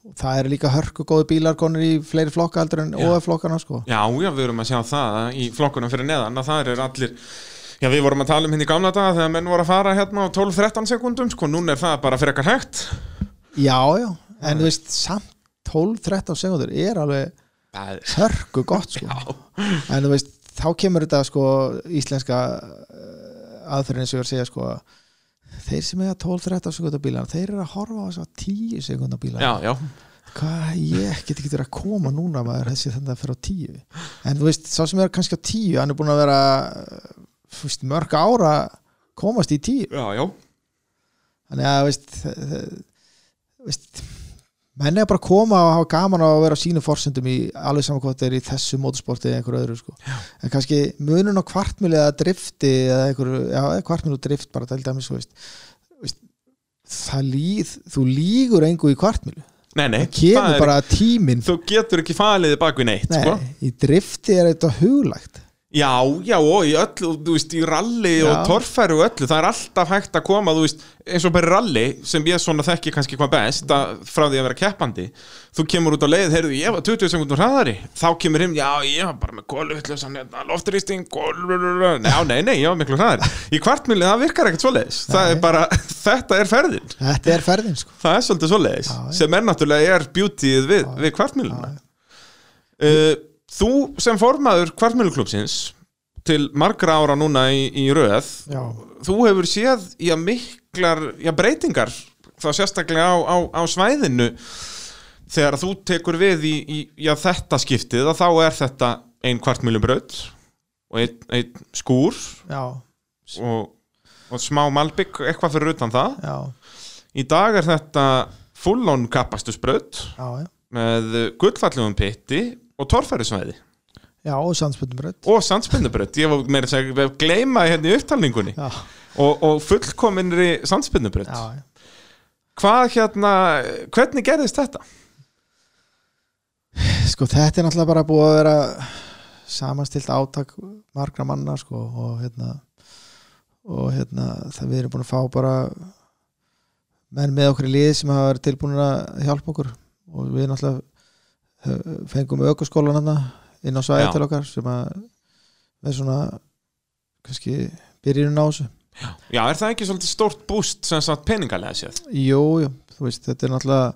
[SPEAKER 2] og það eru líka hörku góði bílar konur í fleiri flokka heldur en
[SPEAKER 1] Já.
[SPEAKER 2] óða flokkana sko
[SPEAKER 1] Já, já, við erum að sjá það að í flokkunum fyrir neðan að það eru allir Já, við vorum að tala um hérna í gamla daga þegar menn voru að fara hérna á 12-13 sekundum sko, núna er það bara frekar hægt
[SPEAKER 2] já, já, en þú veist samt 12-13 sekundur er alveg
[SPEAKER 1] Það er
[SPEAKER 2] hörku gott sko en þú veist, þá kemur þetta sko íslenska eh, aðferðin sem ég var að segja sko þeir sem eiga 12-13 sekundar bílar þeir eru að horfa á þess að 10 sekundar bílar
[SPEAKER 1] Já, já,
[SPEAKER 2] hvað ég get ekki verið að koma núna maður þessi þannig að fyrir á tíu en þú veist, sá sem er kannski á tíu hann er búin að vera þú veist, mörg ára komast í tíu
[SPEAKER 1] já, já
[SPEAKER 2] þannig að þú veist, þ- þ- þú veist menn er bara að koma og hafa gaman á að vera á sínu forsendum í alveg saman hvort þeir eru í þessu mótorsporti eða einhverju öðru sko. en kannski munun á kvartmjölu eða drifti eða einhverju, já, kvartmjölu og drift bara til dæmis, þú veist, þú veist það líð, þú lígur engu í kvartmjölu,
[SPEAKER 1] Nei, nei,
[SPEAKER 2] það kemur
[SPEAKER 1] er-
[SPEAKER 2] bara tíminn
[SPEAKER 1] Þú getur ekki faliði bak við neitt,
[SPEAKER 2] Nei,
[SPEAKER 1] sko
[SPEAKER 2] í drifti er þetta huglægt
[SPEAKER 1] Já, já, og í öllu, og þú veist, í rally og
[SPEAKER 2] Já.
[SPEAKER 1] torfæru og öllu, það er alltaf hægt að koma, þú veist, eins og bara í rally sem ég svona þekki kannski hvað best að, frá því að vera keppandi, þú kemur út á leið heyrðu, ég var 20 sekundum hraðari þá kemur hinn, já, ég var bara með kóluvitlausan hérna, loftrýsting, kóluvitlausan Já, nei, nei, ég var miklu hraðari Í kvartmjölu, það virkar ekkert svoleiðis, það er bara þetta er ferðin,
[SPEAKER 2] Þetta er ferðin sko
[SPEAKER 1] það er svolítið svoleiðis
[SPEAKER 2] Já, já.
[SPEAKER 1] sem er náttúrulega er beautyð við, við kvartmjöluna uh, Þú sem formaður kvartmjöluklúpsins til margra ára núna í, í röð
[SPEAKER 2] Já,
[SPEAKER 1] þú hefur séð já, miklar já, breytingar þá sérstaklega á, á, á svæðinu þegar þú tekur við í, í já, þetta skiptið að þá er þetta ein kvartmjölubraut og einn ein skúr
[SPEAKER 2] já,
[SPEAKER 1] og og smá malbygg, eitthvað fyrir utan það
[SPEAKER 2] já,
[SPEAKER 1] í dag er þetta full-on kappastusbraut
[SPEAKER 2] já, já,
[SPEAKER 1] með gullfallegum pitti og torfærisvæði
[SPEAKER 2] já og sandspöldumbröð
[SPEAKER 1] og sandspinnubraut, ég var meira að segja gleyma hérna í upptalningunni
[SPEAKER 2] já,
[SPEAKER 1] og, og fullkominri sandspinnubraut
[SPEAKER 2] já, já.
[SPEAKER 1] hvað hérna, hvernig gerðist þetta?
[SPEAKER 2] sko þetta er náttúrulega bara búið að vera samastilt átak margra manna sko og hérna og hérna það við erum búin að fá bara menn með okkur í liði sem hafa verið tilbúin að hjálpa okkur og við náttúrulega eh, fengum aukaskólan hann inn á svæði
[SPEAKER 1] Já.
[SPEAKER 2] til okkar sem að með svona kannski byrjunum á þessu
[SPEAKER 1] Já, er það ekki svolítið stórt búst sem sagt peningalega séð?
[SPEAKER 2] Jú, jú, þú veist, þetta er náttúrulega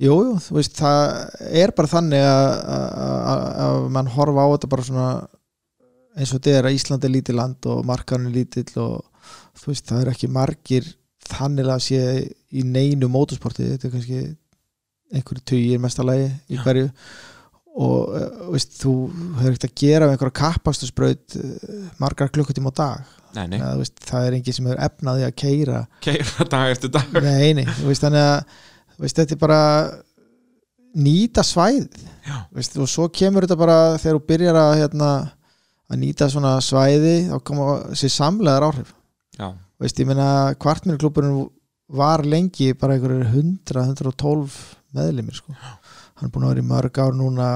[SPEAKER 2] Jú, jú, þú veist, það er bara þannig að, að- að, að mann horfa á þetta bara svona eins og þetta er að Ísland er lítið land og markarinn er lítill og þú veist, það er ekki margir þannig að sé í neinu mótorsporti, þetta er kannski einhverju tugir mestalagi í
[SPEAKER 1] Já.
[SPEAKER 2] hverju og eh, veist, þú hefur ekkert að gera með einhverja kappastusbraut eh, margar klukkutíma á dag
[SPEAKER 1] Nei, nei,
[SPEAKER 2] Eða, þú veist, það er engin sem hefur efnaði að keira
[SPEAKER 1] keira dag eftir dag
[SPEAKER 2] Nei, nei, þú veist þannig að þú veist, þetta er bara nýta svæð
[SPEAKER 1] Já.
[SPEAKER 2] veist, og svo kemur þetta bara þegar þú byrjar að, hérna, að nýta svona svæði þá koma sér samlegar áhrif
[SPEAKER 1] Já,
[SPEAKER 2] veist, ég meina kvartmjörklúburinn var lengi bara einhverjir 100, 112 meðlimir sko. hann er búin að vera í mörg ár núna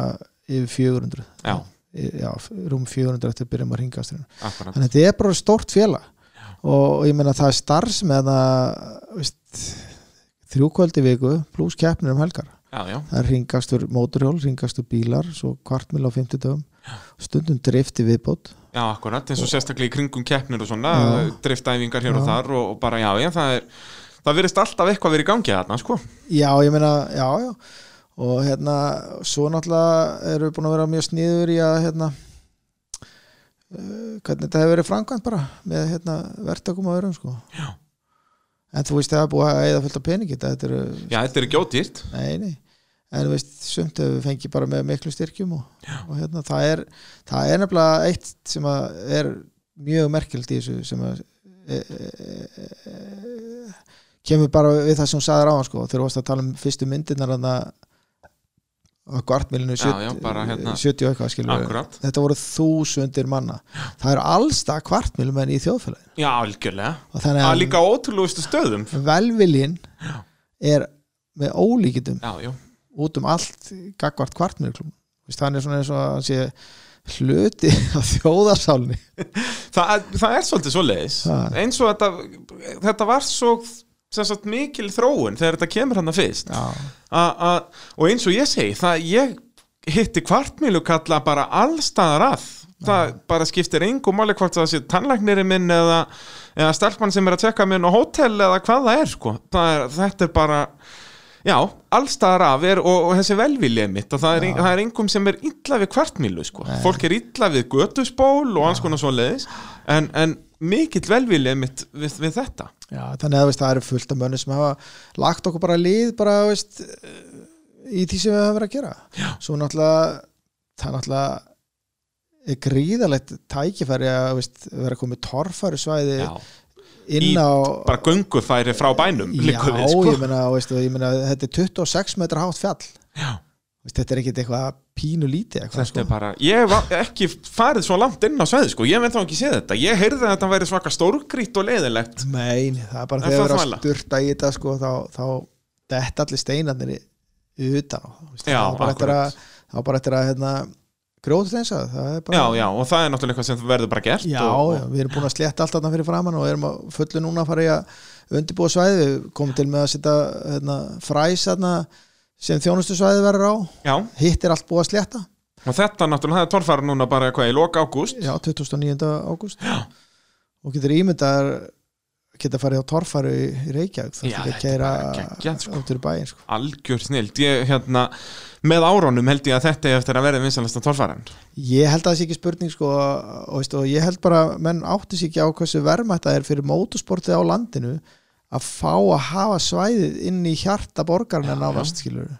[SPEAKER 2] yfir 400
[SPEAKER 1] já,
[SPEAKER 2] Í- Já, rúm 400 eftir að hérna. byrja maður hingast
[SPEAKER 1] akkurat
[SPEAKER 2] þannig að þetta er bara stórt félag og, og ég meina það er starfs með það veist, þrjúkvöldi viku pluss keppnir um helgar
[SPEAKER 1] Já, já,
[SPEAKER 2] það er ringastur móturhjól, ringastur bílar svo kvartmil á 50 dögum stundum drifti viðbót
[SPEAKER 1] já, akkurat eins og sérstaklega í kringum keppnir og svona
[SPEAKER 2] Já.
[SPEAKER 1] driftæfingar hér og
[SPEAKER 2] Já.
[SPEAKER 1] þar og, og bara já, já, það er það verist alltaf eitthvað verið í gangi þarna, sko
[SPEAKER 2] já ég meina, já já og hérna, svo náttúrulega erum við búin að vera mjög sniður í að hérna eh, hvernig þetta hefur verið framkvæmt bara með hérna verðtökum og öðrum sko já. en þú veist það er búið að eða fullt af peningi þetta þetta eru
[SPEAKER 1] Já, þetta er ekki ódýrt
[SPEAKER 2] Nei, nei, en þú veist sumt hefur við fengið bara með miklu styrkjum og, og hérna, það er það er nefnilega eitt sem að er mjög merkild í þessu sem að e, e, e, e, kemur bara við það sem hún sagði ráðan sko, þegar þú varst að tala um fyrstu myndirnar hann að á kvartmilinu
[SPEAKER 1] Já, já, bara hérna.
[SPEAKER 2] 70 og eitthvað skilur við.
[SPEAKER 1] Akkurat.
[SPEAKER 2] þetta voru þúsundir manna það eru allstað kvartmilumenn í þjóðfélagin
[SPEAKER 1] Já, algjörlega
[SPEAKER 2] og þannig
[SPEAKER 1] Það
[SPEAKER 2] að
[SPEAKER 1] er líka á ótrúlegustu stöðum
[SPEAKER 2] velviljin er með ólíkindum
[SPEAKER 1] Já, já,
[SPEAKER 2] út um allt gagvart kvartmjörklum þannig er svona eins og að hann sé hluti af þjóðarsálni
[SPEAKER 1] það, það er svolítið svoleiðis
[SPEAKER 2] Ha.
[SPEAKER 1] eins og þetta, þetta var svo sem sagt mikil þróun þegar þetta kemur hann fyrst
[SPEAKER 2] já,
[SPEAKER 1] a, a, og eins og ég segi það ég hitti kvartmílu kalla bara allstaðar að það bara skiptir engum máli hvort það sé tannlæknirinn minn eða, eða stelpan sem er að tekka minn á hótel eða hvað það er sko það er, þetta er bara já, allstaðar af er, og, og þessi velvilið mitt og það er, ein- það er engum sem er illa við kvartmílu sko fólk er illa við götusból og alls konar svoleiðis en, en mikill velvilið mitt við, við þetta
[SPEAKER 2] já, þannig að veist, það eru fullt af mönnum sem hafa lagt okkur bara lið bara veist, í því sem við hafa verið að gera já. svo náttúrulega það er náttúrulega er gríðalegt tækifæri að veist, vera komið torfæru svæði
[SPEAKER 1] já.
[SPEAKER 2] inn
[SPEAKER 1] Í-
[SPEAKER 2] á
[SPEAKER 1] bara göngufæri frá bænum
[SPEAKER 2] já,
[SPEAKER 1] liggur við, sko.
[SPEAKER 2] ég meina, veist, og ég meina þetta er 26 metra hátt fjall
[SPEAKER 1] Já.
[SPEAKER 2] veist, þetta er ekkit eitthvað pínu lítið eitthvað, sko.
[SPEAKER 1] Þetta er bara, ég var ekki farið svo langt inn á sveði sko, ég veit þá ekki séð þetta ég heyrði að þetta væri svaka stórgrít og leiðilegt
[SPEAKER 2] Nein, það er bara þegar
[SPEAKER 1] En það
[SPEAKER 2] við erum
[SPEAKER 1] þvæla?
[SPEAKER 2] að styrta í þetta sko, þá, þá detta allir steinarnir í- utan á veist,
[SPEAKER 1] Já,
[SPEAKER 2] það er bara eftir
[SPEAKER 1] akkúrat.
[SPEAKER 2] að, það er bara eftir að hérna, grjóðsteinsa það er
[SPEAKER 1] Já,
[SPEAKER 2] bara,
[SPEAKER 1] já, og það er náttúrulega eitthvað sem þú verður bara gert
[SPEAKER 2] já,
[SPEAKER 1] og,
[SPEAKER 2] já, við erum búin að slétta allt þarna fyrir framann og erum að fullu núna að fara í að undirbúa svæði við komum til með að setja hérna, fræs hérna, sem þjónustu svæði verður á
[SPEAKER 1] já.
[SPEAKER 2] hitt er allt búið að slétta
[SPEAKER 1] og þetta náttúrulega, það er torfæra núna bara hvað, í loka ágúst
[SPEAKER 2] já, 29. ágúst og getur ímyndar geta farið á torfæru í í Reykjavík það
[SPEAKER 1] Já,
[SPEAKER 2] er ekki að
[SPEAKER 1] þetta er
[SPEAKER 2] keira
[SPEAKER 1] bara geggjað, sko.
[SPEAKER 2] út úr bæinn sko.
[SPEAKER 1] algjör snild, ég hérna með árunum held ég að þetta er eftir að verða vinsalasta torfæran
[SPEAKER 2] Ég held að það sé ekki spurning sko, og, veist, og ég held bara að menn átti sér ekki á hversu verðmætt það er fyrir mótorsportið á landinu að fá að hafa svæðið inn í hjarta borgarna návast skilur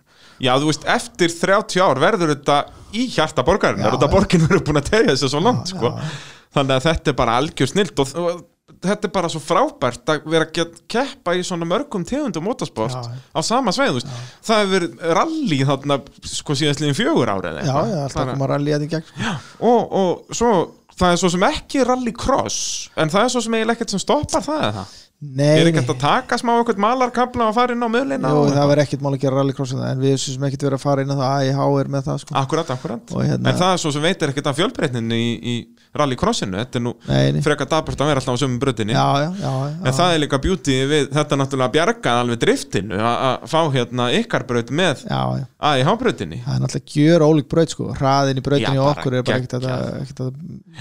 [SPEAKER 1] Já, þú veist, eftir 30 ár verður þetta í hjarta borgarinn,
[SPEAKER 2] Já,
[SPEAKER 1] þetta
[SPEAKER 2] já.
[SPEAKER 1] borginn verður búin að tegja þessu svo langt sko.
[SPEAKER 2] já.
[SPEAKER 1] þannig að þetta er bara algjör snild og, og þetta er bara svo frábært að vera að get, keppa í svona mörgum tegundum motorsport
[SPEAKER 2] Já.
[SPEAKER 1] á sama sveið, þú veist, það hefur verið rally þarna, sko síðastliðin fjögur ára eða
[SPEAKER 2] já,
[SPEAKER 1] eitthvað.
[SPEAKER 2] já, alltaf
[SPEAKER 1] Bara-
[SPEAKER 2] koma rally að í gegn sko.
[SPEAKER 1] og, og svo, það er svo sem ekki rallycross, en það er svo sem eiginlega ekkert sem stoppar það eða það
[SPEAKER 2] Nei,
[SPEAKER 1] er
[SPEAKER 2] nei.
[SPEAKER 1] ekki hægt að um taka smá okkur malarkabla og fara inn á möðleina
[SPEAKER 2] Jú, það var ekkert mál að gera rallycross en við sem ekkert verið að fara inn að það AIH er með það sko.
[SPEAKER 1] akkurat, akkurat
[SPEAKER 2] Og hérna-
[SPEAKER 1] en það er svo sem veitir ekkert af fjölbreytninu í, í rallycrossinu, þetta er nú
[SPEAKER 2] Nei, nei.
[SPEAKER 1] frekar daburt að vera alltaf á sömum brötinni
[SPEAKER 2] Já, já, já, já.
[SPEAKER 1] En það er líka beauty við þetta náttúrulega að bjarga alveg driftinu að að fá hérna ykkar braut með
[SPEAKER 2] já, já.
[SPEAKER 1] AIH brautinni
[SPEAKER 2] það er náttúrulega gjör ólík braut sko. hraðin í brautinni
[SPEAKER 1] Já,
[SPEAKER 2] og
[SPEAKER 1] bara
[SPEAKER 2] okkur er bara ekkert að,
[SPEAKER 1] geggjað.
[SPEAKER 2] ekkert að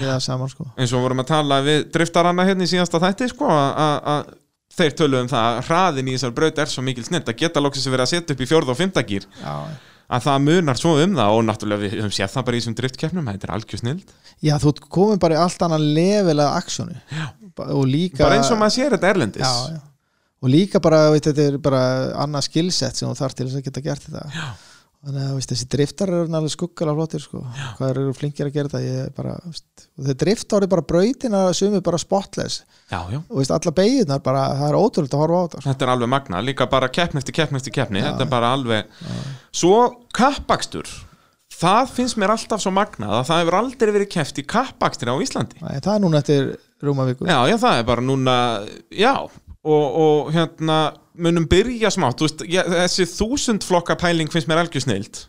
[SPEAKER 2] viða saman sko.
[SPEAKER 1] eins og vorum að tala við driftarana hérna í síðasta þætti sko að- að að þeir töluðum það að hraðin í þessar braut er svo mikil snitt að geta loksins að vera að setja upp í fjórða og fymta gýr
[SPEAKER 2] já, já.
[SPEAKER 1] að það munar svo um það og náttúrulega við höfum séð það bara í þessum driftkeppnum þetta er algjör snild
[SPEAKER 2] já, þú ert komin bara í allt annan level að aksjónu og líka
[SPEAKER 1] bara eins og maður sér þetta erlendis
[SPEAKER 2] já, já. og líka bara, veit, þetta er bara annað skillset sem þú þarf til þess að geta gert þetta já. þannig að veist, þessi driftar eru alveg skuggala flottir sko. hvað þeir eru flinkir að gera þetta ég er bara, veist, og þeir driftar eru bara brautina sem er bara spotless
[SPEAKER 1] já, já.
[SPEAKER 2] og veist, alla beigirnar bara, það er ótrúlega að horfa á þetta sko.
[SPEAKER 1] þetta er alveg magna, líka bara keppn eftir keppn eftir keppni, þetta er bara alveg svo kappakstur það finnst mér alltaf svo magnað að það hefur aldrei verið keppt í kappakstur á Íslandi
[SPEAKER 2] Æ, það er núna eftir rúma viku
[SPEAKER 1] já, já, það er bara núna já, og, og hérna munum byrja smátt, þú veist ég, þessi þúsund flokka pæling finnst mér algjör snild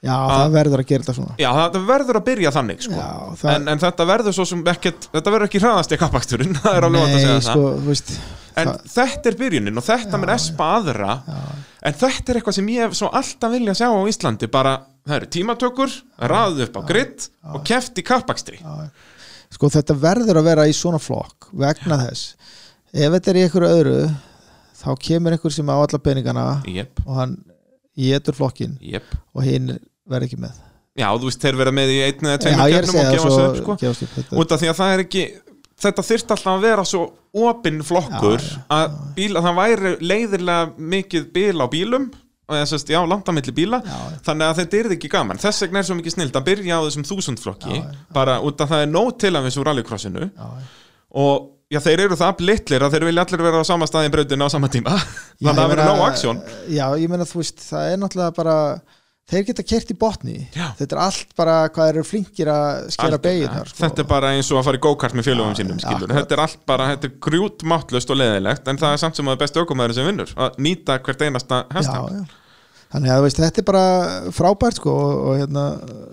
[SPEAKER 2] já það verður að gera þetta svona
[SPEAKER 1] já, það verður að byrja þannig sko.
[SPEAKER 2] Já, það-
[SPEAKER 1] en, en þetta verður svo sem ekkert þetta verður ekki hraðast í kappaksturinn það er alveg að segja það
[SPEAKER 2] sko, þú veist,
[SPEAKER 1] en
[SPEAKER 2] það,
[SPEAKER 1] þetta er byrjunin og þetta mun espa aðra en þetta er eitthvað sem ég hef svo alltaf vilja sjá á Íslandi bara, það eru tímatökur, raðu upp á gritt og keft í kappakstri
[SPEAKER 2] já, sko þetta verður að vera í svona flokk vegna þess ef þetta er í einhverju öðru þá kemur einhver sem á alla peningana
[SPEAKER 1] Jep,
[SPEAKER 2] og hann étur flokkin
[SPEAKER 1] jep
[SPEAKER 2] og hinn verður ekki með
[SPEAKER 1] Já, þú veist, þeir vera með í einu eða
[SPEAKER 2] Já,
[SPEAKER 1] tveimur
[SPEAKER 2] ég er að
[SPEAKER 1] kefnum og
[SPEAKER 2] segja
[SPEAKER 1] gefa
[SPEAKER 2] svo
[SPEAKER 1] sig upp sko.
[SPEAKER 2] gefast upp, þetta-
[SPEAKER 1] út af því að það er ekki þetta þyrft alltaf að vera svo opinn flokkur að bíla, það væri leiðilega mikið bíl á bílum eða sérst, já, langt á milli bíla
[SPEAKER 2] já.
[SPEAKER 1] þannig að þetta yrði ekki gaman, þess vegna er svo mikið snild að byrja á þessum þúsundflokki bara út af það er nóg til af þessu rallycrossinu
[SPEAKER 2] já.
[SPEAKER 1] og já, þeir eru það litlir að þeir vilja allir vera á sama staði í brautinu á sama tíma þannig að
[SPEAKER 2] ég
[SPEAKER 1] það verður
[SPEAKER 2] meina-
[SPEAKER 1] nóg aksjón
[SPEAKER 2] Já, ég meina þú veist, það er náttúrulega bara þeir geta kert í botni
[SPEAKER 1] Já.
[SPEAKER 2] þetta er allt bara hvað þeir eru flinkir að skera
[SPEAKER 1] Algjörlega.
[SPEAKER 2] beginar sko.
[SPEAKER 1] Þetta er bara eins og að fara í go-kart með fjölugum sínum skilur.
[SPEAKER 2] akkurat.
[SPEAKER 1] Þetta er allt bara, þetta er grjút máttlust og leðilegt en það er samt sem að það er besti ökumæður sem vinnur að nýta hvert einasta
[SPEAKER 2] já,
[SPEAKER 1] hestak
[SPEAKER 2] já. Þannig að þú veist, þetta er bara frábært sko, og, og hérna uh,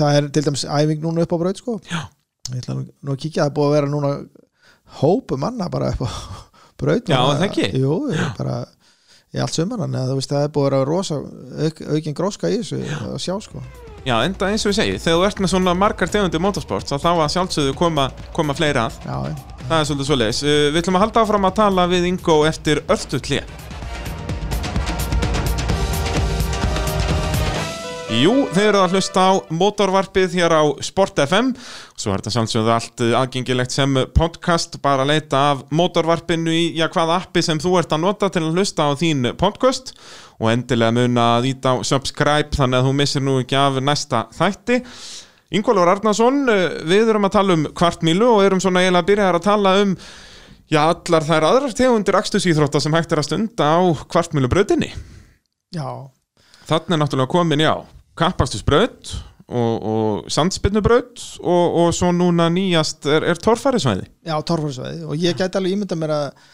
[SPEAKER 2] það er til dæmis æfing núna upp á braut sko.
[SPEAKER 1] Já.
[SPEAKER 2] ég ætla nú, nú að kíkja, það er búið að vera núna hópu manna bara upp á braut
[SPEAKER 1] Já,
[SPEAKER 2] núna.
[SPEAKER 1] það ekki?
[SPEAKER 2] Jú, bara í allt sumaran eða þú veist, það er búið að vera rosa auk, aukin gróska í þessu að sjá sko
[SPEAKER 1] Já, enda eins og ég segi, þegar þú ert með svona margar tegundir motorsport þá að sjálfsögðu koma, koma fleira að
[SPEAKER 2] já, já.
[SPEAKER 1] Það er svolítið svoleiðis uh, Við ætlum að halda áfram að tala við Ingo eftir öllutli Jú, þeir eru að hlusta á motorvarpið hér á Sport FM Svo er þetta samsögðu allt uh, aðgengilegt sem podcast bara að leita af motorvarpinu í já, hvaða appi sem þú ert að nota til að hlusta á þín podcast og endilega muna að íta á subscribe þannig að þú missir nú ekki af næsta þætti Ingólfur Arnason, eh, við erum að tala um kvartmílu og erum svona eiginlega að byrja að tala um já, allar þær aðrar tegundir akstusíþrótta sem hægt er að stunda á kvartmílubrautinni.
[SPEAKER 2] Já,
[SPEAKER 1] Þannig er náttúrulega komin, já, kappastusbraut og, og sandspinnubraut og, og svo núna nýjast er, er torfærisvæði.
[SPEAKER 2] já torfarsvæði og ég gæti alveg ímynda mér að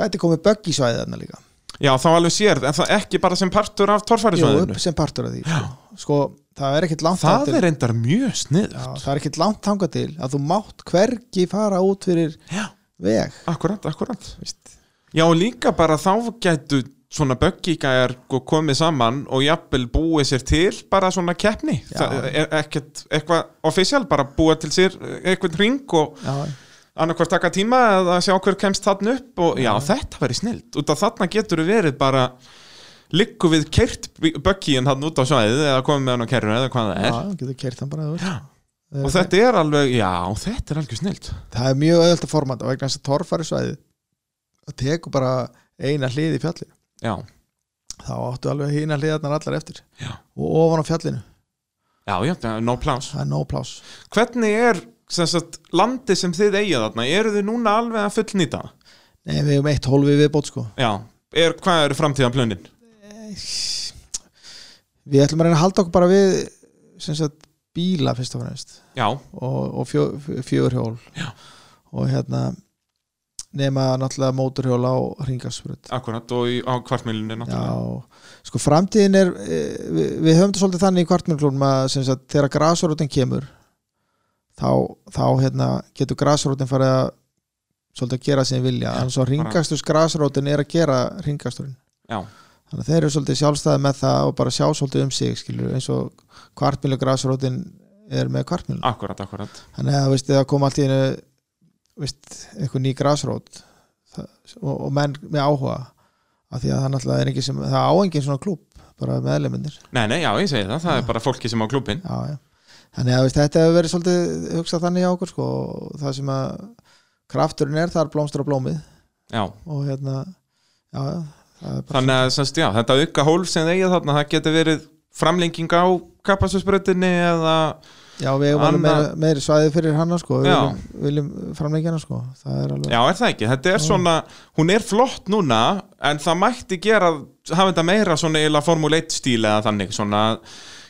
[SPEAKER 2] gæti komið bögg í svæði þarna líka
[SPEAKER 1] Já, þá alveg sér, en það ekki bara sem partur af
[SPEAKER 2] Jú, upp
[SPEAKER 1] torfærisvæðinu.
[SPEAKER 2] sem partur af því sko. sko, það er ekkit langt
[SPEAKER 1] Það
[SPEAKER 2] þangað
[SPEAKER 1] er endar mjög
[SPEAKER 2] til, já,
[SPEAKER 1] sniðut.
[SPEAKER 2] það er ekkit langt tanga til að þú mátt hvergi fara út fyrir
[SPEAKER 1] Já.
[SPEAKER 2] veg
[SPEAKER 1] Akkurat, akkurat.
[SPEAKER 2] veist.
[SPEAKER 1] Já, og líka bara þá gætu svona böggíkæjar komið saman og jafnvel búið sér til bara svona keppni
[SPEAKER 2] Já.
[SPEAKER 1] Það er ekkert eitthvað offisjál bara búið til sér eitthvað ring og
[SPEAKER 2] já,
[SPEAKER 1] annarkvort taka tíma að sjá hver kemst þarna upp og já, þetta verið snilt út af þarna getur við verið bara likku við kert böggíin þarna út á svæðið eða komið með hann á kerruna eða hvað það
[SPEAKER 2] já,
[SPEAKER 1] er
[SPEAKER 2] getur kert hann bara þú veist.
[SPEAKER 1] og þetta er alveg, já, þetta er alveg snilt
[SPEAKER 2] það er mjög öðvöld að formata vegna þess að torfarsvæði það tekur bara eina hlið í fjalli
[SPEAKER 1] já,
[SPEAKER 2] þá áttu alveg hína hliðarnar allar eftir
[SPEAKER 1] Já.
[SPEAKER 2] og ofan á fjallinu,
[SPEAKER 1] já, já, no plás
[SPEAKER 2] það er no plás
[SPEAKER 1] hvernig er sem sagt, landi sem þið eiga þarna eru þið núna alveg að fullnýta það?
[SPEAKER 2] Nei, við hefum eitt hólfi viðbót sko
[SPEAKER 1] já, er, hvað eru framtíðanplönin?
[SPEAKER 2] Við ætlum að reyna að halda okkur bara við sem sagt bíla fyrst og fremst
[SPEAKER 1] já,
[SPEAKER 2] og, og fjö, fjörhjól
[SPEAKER 1] Já.
[SPEAKER 2] og hérna nema náttúrulega móturhjól á hringarsprut
[SPEAKER 1] akkurat og í, á kvartmilinu náttúrulega
[SPEAKER 2] Já, sko framtíðin er eh, við, við höfum þetta svolítið þannig í kvartmjörglunum að sem sagt þegar grasrótin kemur þá, þá hérna getur grasrótin farið að svolítið að gera sem þeir vilja, annars að ringastus grasrótin er að gera ringasturinn
[SPEAKER 1] já,
[SPEAKER 2] þannig að þeir eru svolítið sjálfstæði með það og bara sjá svolítið um sig skilur eins og kvartmjölu grasrótin er með kvartmjölu
[SPEAKER 1] akkurat, akkurat
[SPEAKER 2] þannig að veist, það kom allt í einu veist, einhver ný grasrót það, og, og menn með áhuga af því að það náttúrulega er engin sem það á engin svona klúb, bara með elementir
[SPEAKER 1] nei, nei, já, ég segi það, það er bara fólki sem á klubin
[SPEAKER 2] já, já. þannig að veist, þetta hefur verið svolítið hugsað þannig á okkur sko, og það sem að krafturinn er þar blómstur á blómið
[SPEAKER 1] já,
[SPEAKER 2] og hérna já, já, það er bara
[SPEAKER 1] þannig að semst, já, þetta auka hólf sem þið eiga þarna, það getur verið framlenging á kappasusbrötinni eða
[SPEAKER 2] Já, við hefum alveg
[SPEAKER 1] Annað-
[SPEAKER 2] meira, meiri svæði fyrir hana sko, við
[SPEAKER 1] Já.
[SPEAKER 2] viljum, viljum framleikja hana sko það er alveg,
[SPEAKER 1] Já, er það ekki? Þetta er svona, hún er flott núna en það mætti gera, hafa þetta meira svona eila Formule 1 stíl eða þannig svona,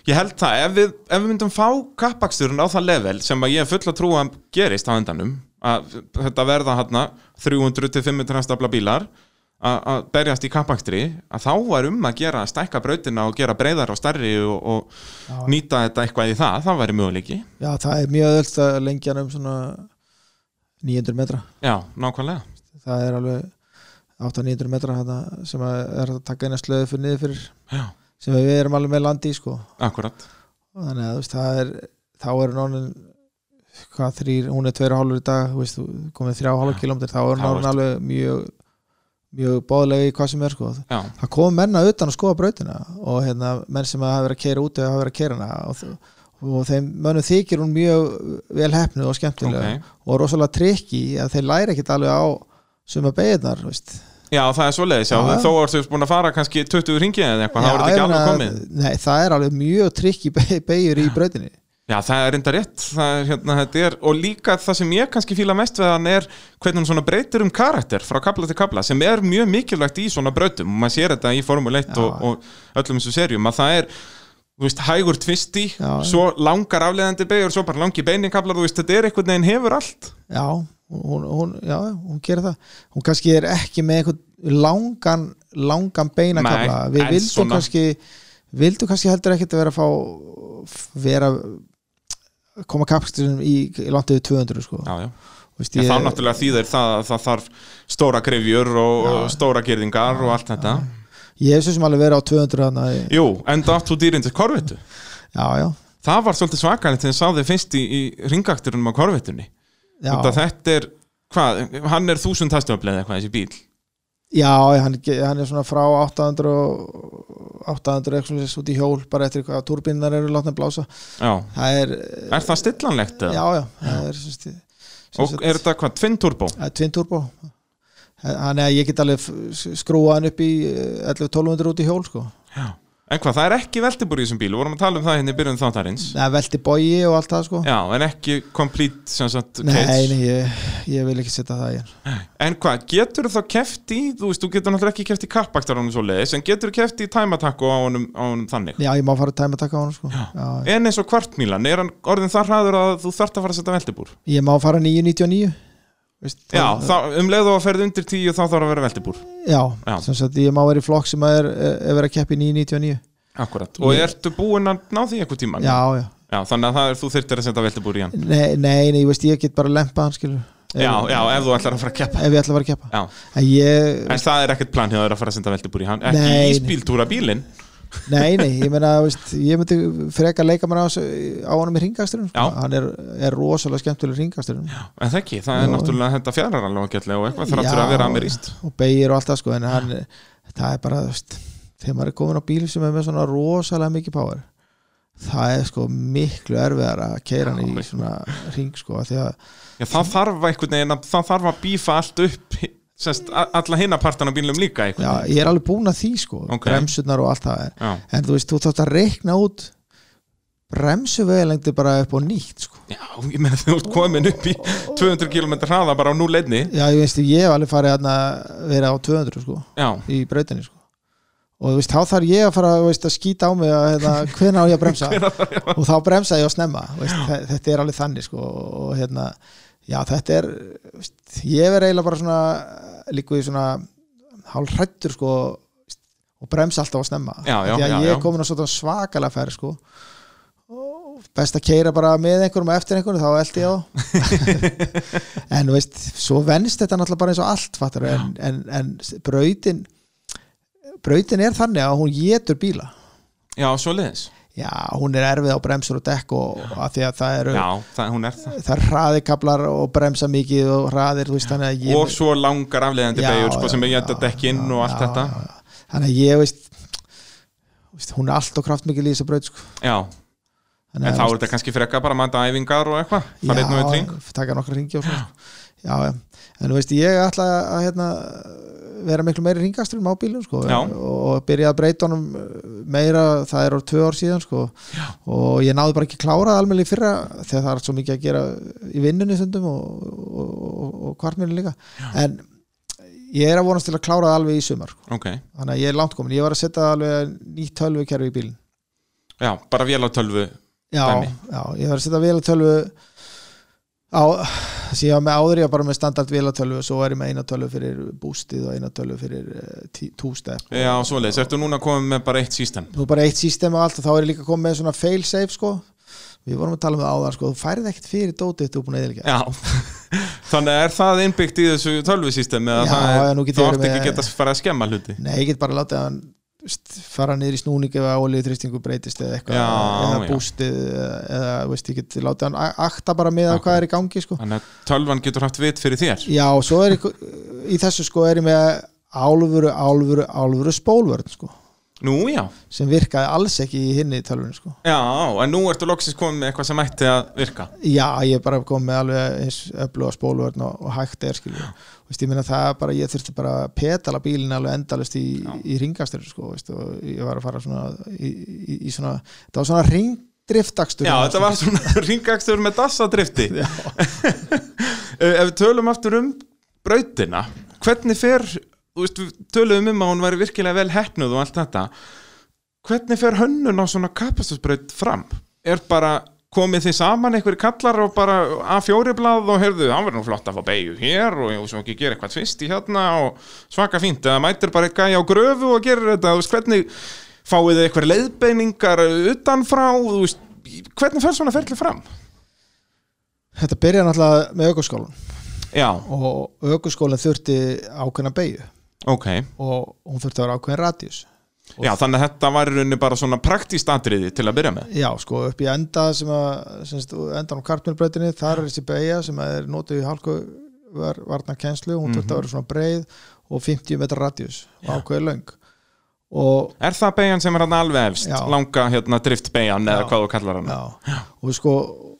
[SPEAKER 1] ég held það ef við, ef við myndum fá kappaksturinn á það level sem að ég er full að trúa að gerist á endanum, að þetta verða hérna 300-500 stafla bílar að að berjast í kappakstri að þá var um að gera stækka brautina og gera breyðar og stærri og, og
[SPEAKER 2] já,
[SPEAKER 1] nýta þetta eitthvað í það, það væri möguleiki
[SPEAKER 2] já, það er mjög öðvöld að lengja hana um svona 900 metra,
[SPEAKER 1] Já, nákvæmlega
[SPEAKER 2] það er alveg 800-900 metra hana, sem að er hægt að taka eina slöðu fyrir niður fyrir
[SPEAKER 1] Já,
[SPEAKER 2] sem við erum alveg með landi í sko
[SPEAKER 1] akkurat
[SPEAKER 2] Og þannig að þú veist, það er þá er hún orðin hvað þrýr, hún er tveira hálfur í dag þú veist, þú komið þrjá hálfur kilómetri, þá er hún
[SPEAKER 1] Þá
[SPEAKER 2] orðin alveg mjög mjög bóðlega í hvað sem er sko
[SPEAKER 1] Já,
[SPEAKER 2] það kom menna utan að skoða brautina og hérna, menn sem hafa verið að keira úti hafa verið að keira hana og, þ- og þeim mönnum þykir hún mjög vel hefnu og skemmtilega
[SPEAKER 1] ok
[SPEAKER 2] og rosalega trikki að þeir læra ekkit alveg á suma beigirnar veist.
[SPEAKER 1] Já, það er svoleiðis, já,
[SPEAKER 2] Já, já.
[SPEAKER 1] þó ertu búin að fara kannski 20 ringi eða eitthvað, þá
[SPEAKER 2] Já,
[SPEAKER 1] er
[SPEAKER 2] ég
[SPEAKER 1] þetta ekki alveg
[SPEAKER 2] meina,
[SPEAKER 1] komið
[SPEAKER 2] nei, það er alveg mjög trikki beigur í brautinni
[SPEAKER 1] Já, það er enda rétt, það er hérna, þetta er og líka það sem ég kannski fíla mest við hann er hvernig hún svona breytir um karakter frá kapla til kapla, sem er mjög mikilvægt í svona brautum, og maður sér þetta í Formule 1
[SPEAKER 2] Já.
[SPEAKER 1] og, og öllum þessu serjum, að það er þú veist, hægur tvisti,
[SPEAKER 2] Já, já.
[SPEAKER 1] svo langar afleðandi beigur, svo bara langi beiningkablar þú veist, þetta er einhvern veginn hefur allt
[SPEAKER 2] já, hún, hún, já, hún gerir það hún kannski er ekki með einhvern langan, langan beinakafla
[SPEAKER 1] Nei,
[SPEAKER 2] við
[SPEAKER 1] en
[SPEAKER 2] vildum
[SPEAKER 1] svona-
[SPEAKER 2] kannski vildum kannski heldur ekkit að vera að fá vera koma kapstunum í, í langt yfir 200 sko.
[SPEAKER 1] Já, já,
[SPEAKER 2] Vist,
[SPEAKER 1] ég... þá náttúrulega þýðir það, að það þarf stóra grefjur og, og stóra gerðingar og allt þetta
[SPEAKER 2] ég hef svo sem alveg verið á 200 hana, í-
[SPEAKER 1] Jú, enda átt þú dýrindir korvetu
[SPEAKER 2] já, já,
[SPEAKER 1] Það var svolítið svakalegt þegar ég sá þið fyrst í, í ringakturunum á korvetunni
[SPEAKER 2] já,
[SPEAKER 1] Þetta þetta er, hvað, hann er þúsund hestöflið eða eitthvað þessi bíl
[SPEAKER 2] já hann, ge- hann er svona frá 800 og 800 eitthvað svoleiðis út í hjól bara eftir hvað turbínar eru látna blása
[SPEAKER 1] Já,
[SPEAKER 2] það er,
[SPEAKER 1] er það stillanlegt
[SPEAKER 2] já,
[SPEAKER 1] eða?
[SPEAKER 2] já, það er sem sagt- sem
[SPEAKER 1] og
[SPEAKER 2] sagt-
[SPEAKER 1] er þetta hvað, tvinn turbo?
[SPEAKER 2] Það er Twin Turbo Þannig að ég get alveg skrúa hann upp í eh, 11-1200 út í hjól sko.
[SPEAKER 1] Já En hvað, það er ekki veltibúr í þessum bíl, við vorum að tala um það hérna í byrjun þáttarins
[SPEAKER 2] Það velti bogi og allt það sko.
[SPEAKER 1] Já, en ekki complete sem sagt
[SPEAKER 2] Nei,
[SPEAKER 1] cage.
[SPEAKER 2] nei ég, ég vil ekki setja það í hann
[SPEAKER 1] En hvað, getur þá keft í, þú veist, þú getur náttúrulega ekki keft í kappaktar á honum svo leiðis, en getur keft í time attack á honum, á honum þannig
[SPEAKER 2] Já, ég má fara að tæma taka á hann sko. Já, já.
[SPEAKER 1] En eins og kvartmílan, er hann orðin þar hraður að þú þarft að fara að setja veltibúr?
[SPEAKER 2] Ég má fara 999 Veist,
[SPEAKER 1] Já,
[SPEAKER 2] það-
[SPEAKER 1] þá, um leið og að ferð undir 10 þá þarf að vera veltibúr
[SPEAKER 2] já,
[SPEAKER 1] Já.
[SPEAKER 2] sem sagt ég má vera í flokk sem er, eh, er, er verið að keppi 999
[SPEAKER 1] Akkurat, og
[SPEAKER 2] Ég-
[SPEAKER 1] ertu búinn að ná því eitthvað tíma?
[SPEAKER 2] Já, já,
[SPEAKER 1] þannig að það er, þú þurftir að setja veltibúr í hann
[SPEAKER 2] nei, nei, nei ég, veist, ég get bara að lempa hann skilur
[SPEAKER 1] Já, já, ef þú ætlar að fara að keppa
[SPEAKER 2] Ef ég ætla að fara að keppa
[SPEAKER 1] Já,
[SPEAKER 2] En ég,
[SPEAKER 1] en það er ekkert plan hjá þér að fara að setja veltibúr í hann Ekki
[SPEAKER 2] Nei,
[SPEAKER 1] í
[SPEAKER 2] nei.
[SPEAKER 1] spíltúra bílinn
[SPEAKER 2] Nei, nei, ég meina, veist, ég myndi freka leika mér á, þessu- á honum í ringasturinn
[SPEAKER 1] Já.
[SPEAKER 2] hann er, er rosalega skemmtilega ringasturinn
[SPEAKER 1] Já, En það ekki, það er
[SPEAKER 2] Já.
[SPEAKER 1] náttúrulega þetta fjarar alveg ágætlega og eitthvað þráttur
[SPEAKER 2] Já.
[SPEAKER 1] að vera ameríst
[SPEAKER 2] og beigir og allt það sko en hann, það er bara, veist, þegar maður er komin á bíl sem er með svona rosalega mikið power það er sko miklu erfiðar að keira hann
[SPEAKER 1] Já.
[SPEAKER 2] í svona ring sko af því að,
[SPEAKER 1] Já, það þarf einhvern veginn að, það þarf að bífa allt upp sest, alla hinna partan á bílum líka
[SPEAKER 2] já,
[SPEAKER 1] einhvern veginn
[SPEAKER 2] ég er alveg búin að því sko
[SPEAKER 1] Ok.
[SPEAKER 2] bremsurnar og allt það
[SPEAKER 1] Já,
[SPEAKER 2] en þú veist, þú þátt að reikna út bremsu vegalengdi bara upp á nýtt sko.
[SPEAKER 1] Já, ég meina þegar þú ert komin upp í 200 km hraða bara á núleidni
[SPEAKER 2] já, ég veist, ég hef alveg farið þarna að vera á 200 sko,
[SPEAKER 1] Já,
[SPEAKER 2] í brautinni sko. og þú veist, þá þarf ég að fara þú veist, að skýta á mig að hérna, hvenær á ég að bremsa og þá bremsa ég á snemma þú veist, þe- þetta er alveg þannig sko, og hérna, já, þetta er þú veist, ég verið eiginlega bara svona líku í svona hálf hrættur sko, þú veist, og bremsa alltaf á snemma
[SPEAKER 1] Já, já,
[SPEAKER 2] Af því að
[SPEAKER 1] já,
[SPEAKER 2] ég
[SPEAKER 1] já.
[SPEAKER 2] er komin á svona svakalega ferð sko og best að keira bara með einhverjum og eftir einhverjum þá eldi ég á en þú veist, svo venst þetta náttúrulega bara eins og allt fattar en, en, en brautin brautin er þannig að hún getur bíla
[SPEAKER 1] já, svo leiðis
[SPEAKER 2] já, hún er erfið á bremsur og dekk og að því að það eru
[SPEAKER 1] Já, það, hún er það
[SPEAKER 2] það er hraðikablar og bremsa mikið og hraðir, þú veist, þannig að ég
[SPEAKER 1] Og svo langar afleiðandi
[SPEAKER 2] Já,
[SPEAKER 1] beigur sko,
[SPEAKER 2] já,
[SPEAKER 1] sem er
[SPEAKER 2] já,
[SPEAKER 1] jæta dekkinn
[SPEAKER 2] já,
[SPEAKER 1] og
[SPEAKER 2] já,
[SPEAKER 1] allt þetta
[SPEAKER 2] já, já. þannig að ég veist, veist hún er allt og kraftmikið í þessu braut sko.
[SPEAKER 1] Já,
[SPEAKER 2] Þannig að,
[SPEAKER 1] en þá er þetta kannski frekka bara að manda æfingar og eitthvað Það er einn og einn ring
[SPEAKER 2] taka nokkra ringi og svona sko. já, já, en þú veist, ég ætla að hérna, vera miklu meiri ringasturum á bílum sko,
[SPEAKER 1] Já.
[SPEAKER 2] og og byrja að breyta honum uh, meira, það er orð tvö ár síðan sko, og ég náði bara ekki klárað almenni í fyrra, þegar það er svo mikið að gera í vinnunni stundum og, og, og, og kvartmjörni líka en ég er að vonast til að klára það alveg í sumar, sko.
[SPEAKER 1] Ok,
[SPEAKER 2] þannig að ég er langt komin ég var að setja alveg nýtt tölvukerfi í bílinn
[SPEAKER 1] já, bara vél á tölvu
[SPEAKER 2] já,
[SPEAKER 1] dæmi.
[SPEAKER 2] já, ég var að setja vélatölvu á þessi ég var með áður ég var bara með standard vélatölvu svo er ég með eina tölvu fyrir bústið og eina tölvu fyrir uh, tústep
[SPEAKER 1] Já, svo leiðis, ertu núna komið með bara eitt sístem
[SPEAKER 2] þú bara eitt system og allt og þá er ég líka komið með svona fail safe sko við vorum að tala um það áðan sko þú færið ekkert fyrir dótið þú er búin að eðilika
[SPEAKER 1] Já, þannig er það innbyggt í þessu tölvu sístem eða
[SPEAKER 2] Já,
[SPEAKER 1] það er,
[SPEAKER 2] já, nú get
[SPEAKER 1] þá
[SPEAKER 2] ég verið
[SPEAKER 1] ertu ekki
[SPEAKER 2] með-
[SPEAKER 1] geta að fara að skemma hluti
[SPEAKER 2] nei, ég get bara látið að hann veist, fara niður í snúning ef að olíu breytist eða eitthvað
[SPEAKER 1] Já, já.
[SPEAKER 2] eða bústið eða, eða veist, ég get látið hann a- akta bara með að hvað er í gangi sko
[SPEAKER 1] Þannig að tölvan getur haft vit fyrir þér
[SPEAKER 2] Já, og svo er ég, í þessu sko er ég með álfuru, álfuru, álfuru spólvörn sko,
[SPEAKER 1] Nú, já
[SPEAKER 2] sem virkaði alls ekki í hinni tölvunni sko.
[SPEAKER 1] Já, en nú ertu loksins komið með eitthvað sem ætti að virka
[SPEAKER 2] Já, ég er bara kom með alveg eins öfluga spólvörn og, og hægt er skilur. Veist, ég meina það er bara, ég þurfti bara að petala bílinn alveg endalist í, í ringastur sko, veist, og ég var að fara svona í, í, í svona, það var svona ringdriftakstur.
[SPEAKER 1] Já, þetta var svona ringakstur með dassadrifti
[SPEAKER 2] Já.
[SPEAKER 1] Eh, Ef við tölum aftur um brautina Hvernig fer, þú veist, við tölum um að hún væri virkilega vel heppnuð og allt þetta Hvernig fer hönnun á svona kapastusbraut fram? Er bara komið þið saman einhverjir kallar og bara A4 blað og heyrðu, hann verður nú flott að fá beigju hér og svo ekki gera eitthvað tvist í hérna og svaka fínt, eða mætir bara eitthvað á gröfu og gerir þetta, þú veist, hvernig fáið þið eitthvað leiðbeiningar utanfrá, þú veist, hvernig fer svona ferli fram?
[SPEAKER 2] Þetta byrjaði náttúrulega með aukurskólan
[SPEAKER 1] Já,
[SPEAKER 2] og aukurskólan þurfti ákveðna beigju
[SPEAKER 1] ok
[SPEAKER 2] og hún þurfti að vera ákveðin radíus.
[SPEAKER 1] Já, þannig að þetta var í rauninni bara svona praktíst atriði til að byrja með
[SPEAKER 2] Já, sko, upp í enda sem að, sem sagt, endan á kartmjölbreytinni, þar er þessi beigja sem að er notuð í hálku var, varna kenslu, hún þurfti að vera svona breið og 50 metrar radius og ákveði löng og,
[SPEAKER 1] Er það beigjan sem er hann alveg efst?
[SPEAKER 2] Já.
[SPEAKER 1] Langa hérna driftbeigjan eða hvað þú kallar hann
[SPEAKER 2] já, og sko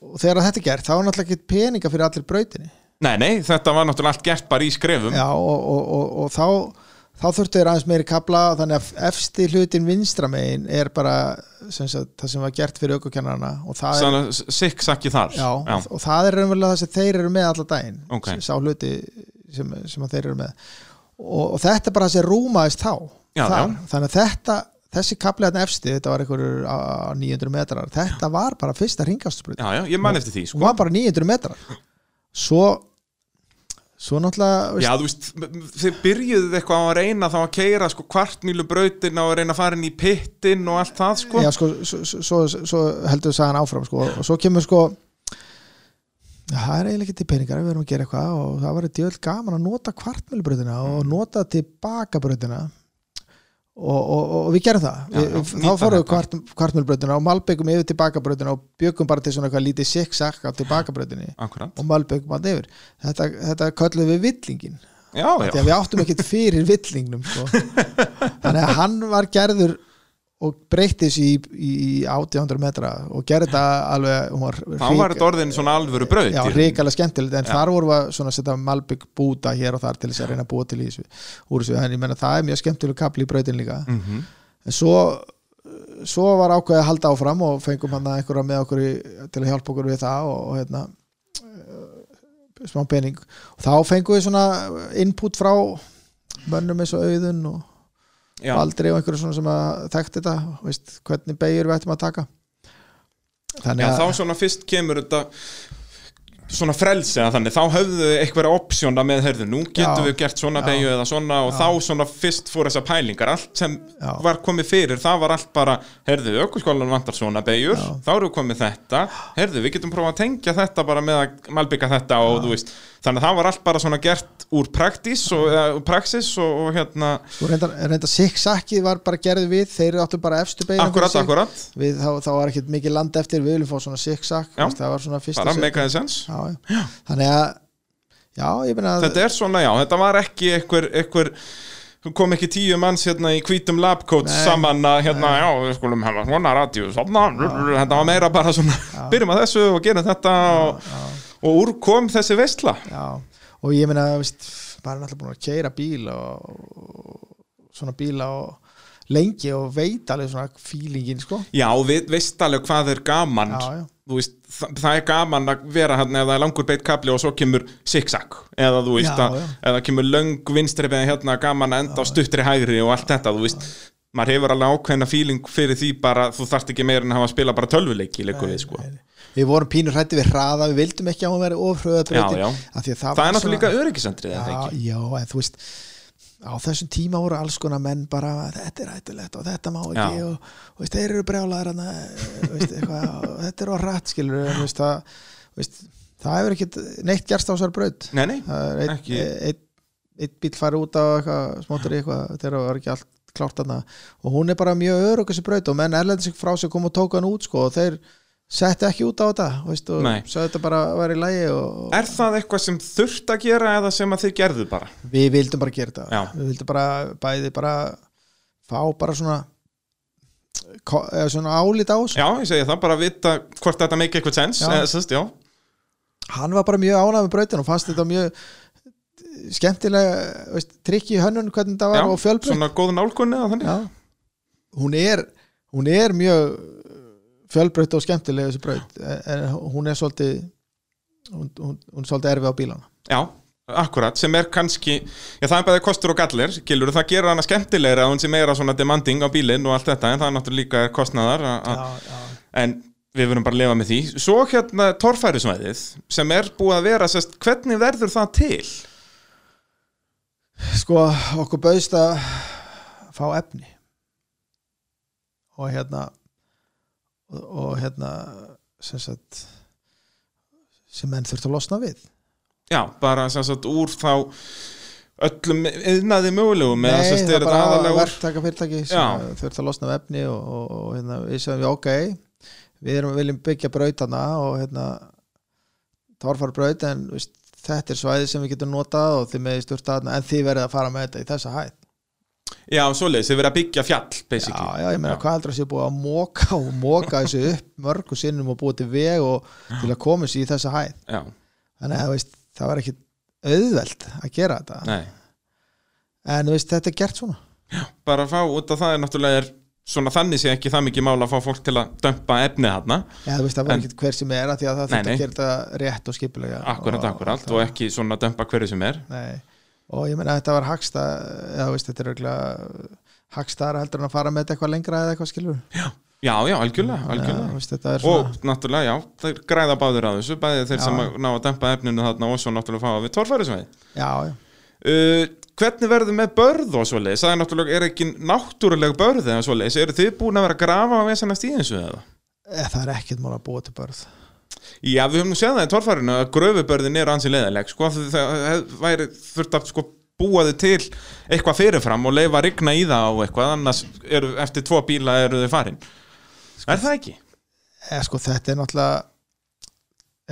[SPEAKER 2] og þegar þetta er gert, þá er náttúrulega ekki peninga fyrir allir brautinni,
[SPEAKER 1] Nei, nei, þetta var náttúrulega allt gert bara í skrefum
[SPEAKER 2] já, og, og, og, og þá þá þurftu þér aðeins meiri kabla þannig að efsti hlutin vinstra megin er bara, sem sagt, það sem var gert fyrir aukukennarana og það er
[SPEAKER 1] Svona sikksakki þar
[SPEAKER 2] já, Og, og það er raunverulega það sem þeir eru með alla daginn
[SPEAKER 1] Ok.
[SPEAKER 2] sá hluti sem, sem að þeir eru með og, og þetta er bara þessi rúmaðist þá
[SPEAKER 1] Já,
[SPEAKER 2] Þar.
[SPEAKER 1] já.
[SPEAKER 2] þannig að þetta þessi kaplið hann efsti, þetta var einhverjur á 900 metrar, þetta var bara fyrsta ringastusbrut,
[SPEAKER 1] já, já, ég man eftir því sko.
[SPEAKER 2] hún var bara 900 metrar svo svo náttúrulega
[SPEAKER 1] Já, þú veist, þið byrjuðuð eitthvað á að reyna þá að keira sko kvartmýlu brautin og að reyna að fara inn í pittin og allt það sko
[SPEAKER 2] Já, sko, svo, svo, svo heldur við sagan áfram sko, og svo kemur sko já, það er eiginlega ekki til peningar við erum að gera eitthvað og það var djöld gaman að nota kvartmjölubröðina
[SPEAKER 1] Mm.
[SPEAKER 2] og nota tilbakabröðina og, og, og, og við gerum það
[SPEAKER 1] Já,
[SPEAKER 2] við,
[SPEAKER 1] já,
[SPEAKER 2] þá
[SPEAKER 1] nýta
[SPEAKER 2] fórum við
[SPEAKER 1] þetta.
[SPEAKER 2] kvart, kvartmjölubröðina og malbyggum yfir tilbakabröðina og byggum bara til svona eitthvað lítið siksak á tilbakabröðinni
[SPEAKER 1] Akkurat,
[SPEAKER 2] og malbyggum hann yfir þetta, þetta köllum við villingin
[SPEAKER 1] já, já,
[SPEAKER 2] því að við áttum ekkert fyrir villingnum sko. þannig að hann var gerður og breytti þessu í, í 800 metra og gerði þetta alveg hún var
[SPEAKER 1] þá var þetta orðin svona alvöru
[SPEAKER 2] já,
[SPEAKER 1] braut í rauninni.
[SPEAKER 2] ríkalega skemmtilegt en þar vorum við svona að setja malbygg búta hér og þar til þess að reyna að búa til í þessu úr þessu, en ég menna það er mjög skemmtileg kapli í brautin líka
[SPEAKER 1] Mhm.
[SPEAKER 2] en svo svo var ákveðið að halda áfram og fengum hann einhverja með okkur í, til að hjálpa okkur við það og, og hérna eh, smá pening og þá fengum við svona input frá mönnum eins og auðun og
[SPEAKER 1] já,
[SPEAKER 2] aldrei og einhverju svona sem að þekkt þetta og veist, hvernig beigur við ættum að taka
[SPEAKER 1] já,
[SPEAKER 2] þannig
[SPEAKER 1] þá
[SPEAKER 2] að
[SPEAKER 1] svona fyrst kemur þetta svona frelsi að þannig, þá höfðu þau einhverja opsjóna með, heyrðu, nú getum
[SPEAKER 2] Já.
[SPEAKER 1] við gert svona
[SPEAKER 2] Já.
[SPEAKER 1] degju eða svona og þá svona fyrst fór þessar pælingar, allt sem
[SPEAKER 2] Já.
[SPEAKER 1] var komið fyrir, það var allt bara heyrðu, ökkurskólan vantar svona degjur
[SPEAKER 2] Já.
[SPEAKER 1] þá eru komið þetta, heyrðu, við getum prófað að tengja þetta bara með að malbygga þetta og þú veist, þannig að það var allt bara svona gert úr praktís og, eða, praxis og, og hérna,
[SPEAKER 2] sko reynda, reynda sikksakki var bara gerði við þeir áttu bara efstu beina
[SPEAKER 1] akkurat, akkurat
[SPEAKER 2] við, þá, þá var ekkert mikið land eftir við viljum fá svona sikksakk
[SPEAKER 1] Já.
[SPEAKER 2] það var svona fyrsta
[SPEAKER 1] bara
[SPEAKER 2] sinn.
[SPEAKER 1] meikaði sens
[SPEAKER 2] já, já. þannig að já, ég meina að
[SPEAKER 1] þetta er svona, já, þetta var ekki einhver, einhver kom ekki tíu manns hérna í hvítum labcoat
[SPEAKER 2] Nei.
[SPEAKER 1] saman að hérna, já, við skulum hafa svona radíu, svona, þetta var meira bara svona, byrjum að þessu og gerum þetta og, og úr kom þessi veistla
[SPEAKER 2] já, og ég meina veist, maður er náttúrulega búin að keira bíl og, og svona bíla og lengi og veit alveg svona feelingin sko
[SPEAKER 1] Já, við veist alveg hvað er gaman
[SPEAKER 2] Já, já.
[SPEAKER 1] Þú veist, það, það er gaman að vera hérna ef það er langur beitt kabli og svo kemur zigzag eða þú veist
[SPEAKER 2] Já,
[SPEAKER 1] að
[SPEAKER 2] já.
[SPEAKER 1] eða kemur löng vinstri beða hérna gaman að enda á stuttri hægri og allt þetta, þú veist maður hefur alveg ákveðna fíling fyrir því bara þú þarft ekki meira en að hafa að spila bara tölvuleiki leikur við sko.
[SPEAKER 2] við vorum pínur hrætti við hraða við vildum ekki að hún veri ofröða breyti
[SPEAKER 1] Já, já.
[SPEAKER 2] það,
[SPEAKER 1] Það er náttúrulega líka öryggisandrið eða
[SPEAKER 2] já,
[SPEAKER 1] ekki?
[SPEAKER 2] já, en þú veist á þessum tíma voru alls konar menn bara þetta er hættulegt og þetta má ekki
[SPEAKER 1] Já.
[SPEAKER 2] og, og veist, þeir eru brjálaðar hana, veist, eitthvað, og þetta er á rætt skilur en, veist, það, veist, það hefur ekki neitt gerst á þessar braut
[SPEAKER 1] Nei, nei,
[SPEAKER 2] það er einn eh,
[SPEAKER 1] ekki.
[SPEAKER 2] ein, ein bíl farið út á eitthvað smóttur í eitthvað þegar það var ekki allt klárt þarna og hún er bara mjög örug þessi braut og menn erlendis frá sig kom og tók hann út sko og þeir settu ekki út á þetta veist, og
[SPEAKER 1] Nei.
[SPEAKER 2] svo þetta bara var í lægi og
[SPEAKER 1] Er það eitthvað sem þurft að gera eða sem að þið gerðu bara?
[SPEAKER 2] við vildum bara gera þetta
[SPEAKER 1] Já.
[SPEAKER 2] við vildum bara bæði bara fá bara svona ko- eða svona álít á þessu.
[SPEAKER 1] Já, ég segi það, bara að vita hvort þetta make eitthvað sens
[SPEAKER 2] Já.
[SPEAKER 1] eða, sest, já.
[SPEAKER 2] hann var bara mjög ánægð með brautin og fannst þetta mjög eh, skemmtilega veist, trikki í hönnun hvernig þetta var
[SPEAKER 1] Já,
[SPEAKER 2] og fjölbreytt
[SPEAKER 1] Svona góð nálgunni eða þannig
[SPEAKER 2] Já. hún er hún er mjög fjölbreytt og skemmtilega þessi braut en- en hún er svolítið hún, hún, hún er svolítið erfið á bílana
[SPEAKER 1] Já, akkurat, sem er kannski já, það er bara kostur og gallir, gilur það gera hana skemmtilegra að hún sé meira svona demanding á bílinn og allt þetta, en það er náttúrulega líka kostnaðar a, a,
[SPEAKER 2] já,
[SPEAKER 1] en við verum bara að lifa með því Svo hérna torfærisvæðið sem er búið að vera, sest, hvernig verður það til?
[SPEAKER 2] sko okkur bauðst að fá efni og hérna og, og hérna sem sagt sem menn þurft að losna við
[SPEAKER 1] Já, bara sem sagt úr þá öllum yðnaði mögulegum eða
[SPEAKER 2] Nei,
[SPEAKER 1] sest,
[SPEAKER 2] það
[SPEAKER 1] er
[SPEAKER 2] er
[SPEAKER 1] þetta
[SPEAKER 2] bara
[SPEAKER 1] aðalega úr
[SPEAKER 2] verktaka fyrirtæki
[SPEAKER 1] Já.
[SPEAKER 2] sem þurft að losna við efni og, og, og hérna, við sem við ok við erum, viljum byggja brautana og hérna torfar braut en veist, þetta er svæði sem við getum notað og þið með styrta þarna en þið verðið að fara með þetta í þessa hæð
[SPEAKER 1] Já, svoleiðis, þið verið að byggja fjall
[SPEAKER 2] Já,
[SPEAKER 1] basically
[SPEAKER 2] já, ég meina,
[SPEAKER 1] Já.
[SPEAKER 2] hvað heldur að sé búið að móka og móka þessu upp mörgu sinnum og búið til veg og til að koma sér í þessa hæð
[SPEAKER 1] Já,
[SPEAKER 2] þannig að þú veist, það var ekki auðvelt að gera þetta
[SPEAKER 1] nei
[SPEAKER 2] en þú veist, þetta er gert svona
[SPEAKER 1] bara að fá út af það er náttúrulega er svona þannig sé ekki það mikið mála að fá fólk til að dömpa efnið þarna,
[SPEAKER 2] Já, þú veist, það var
[SPEAKER 1] En-
[SPEAKER 2] ekki hver sem er að því að það
[SPEAKER 1] Nei,
[SPEAKER 2] þurfti
[SPEAKER 1] nei.
[SPEAKER 2] að gera þetta rétt og skipulega
[SPEAKER 1] akkurat, akkurat og ekki svona dömpa hverju sem er
[SPEAKER 2] Nei, og ég meina þetta var hagsta eða þú veist, þetta er örgulega hagstaðar heldur en að fara með þetta eitthvað lengra eða eitthvað skilur
[SPEAKER 1] já, já, algjörlega,
[SPEAKER 2] Já, þú
[SPEAKER 1] algjörlega.
[SPEAKER 2] veist, þetta er
[SPEAKER 1] og
[SPEAKER 2] svona,
[SPEAKER 1] náttúrulega, já, þeir græða báður að þessu bæði þeir
[SPEAKER 2] Já.
[SPEAKER 1] sem að ná að dömpa efninu þarna og svo náttúrulega fá við torfærisvæði
[SPEAKER 2] já, já
[SPEAKER 1] uh, hvernig verður með börð og svoleiðis, það er náttúrulega er ekki náttúruleg börð eða svoleiðis, eru þið búin að vera að grafa á vesana stíðinsu eða?
[SPEAKER 2] Eh, það er ekkert mál að búa til börð
[SPEAKER 1] Já, við höfum nú séð það í torfærinu að gröfubörðin er ansi leiðileg sko, það- það hef- væri þurft að sko búa þau til eitthvað fyrirfram og leifa að rigna í það og eitthvað annars eru, eftir tvo bíla eru þau farin Er það ekki?
[SPEAKER 2] eða sko þetta er náttúrulega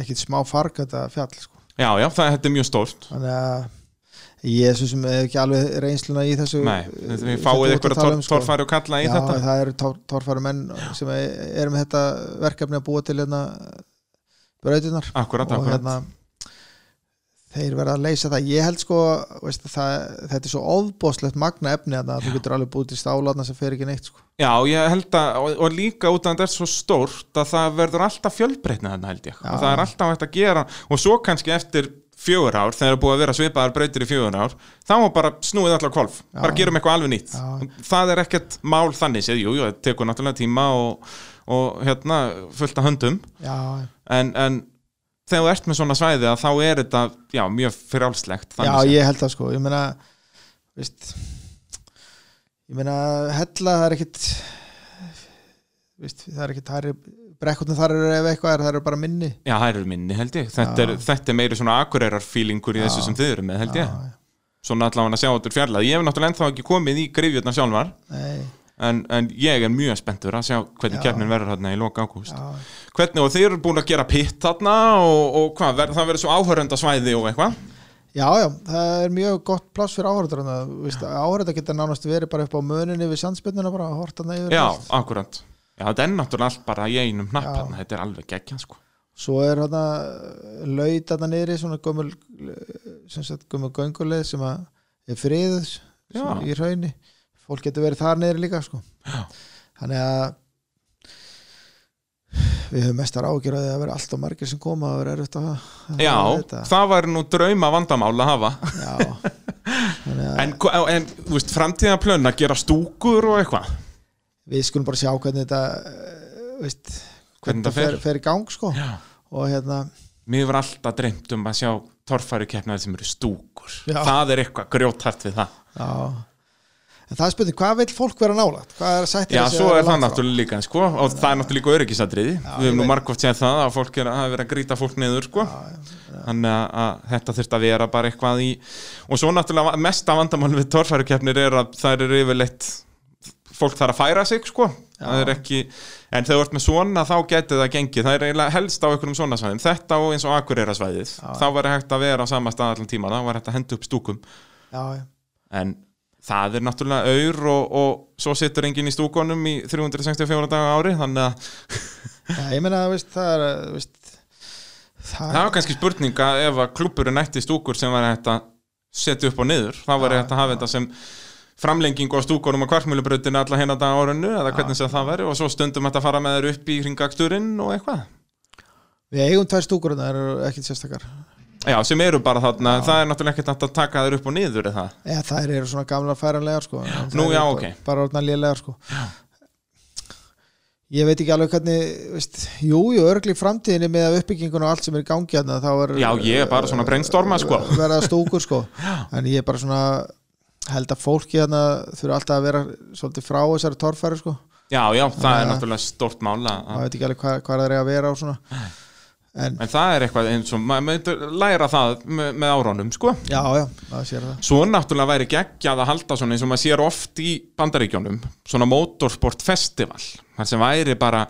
[SPEAKER 2] ekkit smá farg þetta fjall sko.
[SPEAKER 1] Já, já, það þetta er mjög stórt
[SPEAKER 2] þannig að ég er svo sem hef ekki alveg reynsluna í þessu
[SPEAKER 1] Nei, þetta- við
[SPEAKER 2] sem þú
[SPEAKER 1] fáið
[SPEAKER 2] ert að
[SPEAKER 1] eitthvað
[SPEAKER 2] tala
[SPEAKER 1] tor,
[SPEAKER 2] um,
[SPEAKER 1] torfæri og kalla í
[SPEAKER 2] Já,
[SPEAKER 1] þetta
[SPEAKER 2] það eru tor, torfæru menn sem er með þetta verkefni að búa til hérna brautirnar
[SPEAKER 1] Akkurat,
[SPEAKER 2] og
[SPEAKER 1] akkurat
[SPEAKER 2] hérna þeir verða að leysa það ég held sko, veist, það, þetta er svo ofbóðslegt magna efni þarna að þú getur alveg búið til stálaðna sem fer ekki neitt sko.
[SPEAKER 1] Já, ég held að, og, og líka út af þetta er svo stórt að það verður alltaf fjölbreytna þarna held ég,
[SPEAKER 2] Já.
[SPEAKER 1] og það er alltaf hægt að gera og svo kannski eftir fjögur ár þegar það er búið að vera svipaðar breytir í fjögur ár þá var bara snúið allar kvolf bara gerum eitthvað alveg nýtt
[SPEAKER 2] Já.
[SPEAKER 1] Og það er ekkert mál þannig, séð, jú, jú, það tekur náttúrulega tíma og, og hérna fullt af höndum
[SPEAKER 2] já,
[SPEAKER 1] en, en þegar þú ert með svona svæði að þá er þetta, já, mjög frjálslegt
[SPEAKER 2] já,
[SPEAKER 1] séð.
[SPEAKER 2] ég held það sko ég meina veist, ég meina hella það er ekkit veist, það er ekkit það er, brekkurnar þar eru ef eitthvað er það eru bara minni
[SPEAKER 1] já, það eru minni held ég þetta,
[SPEAKER 2] Já.
[SPEAKER 1] er, þetta er meiri svona akureyrar feelingur í
[SPEAKER 2] Já.
[SPEAKER 1] þessu sem þið eru með held ég
[SPEAKER 2] Já,
[SPEAKER 1] svona allavega að sjá þetta fjarlæð ég hef náttúrulega ennþá ekki komið í grifjurnar sjálfar
[SPEAKER 2] nei,
[SPEAKER 1] en, en ég er mjög spenntur að sjá hvernig
[SPEAKER 2] Já.
[SPEAKER 1] keppnin verður hérna í loka ágúst
[SPEAKER 2] já,
[SPEAKER 1] hvernig og þeir eru búin að gera pitt þarna og, og hvað, ver, það verður svo áhörönda svæði og eitthvað
[SPEAKER 2] já, já, það er mjög gott pláss fyrir áhörðurna áhörðurna geta nánast verið bara upp á möninni við sandsbynnuna bara að horta það yfir
[SPEAKER 1] já,
[SPEAKER 2] allt.
[SPEAKER 1] akkurat já, þetta er náttúrulega allt bara í einum hnapp
[SPEAKER 2] Já.
[SPEAKER 1] hérna, þetta er alveg geggja sko
[SPEAKER 2] svo er hérna laut hérna niðri svona gömul sem sagt gömul gönguleið sem að er friðus
[SPEAKER 1] Já.
[SPEAKER 2] í raunni fólk getur verið þar niðri líka sko. þannig að við höfum mestar ágjur að það vera alltaf margir sem koma að vera erfitt að að
[SPEAKER 1] já,
[SPEAKER 2] hafa þetta.
[SPEAKER 1] það var nú drauma vandamál að hafa
[SPEAKER 2] já. þannig að
[SPEAKER 1] en, hva- en þú veist, framtíða plön að gera stúkur og eitthvað
[SPEAKER 2] við skulum bara sjá hvernig þetta eh, veist,
[SPEAKER 1] Hvernig þetta fer.
[SPEAKER 2] fer, fer í gang sko. og hérna
[SPEAKER 1] mér var alltaf dreymt um að sjá torfæri keppnaði sem eru stúkur
[SPEAKER 2] Já.
[SPEAKER 1] það er eitthvað grjóthart við það
[SPEAKER 2] já. en það er spurning, hvað vil fólk vera nálagt? hvað er sættir
[SPEAKER 1] Já,
[SPEAKER 2] þessi að
[SPEAKER 1] svo
[SPEAKER 2] vera
[SPEAKER 1] er það
[SPEAKER 2] langt frá?
[SPEAKER 1] náttúrulega líka, sko og það er náttúrulega líka öryggisatriði við
[SPEAKER 2] ég
[SPEAKER 1] hefum nú
[SPEAKER 2] veit.
[SPEAKER 1] margóft séð það að fólk er að hafa verið að grýta fólk niður, sko þannig að, að þetta þurft að vera bara eitthvað í og svo náttúrulega mesta vandamál við torfærukeppnir er að það eru yfirleitt fólk þarf að færa sig, sko það er ekki, en þegar þú ert með svona þá geti það gengið, það er eiginlega helst á einhverjum svona svæðum, þetta og eins og akureyra þá var hægt að vera á sama stað allan tíma þá var hægt að henda upp stúkum
[SPEAKER 2] já, já.
[SPEAKER 1] en það er náttúrulega aur og, og svo situr enginn í stúkonum í 364 daga á ári þannig að
[SPEAKER 2] Já, ég meina, veist, það er veist, það,
[SPEAKER 1] það var kannski spurninga ef að klubburinn ætti stúkur sem var hægt að setja upp og niður þá var hægt að hafa þetta sem framlengingu á stúkonum og kvartmjölubrautin alla hérna daga á árinu eða hvernig sem það veri og svo stundum hægt að fara með þeir upp í hringaksturinn og eitthvað
[SPEAKER 2] við eigum tvær stúkur en það eru ekkit sérstakar
[SPEAKER 1] Já, sem eru bara þarna, það er náttúrulega ekkert hægt að taka þeir upp og niður eða það
[SPEAKER 2] eða þær eru svona gamla færanlegar sko, En þær
[SPEAKER 1] Nú,
[SPEAKER 2] eru
[SPEAKER 1] já,
[SPEAKER 2] bara-
[SPEAKER 1] ok.
[SPEAKER 2] bara orðna lélegar sko. ég veit ekki alveg hvernig veist, jú, jú, örgli framtíðinni með uppbyggingun og allt sem er í gangi hérna, þá er
[SPEAKER 1] Já, ég er bara svona brainstorma sko
[SPEAKER 2] verða stúkur sko en ég er bara svona held að fólki hérna þurfa alltaf að vera svolítið frá þessari torfæri sko
[SPEAKER 1] Já, já, það er
[SPEAKER 2] Já.
[SPEAKER 1] náttúrulega stort mála að
[SPEAKER 2] maður veit ekki alveg hvað, hvað það er að vera og svona en
[SPEAKER 1] En það er eitthvað eins og maður myndur læra það með, með árónum sko.
[SPEAKER 2] já, já, maður sér það
[SPEAKER 1] Svo náttúrulega væri geggjað að halda svona eins og maður sér oft í bandaríkjónum svona motorsport festival þar sem væri bara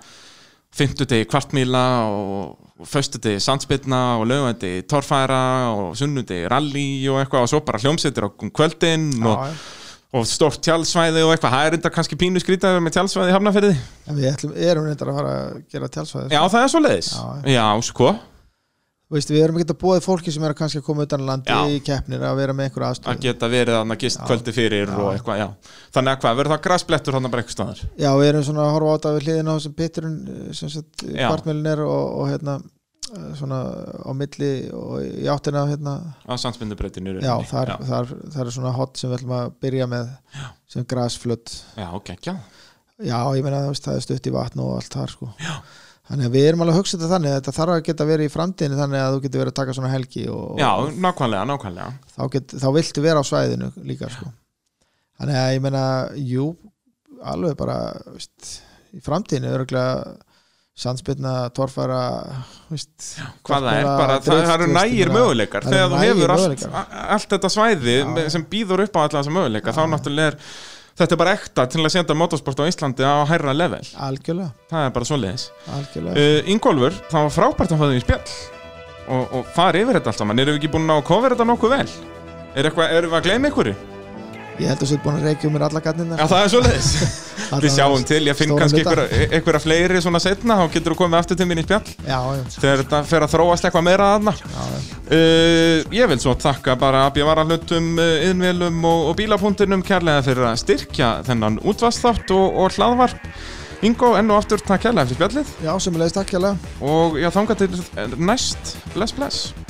[SPEAKER 1] 50 degi kvartmíla og 1. degi sandspilna og lögandi torfæra og sunnudegi rally og eitthvað og svo bara hljómsettir á um kvöldin og,
[SPEAKER 2] já, já.
[SPEAKER 1] og stórt tjálsvæði og eitthvað það er enda kannski pínu skrýtaður með tjálsvæði í hafnaferði
[SPEAKER 2] En við ætlum, erum reyndar að fara að gera tjálsvæði
[SPEAKER 1] Já það er svo leiðis
[SPEAKER 2] Já,
[SPEAKER 1] Já, sko
[SPEAKER 2] Veist, Við erum ekki að bóðið fólki sem eru kannski að koma utan landi
[SPEAKER 1] Já.
[SPEAKER 2] í keppnir að vera með einhverja aðstöð
[SPEAKER 1] að geta verið að gist kvöldi fyrir og eitthvað, já. Þannig að hvað, verður það grasplettur hann bara eitthvað staðar?
[SPEAKER 2] Já, við erum svona að horfa á þetta við hliðin á þessum pitturinn eh, sem sett
[SPEAKER 1] Já.
[SPEAKER 2] kvartmjölin er og, og hérna eh, svona á milli og í áttina hérna,
[SPEAKER 1] Á sandsmyndubreytinu í
[SPEAKER 2] já,
[SPEAKER 1] rauninni.
[SPEAKER 2] þar, Þar, þar er svona hot sem við ætlum að byrja með já. sem grasflött
[SPEAKER 1] Já, já ok, já.
[SPEAKER 2] Já, ég meina þú veist, það er stutt í vatn og allt þar sko. Þannig að við erum alveg að hugsa þetta þannig að þetta þarf að geta verið í framtíðinu þannig að þú getur verið að taka svona helgi og,
[SPEAKER 1] Já, nákvæmlega, nákvæmlega.
[SPEAKER 2] þá, get, þá viltu vera á svæðinu líka sko. þannig að ég meina jú, alveg bara veist, í framtíðinu örgulega sandsbyrna, torfara veist,
[SPEAKER 1] Hvað það er,
[SPEAKER 2] hvort
[SPEAKER 1] bara, það,
[SPEAKER 2] drift,
[SPEAKER 1] það eru
[SPEAKER 2] veist, ég
[SPEAKER 1] nægir
[SPEAKER 2] meina,
[SPEAKER 1] möguleikar.
[SPEAKER 2] það
[SPEAKER 1] Þegar
[SPEAKER 2] eru
[SPEAKER 1] þú
[SPEAKER 2] nægir
[SPEAKER 1] hefur allt,
[SPEAKER 2] möguleikar.
[SPEAKER 1] a- allt þetta svæði með- sem býður upp á alla þessa möguleika, þá náttúrulega er þetta er bara ekta til að senda motorsport á Íslandi á hærra level.
[SPEAKER 2] algjörlega,
[SPEAKER 1] Það er bara svo leiðis.
[SPEAKER 2] algjörlega.
[SPEAKER 1] Uh, Ingólfur, það var frábært að fá þig í spjall og, og fara yfir þetta allt saman. Erum við ekki búin að ná að cover þetta nokkuð vel? Er eitthvað, erum við að gleyma einhverju?
[SPEAKER 2] ég held að þessu er búin að reykja um mér alla gatnirna
[SPEAKER 1] Já, það er svoleiðis. Við sjáum til, ég finn kannski einhverja, e-
[SPEAKER 2] já,
[SPEAKER 1] einhverja fleiri svona setna, þá getur þú komið aftur til mín í spjall
[SPEAKER 2] já,
[SPEAKER 1] þegar þetta fer að þróast eitthvað meira að þarna.
[SPEAKER 2] já, já.
[SPEAKER 1] Uh, ég vil svo þakka bara að ég var að hlutum uh, innvelum og, og bílapunktinum kærlega fyrir að styrkja þennan útvastátt og, og hlaðvarp. Ingo, enn og aftur takk kærlega fyrir spjallið
[SPEAKER 2] já sem er leiðist takkjalega
[SPEAKER 1] og já, þanga til eh, næst. Bless, bless.